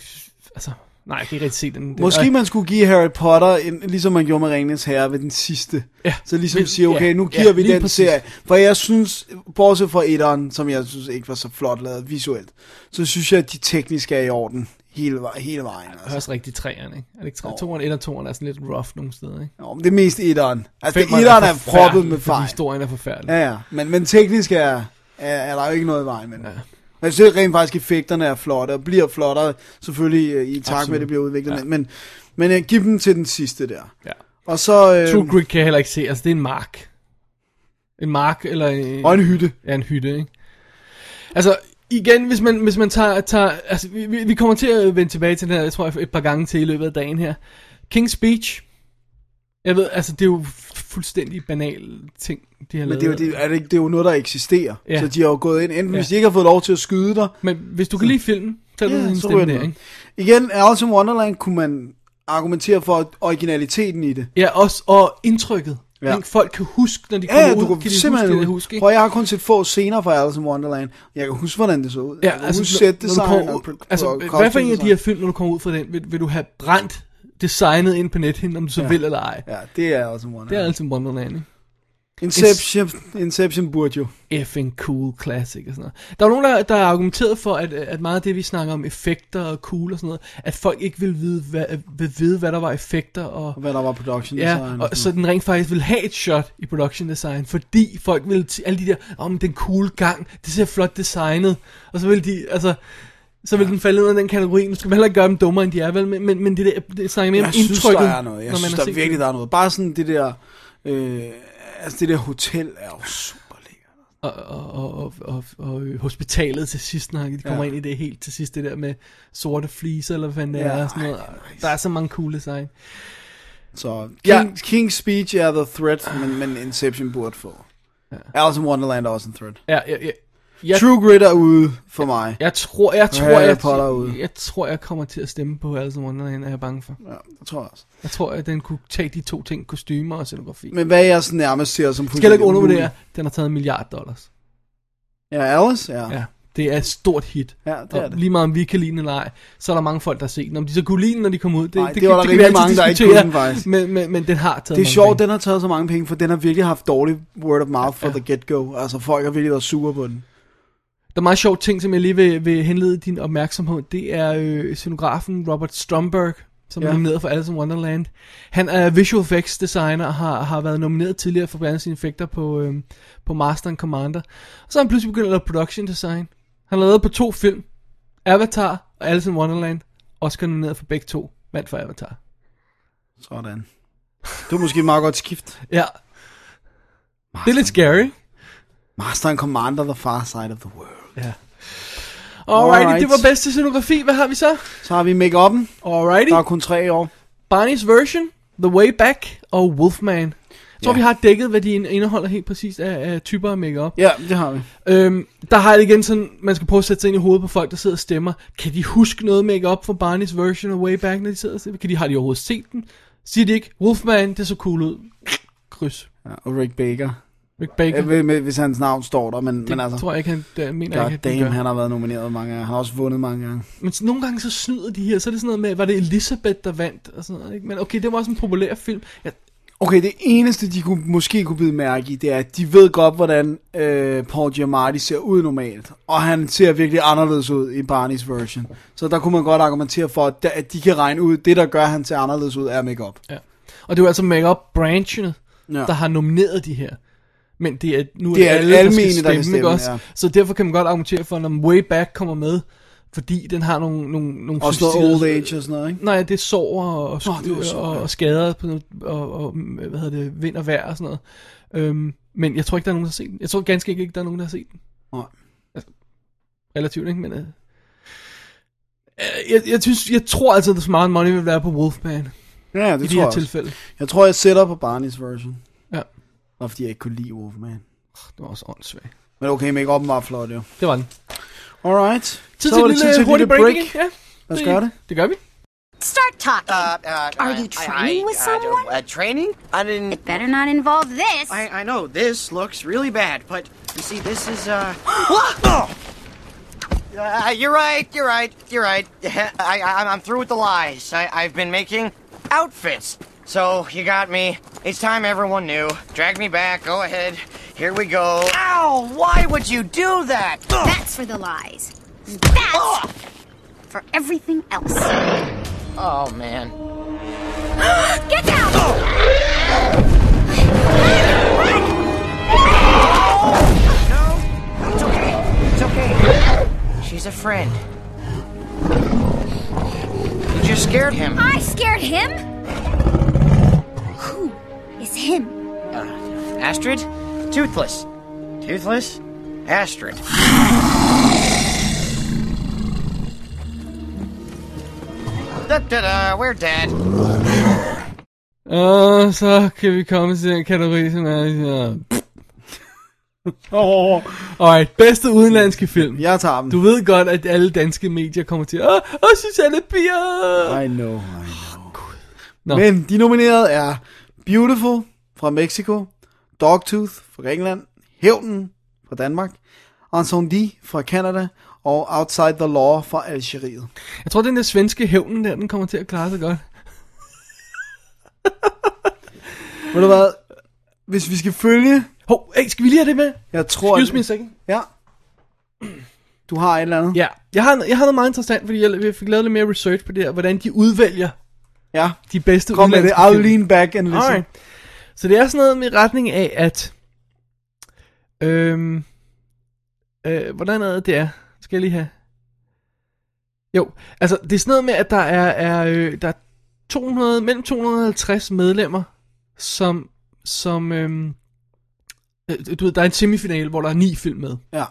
Speaker 4: altså, nej, jeg kan ikke rigtig se den. den
Speaker 3: Måske man skulle give Harry Potter, en, ligesom man gjorde med Ringens Herre ved den sidste.
Speaker 4: Ja.
Speaker 3: Så ligesom
Speaker 4: Men-
Speaker 3: sige, okay,
Speaker 4: ja,
Speaker 3: nu
Speaker 4: ja,
Speaker 3: giver vi
Speaker 4: lige
Speaker 3: den
Speaker 4: præcis.
Speaker 3: serie. For jeg synes, bortset fra etteren, som jeg synes ikke var så flot lavet visuelt, så synes jeg, at de tekniske er i orden hele, vej- hele vejen. altså.
Speaker 4: Det er også rigtig træerne, ikke? Er det ikke træerne? Toren, et og toren er sådan lidt rough nogle steder, ikke?
Speaker 3: Jo, men det er mest etteren. Altså, det,
Speaker 4: Femmeren er
Speaker 3: etteren er proppet
Speaker 4: forfærdelig,
Speaker 3: med
Speaker 4: fordi
Speaker 3: fejl.
Speaker 4: historien er forfærdelig.
Speaker 3: Ja, ja. Men, men teknisk er, er, er der jo ikke noget i vejen med ja. Men jeg synes rent faktisk, effekterne er flotte, og bliver flottere, selvfølgelig øh, i takt med,
Speaker 4: Absolut.
Speaker 3: at det bliver udviklet.
Speaker 4: Ja.
Speaker 3: Ja. Men, men jeg giver dem til den sidste der.
Speaker 4: Ja.
Speaker 3: Og så... øhm,
Speaker 4: Øh, True Grit kan jeg heller ikke se. Altså, det er en mark. En mark, eller en...
Speaker 3: Og en hytte.
Speaker 4: Ja, en hytte, ikke? Altså, igen, hvis man, hvis man tager... tager altså, vi, vi vi kommer til at vende tilbage til den her, jeg tror, et par gange til i løbet af dagen her. King's Speech. Jeg ved, altså, det er jo fuldstændig banal ting, de har
Speaker 3: Men
Speaker 4: lavet.
Speaker 3: det er, jo, det, er det, ikke, det er jo noget, der eksisterer.
Speaker 4: Ja.
Speaker 3: Ja. Så de har jo gået ind, enten ja.
Speaker 4: Ja.
Speaker 3: hvis de ikke har fået lov til at skyde dig.
Speaker 4: Men hvis du kan lide filmen, så er du en stemme
Speaker 3: ryger den
Speaker 4: der,
Speaker 3: ud.
Speaker 4: ikke?
Speaker 3: Igen, Alice in Wonderland kunne man argumentere for originaliteten i det.
Speaker 4: Ja, også, og indtrykket.
Speaker 3: Ja.
Speaker 4: Ja. Folk kan huske, når de kommer
Speaker 3: Ja, ja,
Speaker 4: ud.
Speaker 3: du kan,
Speaker 4: kan de
Speaker 3: simpelthen
Speaker 4: huske, det, de
Speaker 3: huske,
Speaker 4: husker,
Speaker 3: Prøv, jeg har kun set få scener fra Alice in Wonderland. Jeg kan huske, hvordan det så ud. jeg
Speaker 4: Ja,
Speaker 3: kan
Speaker 4: altså,
Speaker 3: huske set
Speaker 4: når du
Speaker 3: design
Speaker 4: kommer,
Speaker 3: og
Speaker 4: ud-
Speaker 3: pro-
Speaker 4: altså
Speaker 3: pro-
Speaker 4: hvad for
Speaker 3: costume
Speaker 4: en af de
Speaker 3: design.
Speaker 4: her film, når du kommer ud fra den, vil, vil du have brændt designet ind på nethinden, om du så
Speaker 3: Ja.
Speaker 4: ja. vil eller ej?
Speaker 3: Ja, det er Alice in Wonderland.
Speaker 4: Det er altid Wonderland, ikke?
Speaker 3: Inception, Inception burde jo.
Speaker 4: Effing cool classic og sådan noget. Der er nogen, der, der har argumenteret for, at, at meget af det, vi snakker om effekter og cool og sådan noget, at folk ikke vil vide, hvad, vil vide, hvad der var effekter og...
Speaker 3: Hvad der var production
Speaker 4: Ja,
Speaker 3: design.
Speaker 4: og så den rent faktisk ville have et shot i production design, fordi folk ville til alle de der, om oh, den cool gang, det ser flot designet, og så vil de, altså, så vil den falde ned under den kategori, nu skal man heller ikke gøre dem dummere, end de er, vel, men, men, men det, der, det snakker mere om
Speaker 3: jeg
Speaker 4: indtrykket,
Speaker 3: synes, der er noget. Jeg
Speaker 4: når man
Speaker 3: synes,
Speaker 4: har
Speaker 3: der
Speaker 4: set
Speaker 3: virkelig
Speaker 4: den.
Speaker 3: der er noget. Bare sådan det der... Øh, altså det der hotel er jo super
Speaker 4: og, og, og, og, og, og øh, hospitalet til sidst, når de kommer ja.
Speaker 3: Ja.
Speaker 4: ind i det helt til sidst, det der med sorte fliser, eller hvad fanden det
Speaker 3: Ja,
Speaker 4: er, og sådan noget. Der er så mange cool design.
Speaker 3: Så
Speaker 4: Ja.
Speaker 3: King, King's Speech er The
Speaker 4: Ah.
Speaker 3: Threat, men, men Inception burde få. Ja. Alice in Wonderland er også en threat.
Speaker 4: Ja, ja, ja. Jeg-
Speaker 3: True Grit er ude for mig.
Speaker 4: Jeg tror, jeg tror,
Speaker 3: Harry
Speaker 4: jeg,
Speaker 3: Potter er ude.
Speaker 4: jeg, jeg tror, jeg kommer til at stemme på Alice in Wonderland, er jeg bange for.
Speaker 3: Ja, det tror jeg også.
Speaker 4: Jeg tror, at den kunne tage de to ting, kostymer og scenografi.
Speaker 3: Men hvad jeg sådan nærmest ser som
Speaker 4: Skal du ikke
Speaker 3: fuldstændig
Speaker 4: undervurdere, den har taget en milliard dollars.
Speaker 3: Ja, Alice, ja.
Speaker 4: Ja, det er et stort hit.
Speaker 3: Ja, det er
Speaker 4: og
Speaker 3: det.
Speaker 4: lige meget om vi kan lide den eller ej, så er der mange folk, der har set den. Om de så kunne lide den, når de kom ud, det,
Speaker 3: Nej,
Speaker 4: det,
Speaker 3: det
Speaker 4: kan-
Speaker 3: var der
Speaker 4: det kan vi
Speaker 3: rimelig
Speaker 4: altid
Speaker 3: mange, der ikke
Speaker 4: diskutere,
Speaker 3: kunne den, faktisk.
Speaker 4: Men, men, men den har taget
Speaker 3: Det er
Speaker 4: mange
Speaker 3: sjovt,
Speaker 4: penge.
Speaker 3: den har taget så mange penge, for den har virkelig haft dårlig word of mouth for ja. the get-go. Altså, folk har virkelig været sure på den.
Speaker 4: Der er meget sjovt ting, som jeg lige vil, vil henlede din opmærksomhed. Det er øh, scenografen Robert Stromberg, som ja.
Speaker 3: Ja.
Speaker 4: er nomineret for Alice in Wonderland. Han er visual effects designer og har, har været nomineret tidligere for blandt andet sine effekter på, øh, på Master and Commander. Og så er han pludselig begyndt at lave production design. Han har lavet på to film. Avatar og Alice in Wonderland. Oscar nomineret for begge to. Mand for Avatar.
Speaker 3: Sådan. Det er måske et meget godt skift.
Speaker 4: Ja. Det er lidt scary.
Speaker 3: Master and Commander, the far side of the world.
Speaker 4: Ja. Alrighty,
Speaker 3: Alright.
Speaker 4: det var bedste scenografi. Hvad har vi så?
Speaker 3: Så har vi make-up'en.
Speaker 4: Alrighty.
Speaker 3: Der er kun tre år.
Speaker 4: Barney's Version, The Way Back og Wolfman. Jeg tror,
Speaker 3: Ja.
Speaker 4: vi har dækket, hvad de ind- indeholder helt præcist af, af typer af makeup.
Speaker 3: Ja, det har vi.
Speaker 4: Øhm, der har jeg det igen sådan, man skal prøve at sætte sig ind i hovedet på folk, der sidder og stemmer. Kan de huske noget makeup fra Barney's Version og Way Back, når de sidder og stemmer? Kan de, har de overhovedet set den? Siger de ikke, Wolfman, det så cool ud. Kryds.
Speaker 3: Ja, og Rick Baker.
Speaker 4: Rick Baker.
Speaker 3: Jeg ved, med- hvis hans navn står der, men,
Speaker 4: Det
Speaker 3: men altså...
Speaker 4: tror jeg ikke, han det mener jeg
Speaker 3: God
Speaker 4: ikke, at de
Speaker 3: damn,
Speaker 4: gør.
Speaker 3: han har været nomineret mange gange. Han har også vundet mange gange.
Speaker 4: Men så nogle gange så snyder de her, så er det sådan noget med, var det Elizabeth, der vandt? Og sådan noget, ikke? Men okay, det var også en populær film. Jeg,
Speaker 3: Okay, det eneste, de kunne, måske kunne bide mærke i, det er, at de ved godt, hvordan øh, Paul Giamatti ser ud normalt. Og han ser virkelig anderledes ud i Barney's version. Så der kunne man godt argumentere for, at, da- at de kan regne ud, det der gør, at han ser anderledes ud, er makeup.
Speaker 4: Ja. Og det er jo altså make-up-branchene,
Speaker 3: Ja.
Speaker 4: ja. der har nomineret de her. Men det er nu er
Speaker 3: Det
Speaker 4: det
Speaker 3: er
Speaker 4: alle, der
Speaker 3: almene,
Speaker 4: skal
Speaker 3: der
Speaker 4: stemme,
Speaker 3: kan
Speaker 4: ikke
Speaker 3: stemme,
Speaker 4: også?
Speaker 3: ja.
Speaker 4: Så derfor kan man godt argumentere for, når Way Back kommer med, fordi den har nogle... nogle, nogle
Speaker 3: Også noget
Speaker 4: subsidier-
Speaker 3: old age og sådan noget, ikke?
Speaker 4: Nej, det er sår og, og,
Speaker 3: Nå, det var sår,
Speaker 4: og,
Speaker 3: ja.
Speaker 4: og skader på, noget- og, og, hvad hedder det, vind og vejr og sådan noget. Øhm, men jeg tror ikke, der er nogen, der har set den. Jeg tror ganske ikke, der er nogen, der har set den.
Speaker 3: Nej.
Speaker 4: Altså, relativt, ikke? Men, øh, øh, jeg, jeg, synes, jeg tror altså, at The Smart Money vil være på Wolfman.
Speaker 3: Ja, det
Speaker 4: I
Speaker 3: tror
Speaker 4: de her
Speaker 3: jeg også.
Speaker 4: tilfælde.
Speaker 3: Jeg tror, jeg sætter på Barney's version.
Speaker 4: Ja.
Speaker 3: Nå, fordi jeg ikke kunne lide Wolfman.
Speaker 4: Det var også åndssvagt.
Speaker 3: Men okay, make up var flot, jo.
Speaker 4: Det var den.
Speaker 3: Alright.
Speaker 4: Tid
Speaker 3: Så
Speaker 4: til
Speaker 3: var
Speaker 4: en
Speaker 3: det
Speaker 4: lille
Speaker 3: tid til
Speaker 4: hurtig break,
Speaker 3: break.
Speaker 4: igen. Ja,
Speaker 3: Lad os gøre det.
Speaker 4: Det gør vi.
Speaker 12: Start talking. Are you
Speaker 1: uh, I,
Speaker 12: training with
Speaker 1: I
Speaker 12: someone?
Speaker 1: don't- uh, training? I didn't. It
Speaker 12: better not involve this.
Speaker 1: I, I know this looks really bad, but you see, this is uh. Uh, you're right. You're right. You're right. I, I I'm through with the lies. I, I've been making outfits. So you got me. It's time everyone knew. Drag me back. Go ahead. Here we go. Ow! Why would you do that?
Speaker 12: That's for the lies. That's for everything else.
Speaker 1: Oh man. Oh!
Speaker 12: Get down!
Speaker 1: It's okay. She's a friend. You just scared him.
Speaker 12: I scared him? Who is him?
Speaker 1: Uh, Astrid? Toothless. Toothless? Astrid. Da da da, we're dead.
Speaker 4: Og så kan vi komme til den kategori, som er... Uh,
Speaker 3: oh.
Speaker 4: Alright, bedste udenlandske film.
Speaker 3: Jeg tager den.
Speaker 4: Du ved godt, at alle danske medier kommer til... Åh, åh Susanne Bier!
Speaker 3: I know, I know. No. Men de nominerede er Beautiful fra Mexico, Dogtooth fra England, Hævnen fra Danmark, Ensemble fra Canada og Outside the Law fra Algeriet.
Speaker 4: Jeg tror, den der svenske hævnen der, den kommer til at klare sig godt.
Speaker 3: Ved du hvad? Hvis vi skal følge...
Speaker 4: Hov, hey, skal vi lige have det med?
Speaker 3: Jeg tror...
Speaker 4: Excuse me a second.
Speaker 3: Ja. Du har et eller andet.
Speaker 4: Ja, jeg har, jeg har noget meget interessant, fordi jeg, jeg fik lavet lidt mere research på det her, hvordan de udvælger
Speaker 3: ja.
Speaker 4: de bedste
Speaker 3: Kom med det.
Speaker 4: udenlandske
Speaker 3: I'll
Speaker 4: film.
Speaker 3: lean back and listen.
Speaker 4: Alright. Så det er sådan noget med retning af, at... Øhm, øh, hvordan er det, det er? Skal jeg lige have... Jo, altså det er sådan noget med, at der er, er, øh, der er 200, mellem 250 medlemmer, som, som øhm, øh, du ved, der er en semifinale, hvor der er ni film med.
Speaker 3: Ja.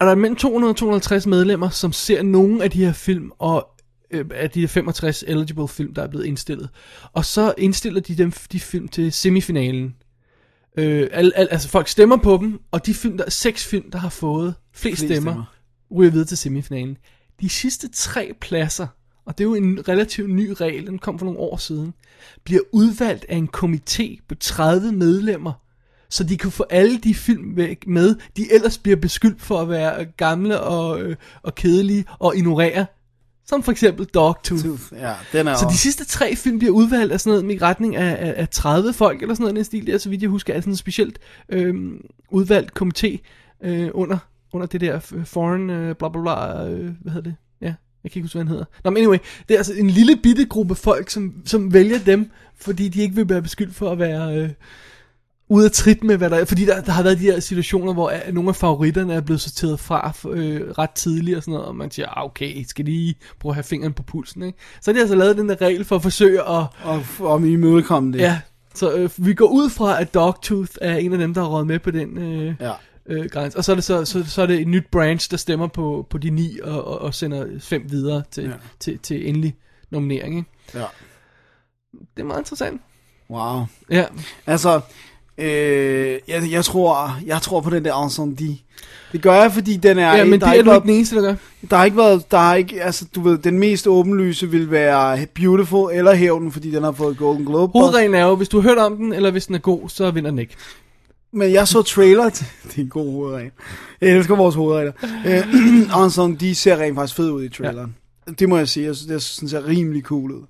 Speaker 4: Og der er mellem 200 og 250 medlemmer, som ser nogle af de her film, og øh, af de her 65 eligible film, der er blevet indstillet. Og så indstiller de dem, de film til semifinalen. Øh, al, al, altså folk stemmer på dem, og de film, der, seks film, der har fået flest,
Speaker 3: Flest
Speaker 4: flest stemmer,
Speaker 3: stemmer.
Speaker 4: ryger videre til semifinalen. De sidste tre pladser, og det er jo en relativt ny regel, den kom for nogle år siden, bliver udvalgt af en komité på 30 medlemmer, så de kan få alle de film væk med, de ellers bliver beskyldt for at være gamle og, øh, og kedelige og ignorere. Som for eksempel Dogtooth.
Speaker 3: Ja, den er
Speaker 4: så de
Speaker 3: også-
Speaker 4: sidste tre film bliver udvalgt af sådan noget i retning af, af, af 30 folk, eller sådan noget i den stil der, så vidt jeg husker, er sådan en specielt øh, udvalgt komité øh, under, under det der f- foreign øh, bla bla bla, øh, hvad hedder det? Ja, jeg kan ikke huske, hvad han hedder. Nå, men anyway, det er altså en lille bitte gruppe folk, som, som vælger dem, fordi de ikke vil være beskyldt for at være... Øh, ude af trit med, hvad der er. Fordi der, der har været de her situationer, hvor øh, nogle af favoritterne er blevet sorteret fra øh, ret tidligt og sådan noget, og man siger, ah, okay, I skal lige prøve at have fingeren på pulsen, ikke? Så har de altså lavet den der regel for at forsøge at...
Speaker 3: Og om imødekomme det.
Speaker 4: Ja, så øh, vi går ud fra, at Dogtooth er en af dem, der har råd med på den øh,
Speaker 3: ja.
Speaker 4: øh, grænse. Og så er, det så, så, så er det et nyt branch, der stemmer på, på de ni og, og, og sender fem videre til,
Speaker 3: Ja.
Speaker 4: ja. til, til endelig nominering, ikke?
Speaker 3: Ja.
Speaker 4: Det er meget interessant.
Speaker 3: Wow.
Speaker 4: Ja.
Speaker 3: Altså, øh, jeg, jeg, tror, jeg tror på den der ensemble. Det gør jeg, fordi den er...
Speaker 4: Ja, men
Speaker 3: der
Speaker 4: det
Speaker 3: har
Speaker 4: er du
Speaker 3: været-
Speaker 4: ikke den eneste, der gør.
Speaker 3: Der har ikke været... Der har ikke, altså, du ved, den mest åbenlyse vil være Beautiful eller Hævnen, fordi den har fået Golden Globe.
Speaker 4: Hovedreglen er jo, hvis du har hørt om den, eller hvis den er god, så vinder den ikke.
Speaker 3: Men jeg så trailer til... Det er en god hovedregel. Jeg elsker vores hovedregler. Øh, Ensemble, de ser rent faktisk fed ud i traileren. Ja. Det må jeg sige. Jeg synes, det synes, det ser rimelig cool ud.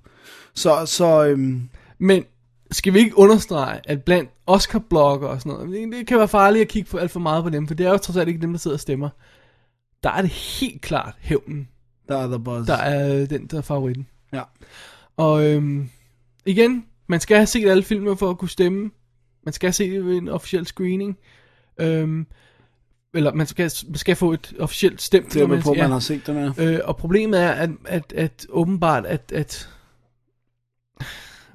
Speaker 3: Så, så øhm,
Speaker 4: Men skal vi ikke understrege, at blandt Oscar-blogger og sådan noget, det- det kan være farligt at kigge for alt for meget på dem, for det er jo trods alt ikke dem, der sidder og stemmer. Der er det helt klart hævnen,
Speaker 3: der er The Buzz.
Speaker 4: der er øh, den, der er favoritten.
Speaker 3: Ja.
Speaker 4: Og øhm, igen, man skal have set alle filmer for at kunne stemme. Man skal have set det ved en officiel screening. Øhm, eller man skal, man skal få et officielt stemt.
Speaker 3: Stemme
Speaker 4: når
Speaker 3: på, man har set dem, ja.
Speaker 4: Øh, og problemet er, at, at, at åbenbart, at, at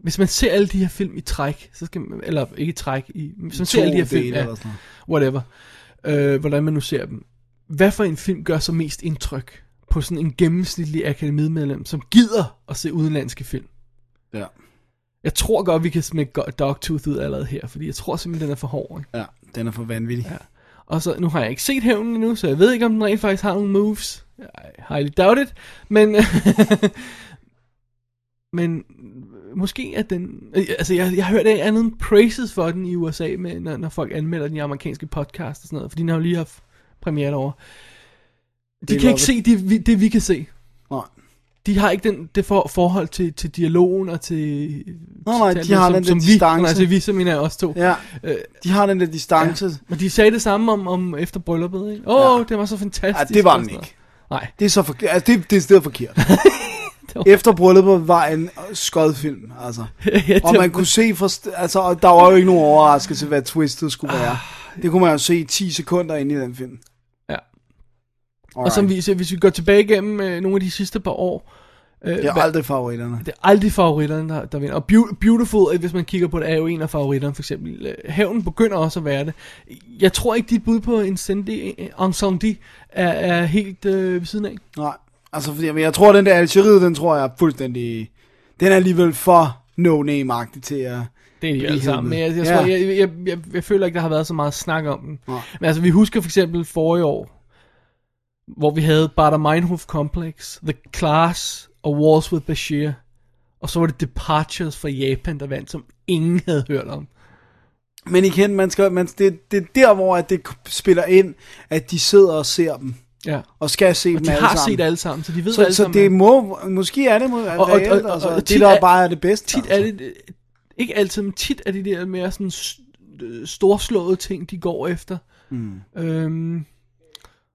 Speaker 4: hvis man ser alle de her film i træk, så skal man, eller ikke i træk, i, hvis man
Speaker 3: I
Speaker 4: ser alle de her
Speaker 3: to
Speaker 4: film,
Speaker 3: dele
Speaker 4: ja,
Speaker 3: eller sådan
Speaker 4: whatever, øh, hvordan man nu ser dem, hvad for en film gør så mest indtryk på sådan en gennemsnitlig akademimedlem, som gider at se udenlandske film?
Speaker 3: Ja.
Speaker 4: Jeg tror godt, vi kan smække go- Dogtooth ud allerede her, fordi jeg tror simpelthen, den er for hård. Ikke?
Speaker 3: Ja, den er for vanvittig.
Speaker 4: Ja. Og så, nu har jeg ikke set hævnen endnu, så jeg ved ikke, om den rent faktisk har nogle moves. I highly doubt it. Men, men måske at den... øh, Altså, jeg, jeg har hørt af andet end praises for den i USA, med, når, når folk anmelder den i amerikanske podcast og sådan noget, fordi den har jo lige haft premiere derovre. De
Speaker 3: Det er
Speaker 4: kan ikke
Speaker 3: lukket.
Speaker 4: se det, vi- det, vi kan se.
Speaker 3: Nej.
Speaker 4: De har ikke den, det for, forhold til, til dialogen og til...
Speaker 3: Nå, nej,
Speaker 4: til alt
Speaker 3: de har
Speaker 4: det,
Speaker 3: den der
Speaker 4: vi,
Speaker 3: distance.
Speaker 4: Altså, vi som en af os to.
Speaker 3: Ja,
Speaker 4: øh,
Speaker 3: de har den der distance.
Speaker 4: Ja. Men de sagde det samme om, om efter brylluppet, ikke? Åh, oh, ja. det var så fantastisk.
Speaker 3: Ja, det var
Speaker 4: og
Speaker 3: den
Speaker 4: sådan
Speaker 3: ikke.
Speaker 4: Nej.
Speaker 3: Det er så forkert. Altså, det, det er stedet forkert. Efter brylluppet var en skød film, altså.
Speaker 4: det
Speaker 3: og
Speaker 4: var-
Speaker 3: man kunne se fra... St- altså, og der var jo ikke nogen overraskelse, hvad twistet skulle
Speaker 4: Ah.
Speaker 3: være. Det kunne man jo se i 10 sekunder ind i den film.
Speaker 4: Ja.
Speaker 3: Alright.
Speaker 4: Og som vi ser, hvis vi går tilbage igennem øh, nogle af de sidste par år... Øh,
Speaker 3: Det er
Speaker 4: hvad-
Speaker 3: aldrig favoritterne.
Speaker 4: Det er aldrig favoritterne, der, der vinder. Og Beau- Beautiful, øh, hvis man kigger på det, er jo en af favoritterne, for eksempel. Øh, Hævn begynder også at være det. Jeg tror ikke, dit bud på en Sandy, en Sandy er, er helt øh, ved siden af.
Speaker 3: Nej, altså fordi, men jeg tror, den der Algeriet, den tror jeg er fuldstændig... Den er alligevel for no-name-agtig til at...
Speaker 4: Det er de
Speaker 3: blive
Speaker 4: alle sammen,
Speaker 3: hævet.
Speaker 4: men jeg, jeg,
Speaker 3: Ja.
Speaker 4: tror, jeg, jeg, jeg, jeg føler ikke, der har været så meget snak om den. Men altså, vi husker for eksempel forrige år, hvor vi havde Bader Meinhof Complex, The Class og Wars with Bashir. Og så var det Departures fra Japan, der vandt, som ingen havde hørt om.
Speaker 3: Men igen, man skal, man, det, det er der, hvor at det spiller ind, at de sidder og ser dem.
Speaker 4: Ja.
Speaker 3: Og skal se
Speaker 4: Og
Speaker 3: dem
Speaker 4: de
Speaker 3: alle
Speaker 4: har
Speaker 3: sammen.
Speaker 4: set alle sammen, så de ved
Speaker 3: så,
Speaker 4: alle
Speaker 3: så
Speaker 4: sammen,
Speaker 3: det må, måske er det må, og, og, reelt, altså, det
Speaker 4: tit
Speaker 3: der bare er det bedste.
Speaker 4: Tit altså. er det, øh, ikke altid, men tit er det der mere sådan s- øh, storslåede ting, de går efter.
Speaker 3: Mm.
Speaker 4: Øhm,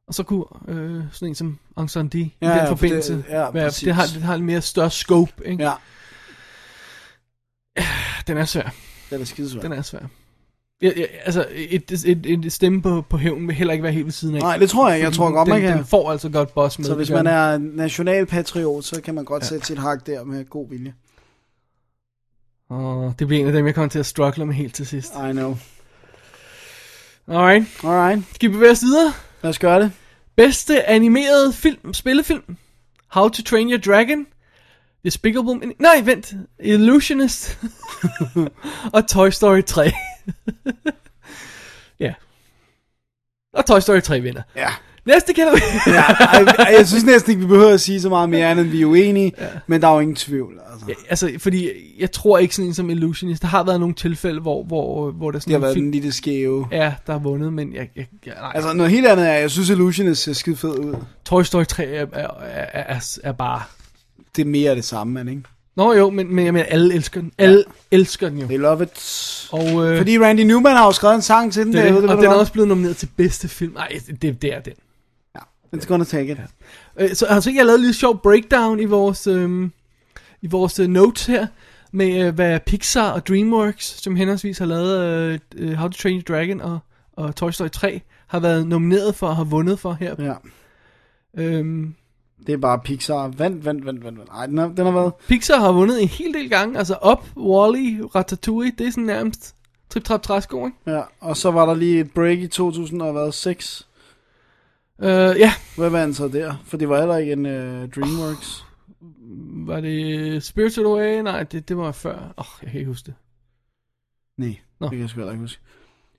Speaker 4: og så kunne øh, sådan en som Aung San Suu Kyi
Speaker 3: Ja,
Speaker 4: i
Speaker 3: ja,
Speaker 4: den
Speaker 3: for
Speaker 4: forbindelse,
Speaker 3: det- ja,
Speaker 4: være,
Speaker 3: præcis.
Speaker 4: det, har, det har en mere større scope. Ikke?
Speaker 3: Ja.
Speaker 4: Den er svær.
Speaker 3: Den er skidesvær.
Speaker 4: Den er svær. Ja, ja, altså, et, et, et stemme på, på hævn vil heller ikke være helt ved siden af.
Speaker 3: Nej, det tror jeg. Jeg
Speaker 4: Fordi
Speaker 3: tror godt,
Speaker 4: den,
Speaker 3: man kan.
Speaker 4: Den får altså godt boss med.
Speaker 3: Så hvis
Speaker 4: det gør
Speaker 3: man
Speaker 4: den.
Speaker 3: er nationalpatriot, så kan man godt ja. sætte sit hak der med god vilje.
Speaker 4: Åh, det bliver en af dem, jeg kommer til at struggle med helt til sidst.
Speaker 3: I know.
Speaker 4: Alright.
Speaker 3: Alright.
Speaker 4: Skal vi bevæge os videre?
Speaker 3: Lad os gøre det.
Speaker 4: Bedste animerede film, spillefilm. How to Train Your Dragon. Despicable Me. Nej, vent. Illusionist. og Toy Story 3. ja. Og Toy Story 3 vinder.
Speaker 3: Ja.
Speaker 4: Næste kender vi.
Speaker 3: Ja, jeg, jeg synes næsten ikke, vi behøver at sige så meget mere, end at vi er uenige, ja. men der er jo ingen tvivl. Altså.
Speaker 4: Altså, fordi jeg tror ikke sådan en som Illusionist. Der har været nogle tilfælde, hvor, hvor, hvor der sådan
Speaker 3: Det har
Speaker 4: en
Speaker 3: været
Speaker 4: film-
Speaker 3: den lille skæve.
Speaker 4: Ja, der har vundet, men jeg, jeg, jeg nej.
Speaker 3: Altså noget helt andet er, jeg synes Illusionist ser skide fed ud.
Speaker 4: Toy Story 3 er, er, er, er, er bare...
Speaker 3: Det er mere af det samme, man, ikke?
Speaker 4: Nå jo, men, men, men alle elsker den. Alle ja. elsker den jo.
Speaker 3: They love it.
Speaker 4: Og, øh,
Speaker 3: Fordi Randy Newman har jo skrevet en sang til den
Speaker 4: det, er
Speaker 3: der.
Speaker 4: det,
Speaker 3: ved du, ved
Speaker 4: og den
Speaker 3: du
Speaker 4: er
Speaker 3: hvad?
Speaker 4: også blevet nomineret til bedste film. Nej, det, det er den.
Speaker 3: It's gonna take it.
Speaker 4: Øh, så altså, jeg lavede en lille sjov breakdown i vores, øhm, i vores øh, notes her, med øh, hvad Pixar og DreamWorks, som henholdsvis har lavet øh, øh, How to Train Your Dragon og, og Toy Story 3, har været nomineret for og har vundet for her.
Speaker 3: Ja.
Speaker 4: Øhm,
Speaker 3: Det er bare Pixar. Vent, vent, vent, vent. vent. Ej, den har, den har været...
Speaker 4: Pixar har vundet en hel del gange, altså Up, Wall-E, Ratatouille, det er sådan nærmest trip trap træsko, ikke?
Speaker 3: Ja, og så var der lige et break i 2006.
Speaker 4: Øh, ja.
Speaker 3: Hvad vandt så der? For det var heller ikke en uh, DreamWorks.
Speaker 4: Var det Spirited Away? Nej, det, det var før. Åh, oh, jeg kan ikke huske det.
Speaker 3: Nej,
Speaker 4: Nå.
Speaker 3: det kan jeg sgu heller ikke huske.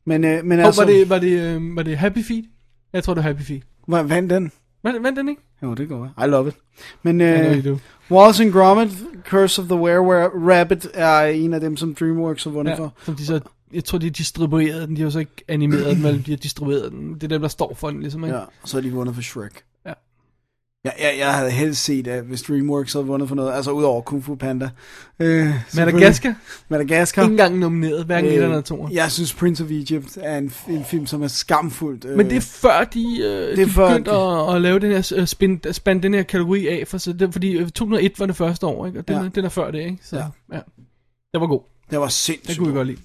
Speaker 3: Men, uh, men
Speaker 4: Men
Speaker 3: altså...
Speaker 4: altså... var, det, var, det, øh, var det Happy Feet? Jeg tror, det var Happy Feet.
Speaker 3: Hvad vandt den?
Speaker 4: Vand, vandt den ikke?
Speaker 3: Jo, det går være. I love it. Men
Speaker 4: know
Speaker 3: uh,
Speaker 4: you do.
Speaker 3: Wallace and Gromit, Curse of the Were Rabbit, er en af dem, som DreamWorks har vundet ja. for.
Speaker 4: Som de så, jeg tror, de distribuerede den. De har jo så ikke animeret den, men de har distribueret den. Det er dem, der står for den, ligesom. Ikke?
Speaker 3: Ja, og så har de vundet for Shrek.
Speaker 4: Ja.
Speaker 3: Jeg, jeg, jeg havde helst set, at hvis DreamWorks havde vundet for noget, altså udover Kung Fu Panda. Øh,
Speaker 4: Madagaskar?
Speaker 3: Madagaskar.
Speaker 4: Ikke engang nomineret,
Speaker 3: Øh,
Speaker 4: hverken etteren eller toeren.
Speaker 3: Jeg synes Prince of Egypt er en, en film, som er skamfuldt. Øh,
Speaker 4: Men det er før de, øh,
Speaker 3: Det er
Speaker 4: de
Speaker 3: før,
Speaker 4: begyndte
Speaker 3: de-
Speaker 4: at, at lave den her, øh, spin, spande den her kategori af, for så det, fordi øh, 2001 var det første år, ikke? og den,
Speaker 3: Ja.
Speaker 4: ja. den er før det, ikke? Så,
Speaker 3: Ja.
Speaker 4: ja. Det var god.
Speaker 3: Det var sindssygt
Speaker 4: Det kunne vi godt lide.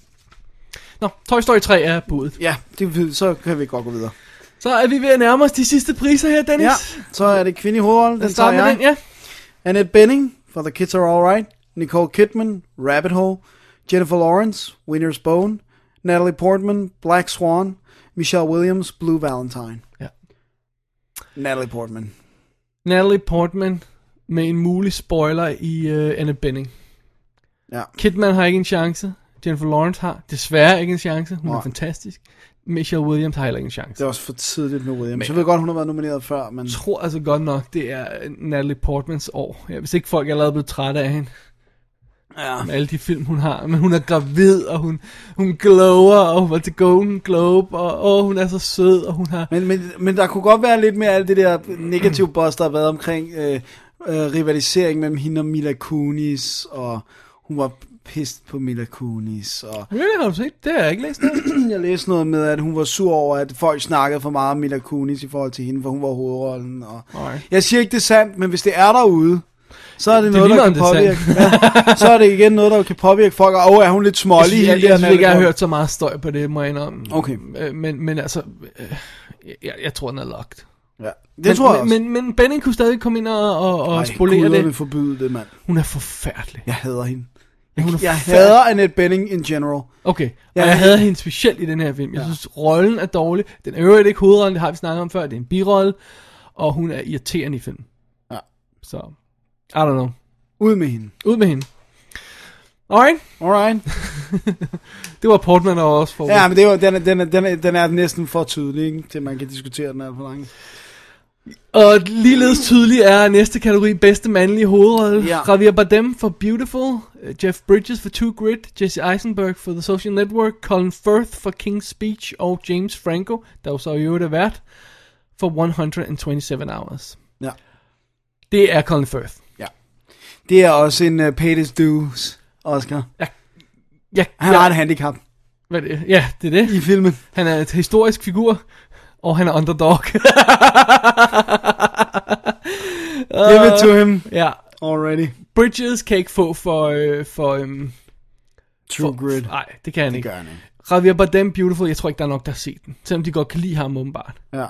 Speaker 4: Nå, Toy Story 3 er budet.
Speaker 3: Ja, det, så kan vi godt gå videre.
Speaker 4: Så er vi ved at nærme os de sidste priser her, Dennis.
Speaker 3: Ja, så er det kvinde i hovedrollen.
Speaker 4: Lad
Speaker 3: Den
Speaker 4: os starte
Speaker 3: tager
Speaker 4: med
Speaker 3: jeg.
Speaker 4: den, ja.
Speaker 3: Annette Bening for The Kids Are Alright. Nicole Kidman, Rabbit Hole. Jennifer Lawrence, Winner's Bone. Natalie Portman, Black Swan. Michelle Williams, Blue Valentine.
Speaker 4: Ja.
Speaker 3: Natalie Portman.
Speaker 4: Natalie Portman med en mulig spoiler i uh, Anna Benning.
Speaker 3: Ja.
Speaker 4: øh, Kidman har ikke en chance. Jennifer Lawrence har desværre ikke en chance. Hun Nej. er
Speaker 3: Nej.
Speaker 4: fantastisk. Michelle Williams har heller ikke en chance.
Speaker 3: Det er også for tidligt med Williams. Men, jeg ved godt, hun har været nomineret før, men...
Speaker 4: Jeg tror altså godt nok, det er Natalie Portmans år. Ja, hvis ikke folk er allerede blevet trætte af hende.
Speaker 3: Ja.
Speaker 4: Med alle de film, hun har. Men hun er gravid, og hun, hun glower, og hun var til Golden Globe, og åh, hun er så sød, og hun har...
Speaker 3: Men, men, men der kunne godt være lidt mere alt det der negative buzz, der har været omkring øh, øh, rivalisering mellem hende og Mila Kunis, og hun var pissed på Mila Kunis, og...
Speaker 4: Really, har du set? Det har jeg ikke læst noget.
Speaker 3: jeg læste noget med, at hun var sur over, at folk snakkede for meget om Mila Kunis i forhold til hende, for hun var hovedrollen. Og...
Speaker 4: Nej.
Speaker 3: Jeg siger ikke, det er sandt, men hvis det er derude, så er det,
Speaker 4: Det
Speaker 3: noget,
Speaker 4: ligner,
Speaker 3: der
Speaker 4: om
Speaker 3: kan
Speaker 4: det er
Speaker 3: påvirke.
Speaker 4: sandt.
Speaker 3: Ja, så er det igen noget, der kan påvirke folk, og åh, er hun lidt
Speaker 4: Jeg
Speaker 3: smålig?
Speaker 4: synes, jeg,
Speaker 3: hende
Speaker 4: jeg,
Speaker 3: der
Speaker 4: synes ikke, jeg har
Speaker 3: Natalie
Speaker 4: hørt så meget støj på det, må jeg indrømme.
Speaker 3: Okay.
Speaker 4: Øh, Men, men altså, øh, jeg, jeg tror, den er locked.
Speaker 3: Ja, det
Speaker 4: men,
Speaker 3: tror jeg også.
Speaker 4: men, men, men Benning kunne stadig komme ind og, og, og
Speaker 3: Ej,
Speaker 4: spolere
Speaker 3: guderne
Speaker 4: det.
Speaker 3: forbyde det, mand.
Speaker 4: Hun er forfærdelig.
Speaker 3: Jeg hader hende.
Speaker 4: Ja, hun er
Speaker 3: Jeg
Speaker 4: forfærdelig.
Speaker 3: hader Annette Bening in general.
Speaker 4: Okay, og
Speaker 3: Ja,
Speaker 4: jeg
Speaker 3: jeg-
Speaker 4: havde hende specielt i den her film. Jeg ja. synes, rollen er dårlig. Den er i øvrigt ikke hovedrollen, det har vi snakket om før. Det er en birolle, og hun er irriterende i filmen.
Speaker 3: Ja.
Speaker 4: Så, I don't know.
Speaker 3: Ud med hende.
Speaker 4: Ud med hende. Alright.
Speaker 3: Alright.
Speaker 4: det var Portman og også for.
Speaker 3: Ja, men det var, den, er, den, er, den, er, den er næsten for tydelig, ikke? til man kan diskutere den alt for langt.
Speaker 4: Og ligeledes tydelig er næste kategori bedste mandlige hovedrolle.
Speaker 3: Ja.
Speaker 4: Ja. Javier Bardem for Beautiful, øh, Jeff Bridges for Two Grit, Jesse Eisenberg for The Social Network, Colin Firth for King's Speech og James Franco, der jo så i øvrigt er vært, for 127 Hours.
Speaker 3: Ja.
Speaker 4: Det er Colin Firth.
Speaker 3: Ja. Det er også en uh, paid is dues, Oscar.
Speaker 4: Ja. ja.
Speaker 3: Han
Speaker 4: ja.
Speaker 3: har et handicap.
Speaker 4: Hvad er det? Ja, det er det.
Speaker 3: I filmen.
Speaker 4: Han er et historisk figur, og han er underdog.
Speaker 3: Give it to him.
Speaker 4: Ja.
Speaker 3: Already.
Speaker 4: Bridges kan ikke få for... Øh, for øhm,
Speaker 3: True Grit.
Speaker 4: Nej, det kan han
Speaker 3: Det
Speaker 4: ikke.
Speaker 3: gør han ikke.
Speaker 4: Javier Bardem Beautiful, jeg tror ikke, der er nok, der har set den. Selvom de godt kan lide ham, åbenbart.
Speaker 3: Ja.
Speaker 4: Jeg,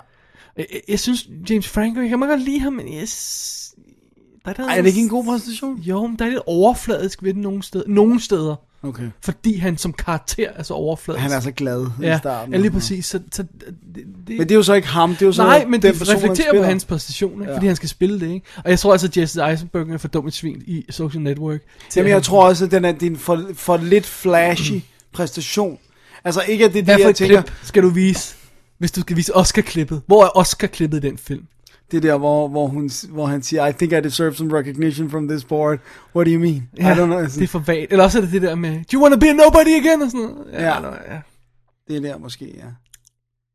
Speaker 4: jeg- jeg synes, James Franco, jeg kan meget godt lide ham, men jeg... s- Der er, der
Speaker 3: Ej, er det ikke en god præstation?
Speaker 4: Jo, men der er lidt overfladisk ved den nogle steder. Nogle steder.
Speaker 3: Okay.
Speaker 4: Fordi han som karakter er så overfladisk.
Speaker 3: Han er så glad i
Speaker 4: ja,
Speaker 3: starten.
Speaker 4: Ja, lige præcis. Så, så det,
Speaker 3: Men det er jo så ikke ham, det er jo så
Speaker 4: Nej,
Speaker 3: den
Speaker 4: men det
Speaker 3: person, han
Speaker 4: reflekterer på
Speaker 3: spiller.
Speaker 4: hans præstation, ikke?
Speaker 3: Ja.
Speaker 4: fordi han skal spille det. Ikke? Og jeg tror altså, at Jesse Eisenberg er for dum et svin i Social Network. til
Speaker 3: Jamen,
Speaker 4: at
Speaker 3: jeg
Speaker 4: han-
Speaker 3: tror også, at den er din for, for lidt flashy præstation. Altså ikke, at det er
Speaker 4: Hvad
Speaker 3: det,
Speaker 4: for
Speaker 3: jeg
Speaker 4: et
Speaker 3: tænker.
Speaker 4: klip skal du vise, hvis du skal vise Oscar-klippet? Hvor er Oscar-klippet i den film?
Speaker 3: Det der, hvor, hvor, hun, hvor han siger, I think I deserve some recognition from this board. What do you mean? I don't know. Altså,
Speaker 4: det er for vagt. Eller også er det det der med, do you wanna be a nobody again? Og sådan noget.
Speaker 3: Ja.
Speaker 4: ja.
Speaker 3: Det er der måske, ja.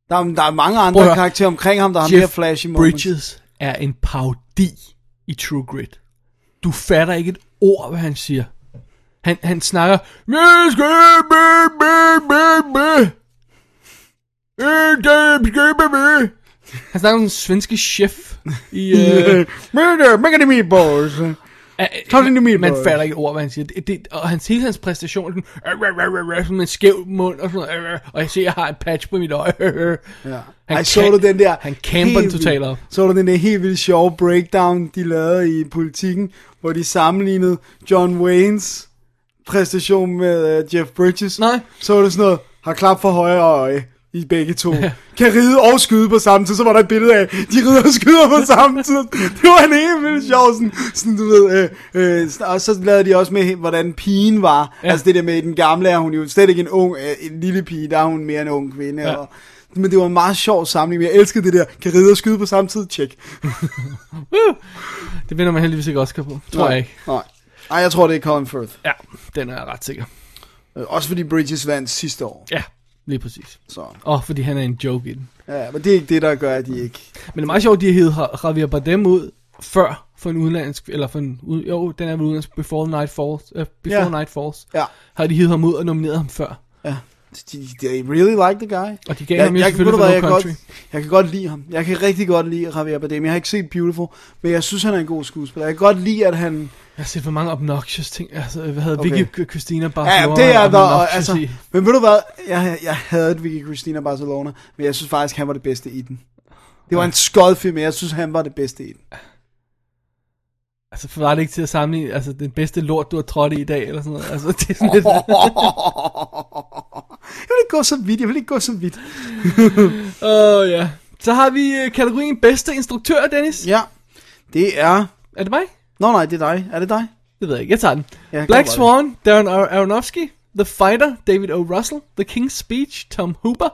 Speaker 3: Der er, der er mange andre
Speaker 4: Prøv at høre.
Speaker 3: karakterer omkring ham, der har
Speaker 4: Jeff
Speaker 3: mere flashy moments.
Speaker 4: Bridges er en parodi i True Grit. Du fatter ikke et ord, hvad han siger. Han, han snakker, "Jeg skal med, med, med, med." "Jeg skal med, med." Han snakker som en svenske chef i... Øh,
Speaker 3: Murder, make it me, boys. Tag det ind i mit
Speaker 4: man
Speaker 3: boys.
Speaker 4: fatter ikke et ord, hvad han siger. Det, det, og hans, hele hans præstation er sådan, "Øh, øh, øh, øh," sådan med en skæv mund og sådan noget, "Øh, øh," og jeg ser, jeg har et patch på mit øje.
Speaker 3: Ja.
Speaker 4: Han
Speaker 3: Ej, så du den der
Speaker 4: Han camper
Speaker 3: helt
Speaker 4: den totalt
Speaker 3: vildt-
Speaker 4: op.
Speaker 3: Så du den der helt vildt sjove breakdown, de lavede i politikken, hvor de sammenlignede John Waynes præstation med uh, Jeff Bridges.
Speaker 4: Nej.
Speaker 3: Så var det sådan noget, har klap for højre øje i begge to. kan ride og skyde på samme tid. Så var der et billede af, de rider og skyder på samme tid. Det var en helt vildt sjov, sådan, sådan du ved. Øh, øh, og så lavede de også med, hvordan pigen var. Ja. Altså det der med, i den gamle er hun jo slet ikke en ung, øh, en lille pige, der er hun mere en ung kvinde. Ja.
Speaker 4: Ja.
Speaker 3: Og, men det var en meget sjov samling, men jeg elskede det der, kan ride og skyde på samme tid, tjek.
Speaker 4: Det vinder man heldigvis ikke Oscar på. Tror
Speaker 3: Nej,
Speaker 4: jeg ikke.
Speaker 3: Nej. Ej, jeg tror, det er Colin Firth.
Speaker 4: Ja, den er jeg ret sikker.
Speaker 3: Øh, Også fordi Bridges vandt sidste år.
Speaker 4: Ja, lige præcis.
Speaker 3: Så.
Speaker 4: Og fordi han er en joke i den.
Speaker 3: Ja, men det er ikke det, der gør, at de ikke...
Speaker 4: Men det er meget sjovt, at de hed Javier Bardem ud før for en udenlandsk, eller for en, ud- jo, den er vel udenlandsk, Before Night Falls, uh, Before
Speaker 3: Ja.
Speaker 4: Night Falls,
Speaker 3: Ja.
Speaker 4: har de hed ham ud og nomineret ham før.
Speaker 3: Ja. De, they really like the guy.
Speaker 4: Og de gav ham jo selvfølgelig
Speaker 3: ved du
Speaker 4: for
Speaker 3: hvad,
Speaker 4: No
Speaker 3: kan godt,
Speaker 4: Country.
Speaker 3: jeg kan godt lide ham. Jeg kan rigtig godt lide Javier Bardem. Jeg har ikke set Beautiful, men jeg synes, han er en god skuespiller. Jeg kan godt lide, at han...
Speaker 4: Jeg har set for mange obnoxious ting, altså, hvad hedder
Speaker 3: Okay.
Speaker 4: okay. Vicky K- Christina bare
Speaker 3: Ja, det er der, og, altså, men ved du hvad, jeg, jeg havde Vicky Christina Barcelona, men jeg synes faktisk, han var det bedste i den. Det var en skod film, men jeg synes, han var det bedste i den.
Speaker 4: altså, for var det ikke til at sammenligne, altså, den bedste lort, du har trådt i i dag, eller sådan noget, altså, det er sådan lidt...
Speaker 3: Jeg vil ikke gå så vidt, jeg vil ikke gå så vidt.
Speaker 4: Åh, oh, ja. Så har vi øh, kategorien bedste instruktør, Dennis.
Speaker 3: Ja, det er...
Speaker 4: Er det mig?
Speaker 3: Nå nej, det er dig. Er det dig?
Speaker 4: Det ved jeg ikke. Jeg tager den.
Speaker 3: Ja,
Speaker 4: Ja,
Speaker 3: kom
Speaker 4: Black
Speaker 3: bare.
Speaker 4: Swan, Darren Ar- Aronofsky, The Fighter, David O. Russell, The King's Speech, Tom Hooper,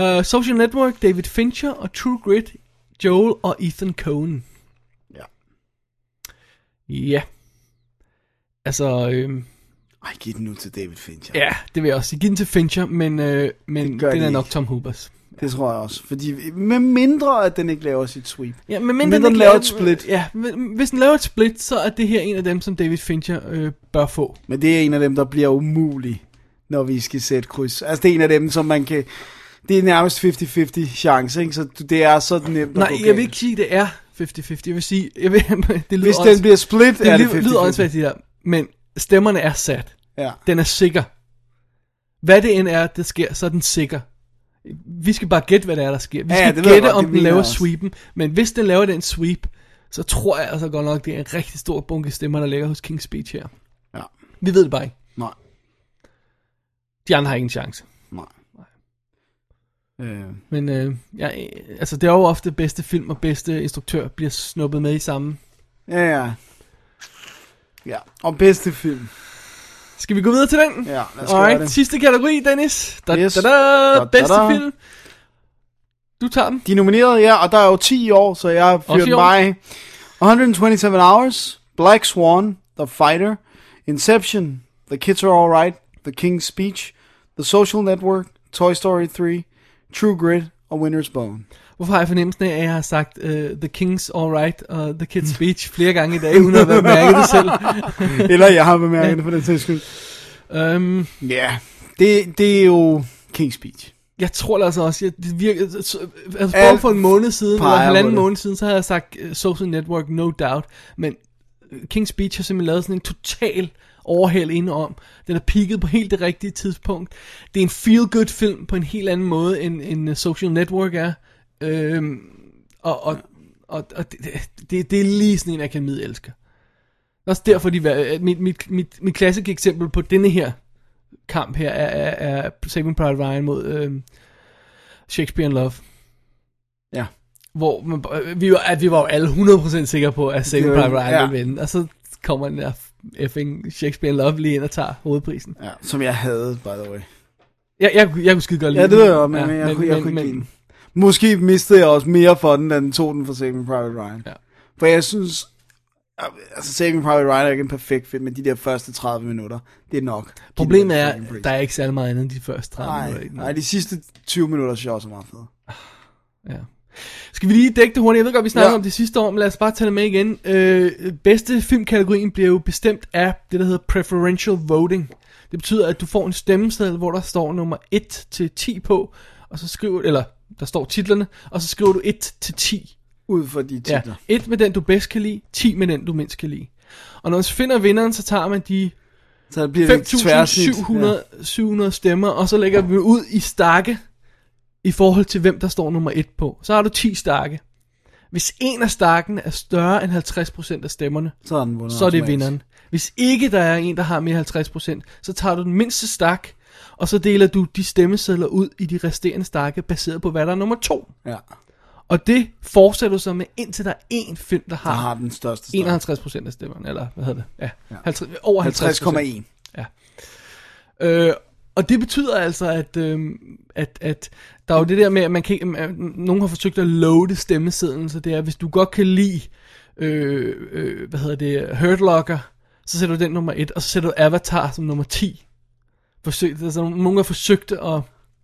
Speaker 4: uh, Social Network, David Fincher og True Grit, Joel og Ethan Coen. Ja. Ja. Altså, øhm,
Speaker 3: Ej, giv den nu til David Fincher.
Speaker 4: ja, det vil jeg også sige. Giv den til Fincher, men, øh, men
Speaker 3: gør
Speaker 4: den
Speaker 3: de
Speaker 4: er nok
Speaker 3: ikke.
Speaker 4: Tom Hoopers.
Speaker 3: Det tror jeg også. Fordi, med mindre, at den ikke laver sit sweep.
Speaker 4: Ja, men mindre
Speaker 3: den
Speaker 4: ikke
Speaker 3: laver et split.
Speaker 4: Ja, men hvis den laver et split, så er det her en af dem, som David Fincher øh, bør få.
Speaker 3: Men det er en af dem, der bliver umulig, når vi skal sætte kryds. Altså, det er en af dem, som man kan... Det er nærmest 50-50 chance, ikke? Så det er så nemt
Speaker 4: Nej,
Speaker 3: at gå
Speaker 4: jeg vil ikke sige, at det er 50-50. Jeg vil sige, jeg vil, det lyder
Speaker 3: Hvis den
Speaker 4: åndssvagt.
Speaker 3: bliver split,
Speaker 4: det
Speaker 3: er det
Speaker 4: lyder- lyder
Speaker 3: 50-50.
Speaker 4: åndssvagt, det der. Men stemmerne er sat.
Speaker 3: Ja.
Speaker 4: Den er sikker. Hvad det end er, der sker, så er den sikker. Vi skal bare gætte, hvad det er, der sker. Vi
Speaker 3: Ja,
Speaker 4: skal
Speaker 3: ja, det ved jeg
Speaker 4: gætte,
Speaker 3: godt, det
Speaker 4: om den
Speaker 3: mener
Speaker 4: laver
Speaker 3: jeg også.
Speaker 4: sweepen. Men hvis den laver den sweep, så tror jeg altså godt nok, det er en rigtig stor bunke stemmer, der ligger hos King's Speech her.
Speaker 3: Ja.
Speaker 4: Vi ved det bare ikke.
Speaker 3: Nej.
Speaker 4: De andre har ikke en chance.
Speaker 3: Nej. Øh,
Speaker 4: Men øh, jeg, altså, det er jo ofte bedste film og bedste instruktør bliver snuppet med i samme.
Speaker 3: ja, ja. Ja, og bedste film.
Speaker 4: Skal vi gå videre til den?
Speaker 3: Ja, lad os gøre
Speaker 4: Alright,
Speaker 3: det.
Speaker 4: sidste kategori, Dennis. Da,
Speaker 3: Yes.
Speaker 4: yes. da, da,
Speaker 3: Da, da,
Speaker 4: da, bedste
Speaker 3: da.
Speaker 4: film. Du tager den.
Speaker 3: De er nomineret, ja, og der er jo 10 i år, så jeg har
Speaker 4: Også i
Speaker 3: fyret
Speaker 4: år.
Speaker 3: mig. 127 Hours, Black Swan, The Fighter, Inception, The Kids Are Alright, The King's Speech, The Social Network, Toy Story 3, True Grit og Winter's Bone.
Speaker 4: Hvorfor har jeg fornemmelsen af, at jeg har sagt uh, The King's Alright og The Kid's Speech flere gange i dag, uden at have mærket det selv?
Speaker 3: Eller jeg har bemærket det på den sags skyld.
Speaker 4: Um,
Speaker 3: Ja, det, det er jo King's Speech.
Speaker 4: Jeg tror altså også, at det virker, altså
Speaker 3: Alt
Speaker 4: for, for en måned siden,
Speaker 3: peger
Speaker 4: eller halvanden
Speaker 3: på det.
Speaker 4: måned siden, så havde jeg sagt øh, Social Network, no doubt, men øh, King's Speech har simpelthen lavet sådan en total overhæld indenom. Den er peaked på helt det rigtige tidspunkt. Det er en feel-good film på en helt anden måde, end, end øh, Social Network er. Øhm, og og, og, og det, det- det, det er lige sådan en, akademiet elsker. Også derfor, de, var- at mit, mit, mit, mit klassiske eksempel på denne her kamp her, er, er, er Saving Private Ryan mod øhm, Shakespeare in Love.
Speaker 3: Ja.
Speaker 4: Hvor man, bare- vi, var, at vi var jo alle 100% sikre på, at Saving
Speaker 3: Det var-
Speaker 4: Private Ryan
Speaker 3: ja.
Speaker 4: ja. ville vinde. Og så kommer den der effing Shakespeare in Love lige ind og tager hovedprisen.
Speaker 3: Ja, som jeg havde, by the way.
Speaker 4: Jeg, jeg, kunne- jeg kunne skide godt lide
Speaker 3: Ja, det ved
Speaker 4: den.
Speaker 3: jeg, godt, men, ja, men, jeg, kunne, jeg kunne ikke lide den. Måske mistede jeg også mere for den, da den tog den for Saving Private Ryan.
Speaker 4: Ja.
Speaker 3: For jeg synes, altså Saving Private Ryan er ikke en perfekt film, men de der første 30 minutter, det er nok.
Speaker 4: Problemet er, der er ikke særlig meget andet end de første 30 minutter.
Speaker 3: Nej,
Speaker 4: i den.
Speaker 3: nej, de sidste 20 minutter synes jeg også er meget fede.
Speaker 4: Ja. Skal vi lige dække det hurtigt? Jeg ved godt, vi snakkede
Speaker 3: Ja.
Speaker 4: ja. om det sidste år, men lad os bare tage det med igen. Øh, bedste filmkategorien bliver jo bestemt af det, der hedder preferential voting. Det betyder, at du får en stemmeseddel, hvor der står nummer 1 til 10 på, og så skriver, eller der står titlerne, og så skriver du 1 til 10.
Speaker 3: Ud for de titler.
Speaker 4: Ja, 1 med den, du bedst kan lide, 10 med den, du mindst kan lide. Og når man finder vinderen, så tager man de
Speaker 3: Så der bliver et tværsnit.
Speaker 4: 5.700 ja. stemmer, og så lægger vi dem ud i stakke i forhold til, hvem der står nummer 1 på. Så har du 10 stakke. Hvis en af stakken er større end 50% af stemmerne,
Speaker 3: Så er den vundet
Speaker 4: så er det
Speaker 3: automatisk.
Speaker 4: vinderen. Hvis ikke der er en, der har mere end 50%, så tager du den mindste stak, og så deler du de stemmesedler ud i de resterende stakke, baseret på, hvad der er nummer 2.
Speaker 3: Ja.
Speaker 4: Og det fortsætter du så med, indtil der er en film, der har,
Speaker 3: Der har den største stak.
Speaker 4: 51% af stemmerne, eller hvad hedder det? Ja, 50, over 50
Speaker 3: 50,1.
Speaker 4: Ja. Øh, og det betyder altså, at, øh, at, at der er jo det der med, at man kan, ikke- at nogen har forsøgt at loade stemmesedlen, så det er, hvis du godt kan lide, øh, øh, hvad hedder det, Hurt Locker, så sætter du den nummer 1, og så sætter du Avatar som nummer 10. Forsøg, altså, nogen har forsøgt at...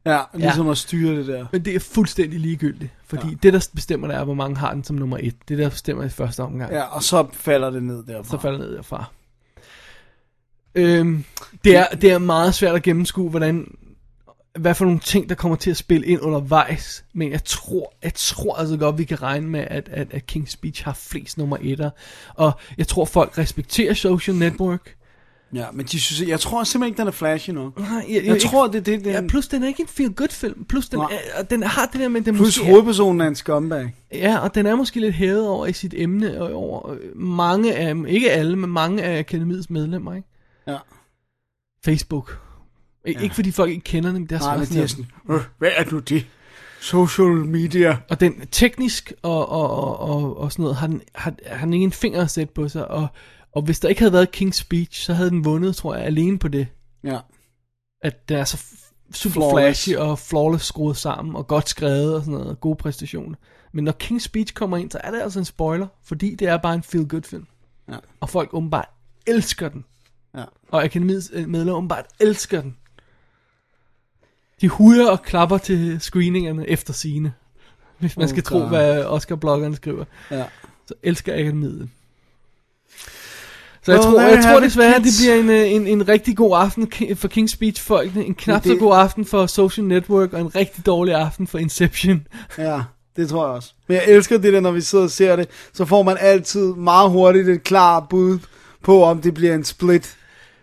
Speaker 3: Ja, ligesom at styre det der.
Speaker 4: Men det er fuldstændig ligegyldigt, fordi
Speaker 3: Ja.
Speaker 4: ja. det, der bestemmer, det er, hvor mange har den som nummer 1. Det, der bestemmer i første omgang.
Speaker 3: Ja, og så falder det ned derfra.
Speaker 4: Så falder det ned derfra. Øhm, det, er, det er meget svært at gennemskue, hvordan, hvad for nogle ting, der kommer til at spille ind undervejs. Men jeg tror, jeg tror altså godt, vi kan regne med, at, at, at King's Speech har flest nummer etter. Og jeg tror, folk respekterer Social Network.
Speaker 3: Ja, men de synes, jeg tror simpelthen ikke, den er flashy nok.
Speaker 4: Nej,
Speaker 3: jeg, jeg tror, det er det, den...
Speaker 4: Ja, plus den er ikke en feel-good film. Plus den,
Speaker 3: Nej.
Speaker 4: er, og den har det der med, at den
Speaker 3: Plus
Speaker 4: måske er-
Speaker 3: hovedpersonen er en scumbag.
Speaker 4: Ja, og den er måske lidt hævet over i sit emne, og over øh, mange af, ikke alle, men mange af akademiets medlemmer, ikke?
Speaker 3: Ja.
Speaker 4: Facebook. I, Ikke fordi folk ikke kender dem, det er
Speaker 3: Nej, men
Speaker 4: også
Speaker 3: de er sådan, "Øh, hvad er nu det? Social media.
Speaker 4: Og den teknisk og, og, og, og, og sådan noget, har den, har, har den ikke en finger at sætte på sig, og, Og hvis der ikke havde været King's Speech, så havde den vundet, tror jeg, alene på det.
Speaker 3: Ja.
Speaker 4: At det er så f- super
Speaker 3: Flawless.
Speaker 4: flashy og flawless skruet sammen, og godt skrevet og sådan noget, og gode præstationer. Men når King's Speech kommer ind, så er det altså en spoiler, fordi det er bare en feel-good film.
Speaker 3: Ja.
Speaker 4: Og folk åbenbart elsker den.
Speaker 3: Ja.
Speaker 4: Og akademiets øh, medlemmer åbenbart elsker den. De hujer og klapper til screeningerne efter sine. Hvis man
Speaker 3: Oh,
Speaker 4: skal tro,
Speaker 3: God.
Speaker 4: hvad Oscar-bloggeren skriver.
Speaker 3: Ja.
Speaker 4: Så elsker akademiet. Så jeg
Speaker 3: Well,
Speaker 4: tror,
Speaker 3: there
Speaker 4: jeg
Speaker 3: you
Speaker 4: tror
Speaker 3: have it,
Speaker 4: desværre, at det
Speaker 3: kids.
Speaker 4: bliver en, øh, en, en rigtig god aften ki- for King's Speech folkene, en knap
Speaker 3: Men
Speaker 4: så
Speaker 3: det-
Speaker 4: god aften for Social Network, og en rigtig dårlig aften for Inception.
Speaker 3: Ja, det tror jeg også. Men jeg elsker det der, når vi sidder og ser det, så får man altid meget hurtigt et klart bud på, om det bliver en split.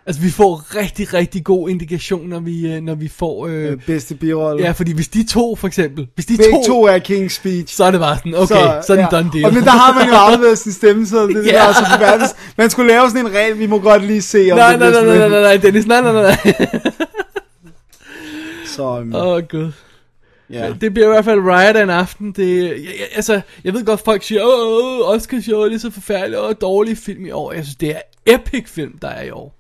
Speaker 4: Altså, vi får rigtig, rigtig god indikation, når vi, øh, når vi får... Øh,
Speaker 3: Øh, bedste birolle.
Speaker 4: ja, fordi hvis de to, for eksempel... Hvis de
Speaker 3: Begge
Speaker 4: to,
Speaker 3: to er King's Speech.
Speaker 4: Så er det bare sådan, okay, så, sådan ja. done deal.
Speaker 3: Og men der har man jo afleveret sin stemme, så det, er det
Speaker 4: Ja.
Speaker 3: der er så forfærdeligt. Man skulle lave sådan en regel, vi må godt lige se, om
Speaker 4: nej,
Speaker 3: det
Speaker 4: nej, nej,
Speaker 3: bliver
Speaker 4: nej,
Speaker 3: split.
Speaker 4: nej, nej, Dennis, nej, nej, nej, nej.
Speaker 3: Så, um,
Speaker 4: Åh, oh, gud.
Speaker 3: Ja.
Speaker 4: Ja. Det bliver i hvert fald Riot af en aften. Det, jeg, jeg, altså, jeg ved godt, folk siger, åh, åh, Oscar show det er så forfærdeligt, og dårlig film i år. Jeg synes, det er epic film, der er i år.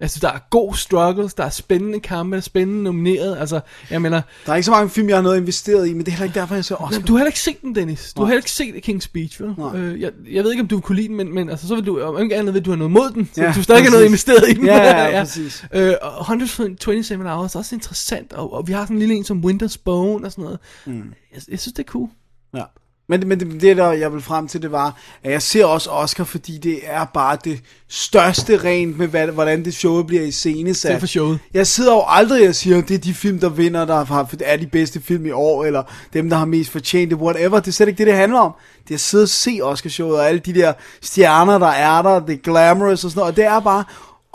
Speaker 4: Jeg synes, der er god struggles, der er spændende kampe, der er spændende nomineret. Altså, jeg mener,
Speaker 3: der er ikke så mange film, jeg har noget investeret i, men det er heller ikke derfor, jeg ser Oscar.
Speaker 4: Jamen, du har heller ikke set den, Dennis. Du
Speaker 3: Nej.
Speaker 4: har heller ikke set King's Speech, vel? Øh, jeg, jeg ved ikke, om du kunne lide den, men, men altså, så vil du, om ikke andet ved, du har noget mod den, så
Speaker 3: Ja,
Speaker 4: ja, du stadig har noget
Speaker 3: præcis.
Speaker 4: investeret i den.
Speaker 3: Ja, ja, præcis.
Speaker 4: Øh, og 127 Hours er også interessant, og, og vi har sådan en lille en som Winter's Bone og sådan noget.
Speaker 3: Mm.
Speaker 4: Jeg, jeg synes, det er cool.
Speaker 3: Ja. Men, det- men det, det, der jeg vil frem til, det var, at jeg ser også Oscar, fordi det er bare det største rent med, hvad, hvordan det show bliver i scenesat.
Speaker 4: Det er for showet.
Speaker 3: Jeg sidder jo aldrig og siger, det er de film, der vinder, der har, er de bedste film i år, eller dem, der har mest fortjent det, whatever. Det er slet ikke det, det handler om. Det er at sidde og se Oscar-showet, og alle de der stjerner, der er der, det er glamorous og sådan noget, og det er bare,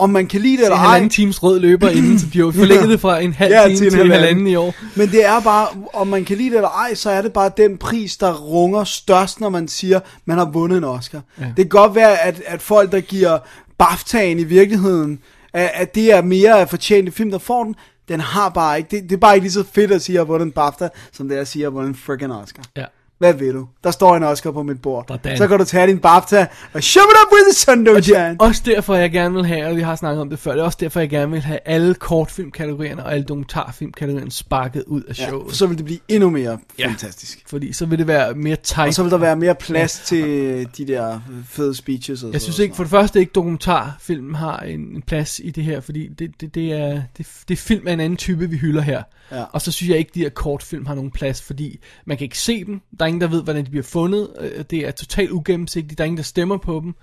Speaker 3: om man kan lide det
Speaker 4: Det er
Speaker 3: eller
Speaker 4: en
Speaker 3: ej.
Speaker 4: halvanden times rød løber inden, så de har jo forlænget det fra en halv ja, time til en halvanden. i år.
Speaker 3: Men det er bare, om man kan lide det eller ej, så er det bare den pris, der runger størst, når man siger, man har vundet en Oscar. Ja.
Speaker 4: Ja.
Speaker 3: Det kan godt være, at, at folk, der giver BAFTA'en i virkeligheden, at, at det er mere af fortjente film, der får den, den har bare ikke, det, det er bare ikke lige så fedt at sige, at jeg har vundet en BAFTA, som det er at sige, at jeg har vundet en freaking Oscar.
Speaker 4: Ja.
Speaker 3: Hvad vil du? Der står en Oscar på mit bord.
Speaker 4: Hvordan?
Speaker 3: Så kan du tage din BAFTA og shove it up with the sundown, Jan.
Speaker 4: Også derfor, jeg gerne vil have, og vi har snakket om det før, det er også derfor, jeg gerne vil have alle kortfilmkategorierne og alle dokumentarfilmkategorierne sparket ud af showet.
Speaker 3: Ja, så vil det blive endnu mere ja. fantastisk.
Speaker 4: Fordi så vil det være mere tight.
Speaker 3: Og så vil der være mere plads til øh, de der fede speeches. Og
Speaker 4: Jeg synes ikke, for det første ikke dokumentarfilmen har en, en plads i det her, fordi det, det, det, er, det, det er film af en anden type, vi hylder her.
Speaker 3: Ja.
Speaker 4: Og så synes jeg ikke, de her kortfilm har nogen plads, fordi man kan ikke se dem, der er ingen, der ved, hvordan de bliver fundet, øh, det er totalt ugennemsigtigt, der er ingen, der stemmer på dem.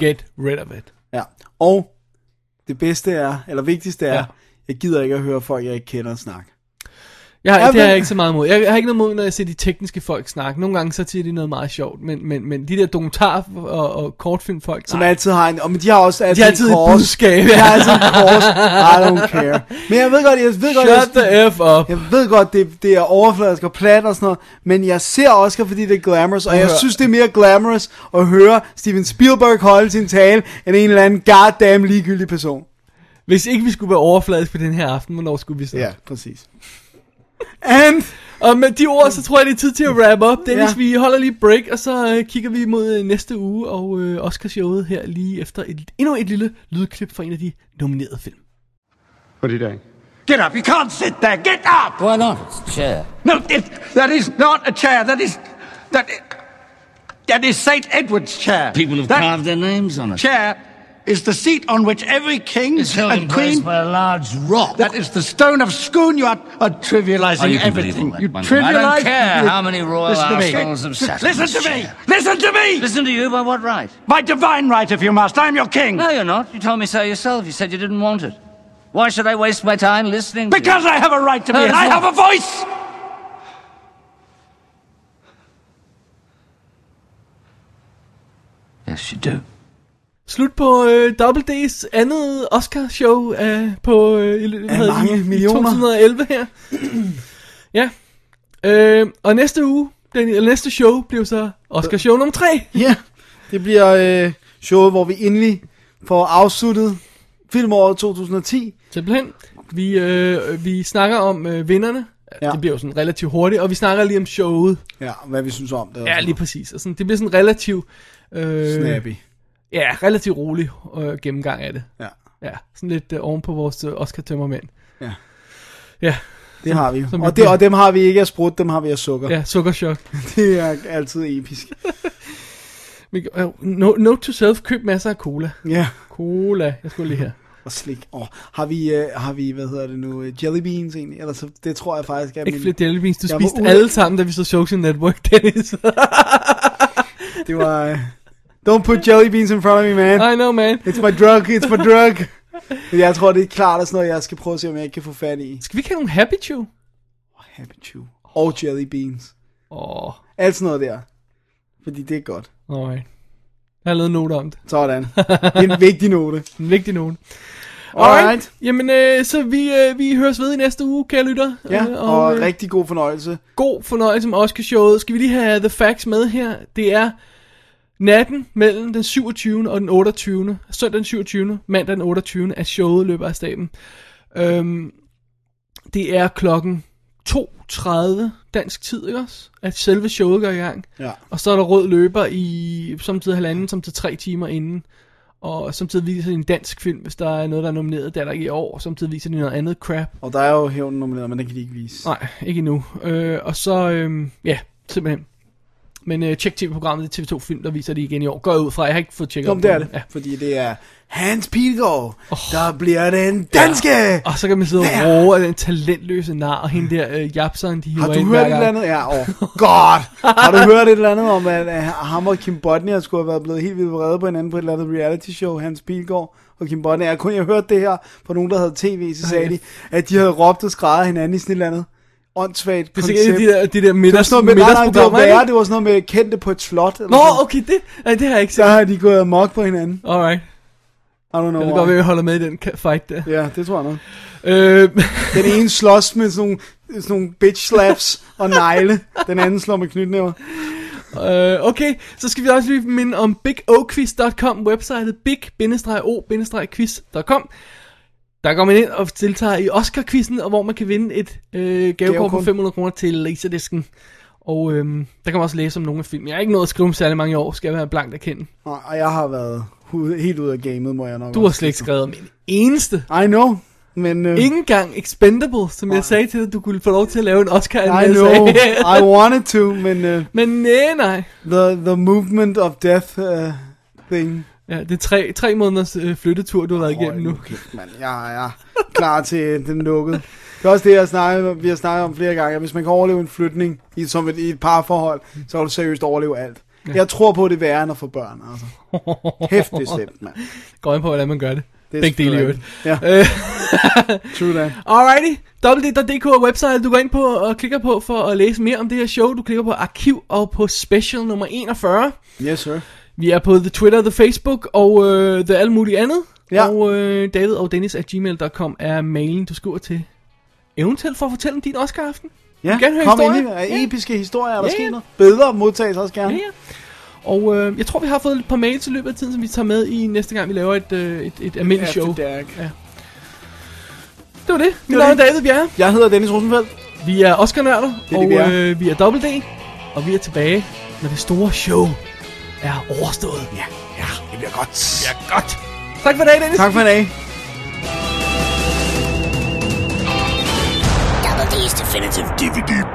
Speaker 4: Get rid of it.
Speaker 3: Ja, og det bedste er, eller vigtigste er, ja.
Speaker 4: Ja.
Speaker 3: jeg gider ikke at høre folk, jeg ikke kender snakke.
Speaker 4: Jeg har,
Speaker 3: Ja,
Speaker 4: ja, det har
Speaker 3: men-
Speaker 4: jeg ikke så meget imod. Jeg, jeg har ikke noget imod, når jeg ser de tekniske folk snakke. Nogle gange så siger de noget meget sjovt, men, men, men de der dokumentar- og, og kortfilmfolk,
Speaker 3: Som altid har en, og men de har også altid,
Speaker 4: de har altid
Speaker 3: en
Speaker 4: et
Speaker 3: kors.
Speaker 4: budskab.
Speaker 3: De har altid en kors. I don't care. Men jeg ved godt, jeg ved godt,
Speaker 4: Shut
Speaker 3: jeg,
Speaker 4: the F up.
Speaker 3: jeg ved godt, det, det er overfladisk og plat og sådan noget, men jeg ser Oscar, fordi det er glamorous, og
Speaker 4: Prøv
Speaker 3: jeg
Speaker 4: at høre.
Speaker 3: synes, det er mere glamorous at høre Steven Spielberg holde sin tale, end en eller anden goddamn ligegyldig person.
Speaker 4: Hvis ikke vi skulle være overfladiske på den her aften, hvornår skulle vi så?
Speaker 3: Ja, præcis. And...
Speaker 4: Og med de ord, så tror jeg, det er tid til at wrap up. Dennis,
Speaker 3: Ja.
Speaker 4: ja. vi holder lige break, og så øh, kigger vi mod øh, næste uge og øh, Oscarshowet her lige efter et, endnu et lille lydklip fra en af de nominerede film.
Speaker 13: What are you doing?
Speaker 6: Get up. You can't sit there. Get up.
Speaker 14: Why not? It's a chair.
Speaker 6: No, it, that is not a chair. That is. That is. That is St. Edward's chair.
Speaker 14: People have
Speaker 6: that
Speaker 14: carved their names on it.
Speaker 6: chair is the seat on which every king
Speaker 14: It's held in
Speaker 6: and
Speaker 14: place
Speaker 6: queen.
Speaker 14: by a large rock.
Speaker 6: That is the stone of Scone. You are, are trivializing
Speaker 14: Oh, you can believe
Speaker 6: everything.
Speaker 14: all that
Speaker 6: You
Speaker 14: one thing. I don't
Speaker 6: trivialize.
Speaker 14: care
Speaker 6: you-
Speaker 14: how many royal
Speaker 6: Listen to me.
Speaker 14: arsenals have sat on
Speaker 6: Listen
Speaker 14: this
Speaker 6: to me.
Speaker 14: chair.
Speaker 6: Listen to me.
Speaker 14: Listen to you by what right?
Speaker 6: By divine right, if you must. I'm your king.
Speaker 14: No, you're not. You told me so yourself. You said you didn't want it. Why should I waste my time listening?
Speaker 6: Because
Speaker 14: to you?
Speaker 6: I have a right to be,
Speaker 14: No,
Speaker 6: and
Speaker 14: it's
Speaker 6: I
Speaker 14: not.
Speaker 6: have a voice!
Speaker 14: Yes, you do.
Speaker 4: Slut på øh, Double D's andet Oscar-show øh, på øh, i, lø- hvad hedder det,
Speaker 3: mange
Speaker 4: i- i
Speaker 3: millioner.
Speaker 4: 2011 her. ja. Øh, og næste uge, den, eller næste show, bliver så Oscar-show nummer 3.
Speaker 3: Ja, det bliver øh, showet, hvor vi endelig får afsluttet filmåret 2010.
Speaker 4: Simpelthen. Vi, øh, vi snakker om øh, vinderne. Ja. Det bliver jo sådan relativt hurtigt. Og vi snakker lige om showet.
Speaker 3: Ja, hvad vi synes om det.
Speaker 4: Ja, lige præcis. Og sådan, det bliver sådan relativt... Øh,
Speaker 3: Snappy.
Speaker 4: Ja, relativt rolig øh, gennemgang af det.
Speaker 3: Ja.
Speaker 4: Ja, sådan lidt øh, oven på vores øh, Oscar-tømmermænd.
Speaker 3: Ja.
Speaker 4: Ja.
Speaker 3: Det har vi.
Speaker 4: som
Speaker 3: Og, det, og dem har vi ikke af sprut, dem har vi af sukker.
Speaker 4: Ja, sukkerchok.
Speaker 3: det er altid episk.
Speaker 4: Men, øh, no, note to self, køb masser af cola.
Speaker 3: Ja.
Speaker 4: Cola, jeg skulle lige her.
Speaker 3: Og slik. Oh, har, vi, øh, har vi, hvad hedder det nu, øh, jelly beans egentlig? Eller så, det tror jeg faktisk er
Speaker 4: Ikke
Speaker 3: min-
Speaker 4: flere jellybeans, du
Speaker 3: Jeg var
Speaker 4: spiste
Speaker 3: ude-
Speaker 4: alle sammen, da vi så Social Network, Dennis.
Speaker 3: det var... øh, Don't put jelly beans in front of me, man.
Speaker 4: I know, man.
Speaker 3: It's my drug, it's my drug. Men jeg tror, det er klart, at sådan noget, jeg skal prøve at se, om jeg ikke kan få fat i.
Speaker 4: Skal vi ikke have nogle Happy Chew?
Speaker 3: Happy Chew. Og jelly beans.
Speaker 4: Åh.
Speaker 3: Alt sådan noget der. Fordi det er godt.
Speaker 4: Alright. Jeg har lavet en note om det.
Speaker 3: Sådan. Det er en vigtig note.
Speaker 4: En vigtig note.
Speaker 3: Alright.
Speaker 4: Alright. Jamen, øh, så vi, øh, vi høres ved i næste uge, kære lytter.
Speaker 3: Ja,
Speaker 4: Øh,
Speaker 3: og
Speaker 4: øh,
Speaker 3: rigtig god fornøjelse.
Speaker 4: god fornøjelse med Oscarshowet. Skal vi lige have The Facts med her? Det er natten mellem den 27. og den 28. Søndag den 27. Mandag den 28. at showet løber af staben. Øhm, det er klokken 2.30 dansk tid, ikke også? At selve showet går i gang.
Speaker 3: Ja.
Speaker 4: Og så er der rød løber i samtidig halvanden, samtidig tre timer inden. Og samtidig viser de en dansk film, hvis der er noget, der er nomineret. Det er der ikke i år. Samtidig viser de noget andet crap.
Speaker 3: Og der er jo hævnen nomineret, men den kan de ikke vise.
Speaker 4: Nej, ikke endnu. Øh, og så, øh, ja, simpelthen. Men øh, tjek tv-programmet, det er TV2 Film, der viser det igen i år. Går jeg ud fra, jeg har ikke fået tjekket
Speaker 3: Nå,
Speaker 4: op
Speaker 3: men det
Speaker 4: på
Speaker 3: er det.
Speaker 4: Ja.
Speaker 3: Ja. Fordi det er Hans Pilgaard, oh. der bliver den danske. Ja.
Speaker 4: Og så kan man sidde og roe af den talentløse nar, og hende der øh, Japson, de hiver
Speaker 3: Har du
Speaker 4: ind
Speaker 3: hørt
Speaker 4: hver
Speaker 3: et
Speaker 4: gang.
Speaker 3: eller andet? Ja, åh, oh, godt. Har du hørt et eller andet om, at øh, ham og Kim Bodnia skulle have været blevet helt vildt vrede på hinanden på et eller andet reality show, Hans Pilgaard og Kim Bodnia. Jeg kunne jeg hørte det her fra nogen, der havde tv, så sagde
Speaker 4: Ej.
Speaker 3: de, at de havde råbt og skrejet hinanden i sådan et eller andet åndssvagt
Speaker 4: Det er sikkert de der, de der
Speaker 3: Det var
Speaker 4: middags,
Speaker 3: sådan noget med, nej, nej, det var
Speaker 4: middagsprogrammer,
Speaker 3: værre,
Speaker 4: ikke?
Speaker 3: det var sådan noget med kendte på et slot. Eller
Speaker 4: Nå,
Speaker 3: sådan.
Speaker 4: okay, det, nej, det har jeg ikke set.
Speaker 3: Der har de gået amok på hinanden.
Speaker 4: Alright.
Speaker 3: I don't know
Speaker 4: Det kan
Speaker 3: why.
Speaker 4: godt være, vi holder med i den ka- fight der.
Speaker 3: Ja, det tror jeg nok.
Speaker 4: Øh,
Speaker 3: Den ene slås med sådan nogle, sådan nogle bitch slaps og negle. Den anden slår med knytnæver.
Speaker 4: Øh, okay, så skal vi også lige minde om bigoquiz.com, websitet big-o-quiz.com. Der går man ind og deltager i Oscar-quizzen, og hvor man kan vinde et øh, gavekort på
Speaker 3: Gavekort.
Speaker 4: 500 kroner til Laserdisken. Og øhm, der kan man også læse om nogle af filmene. Jeg har ikke nået at skrive om særlig mange år, skal jeg være blankt erkendt.
Speaker 3: Og og jeg har været hu- helt ude af gamet, må jeg nok
Speaker 4: Du har slet ikke skrevet om en eneste.
Speaker 3: I know, men... Øh,
Speaker 4: Ingen gang Expendable, som jeg sagde til dig, du kunne få lov til at lave en oscar
Speaker 3: I know,
Speaker 4: altså.
Speaker 3: I wanted to, men... Øh,
Speaker 4: men nej, nej.
Speaker 3: The, the movement of death øh, thing.
Speaker 4: Ja, det er tre, tre måneders øh, flyttetur, du har været igennem nu.
Speaker 3: mand. Jeg er klar til den lukkede. Det er også det, jeg snakker, vi har snakket om flere gange. at Hvis man kan overleve en flytning i, som et, i et parforhold, så kan du seriøst overleve alt.
Speaker 4: Ja.
Speaker 3: Jeg tror på, det er værre end at få børn. Altså. Hæft, det er slemt, mand.
Speaker 4: Går ind på, hvordan man gør det.
Speaker 3: Det er
Speaker 4: Begge dele i
Speaker 3: selvfølgelig
Speaker 4: øvrigt.
Speaker 3: rigtigt.
Speaker 4: Øh,
Speaker 3: True that.
Speaker 4: Alrighty. www.dk er website, du går ind på og klikker på for at læse mere om det her show. Du klikker på arkiv og på special nummer 41.
Speaker 3: Yes, sir.
Speaker 4: Vi er på the Twitter, the Facebook og øh, the alt muligt andet. Ja. Og øh, David og Dennis at gmail.com er mailen, du skriver til. Eventuelt for at fortælle om din Oscar-aften.
Speaker 3: Ja,
Speaker 4: Vi vil gerne høre
Speaker 3: kom
Speaker 4: historier.
Speaker 3: ind i ja. episke historier, er der
Speaker 4: Ja,
Speaker 3: ja,
Speaker 4: ja.
Speaker 3: sket noget. Bedre modtages også gerne.
Speaker 4: Ja, ja. Og øh, jeg tror, vi har fået et par mails i løbet af tiden, som vi tager med i næste gang, vi laver et, øh, et, et almindeligt show.
Speaker 3: After Dark.
Speaker 4: Ja. Det var det. Mit
Speaker 3: var
Speaker 4: navn er
Speaker 3: det.
Speaker 4: David Bjerre.
Speaker 3: Jeg hedder Dennis Rosenfeldt.
Speaker 4: Vi er Oscar-nørder,
Speaker 3: Det er det,
Speaker 4: og
Speaker 3: vi er.
Speaker 4: øh, vi er Double D, og vi er tilbage, når det store show er overstået. Ja,
Speaker 3: ja, det bliver godt.
Speaker 4: Ja, godt. Tak for i dag, Dennis.
Speaker 3: Tak for i dag.
Speaker 14: Double D's Definitive DVD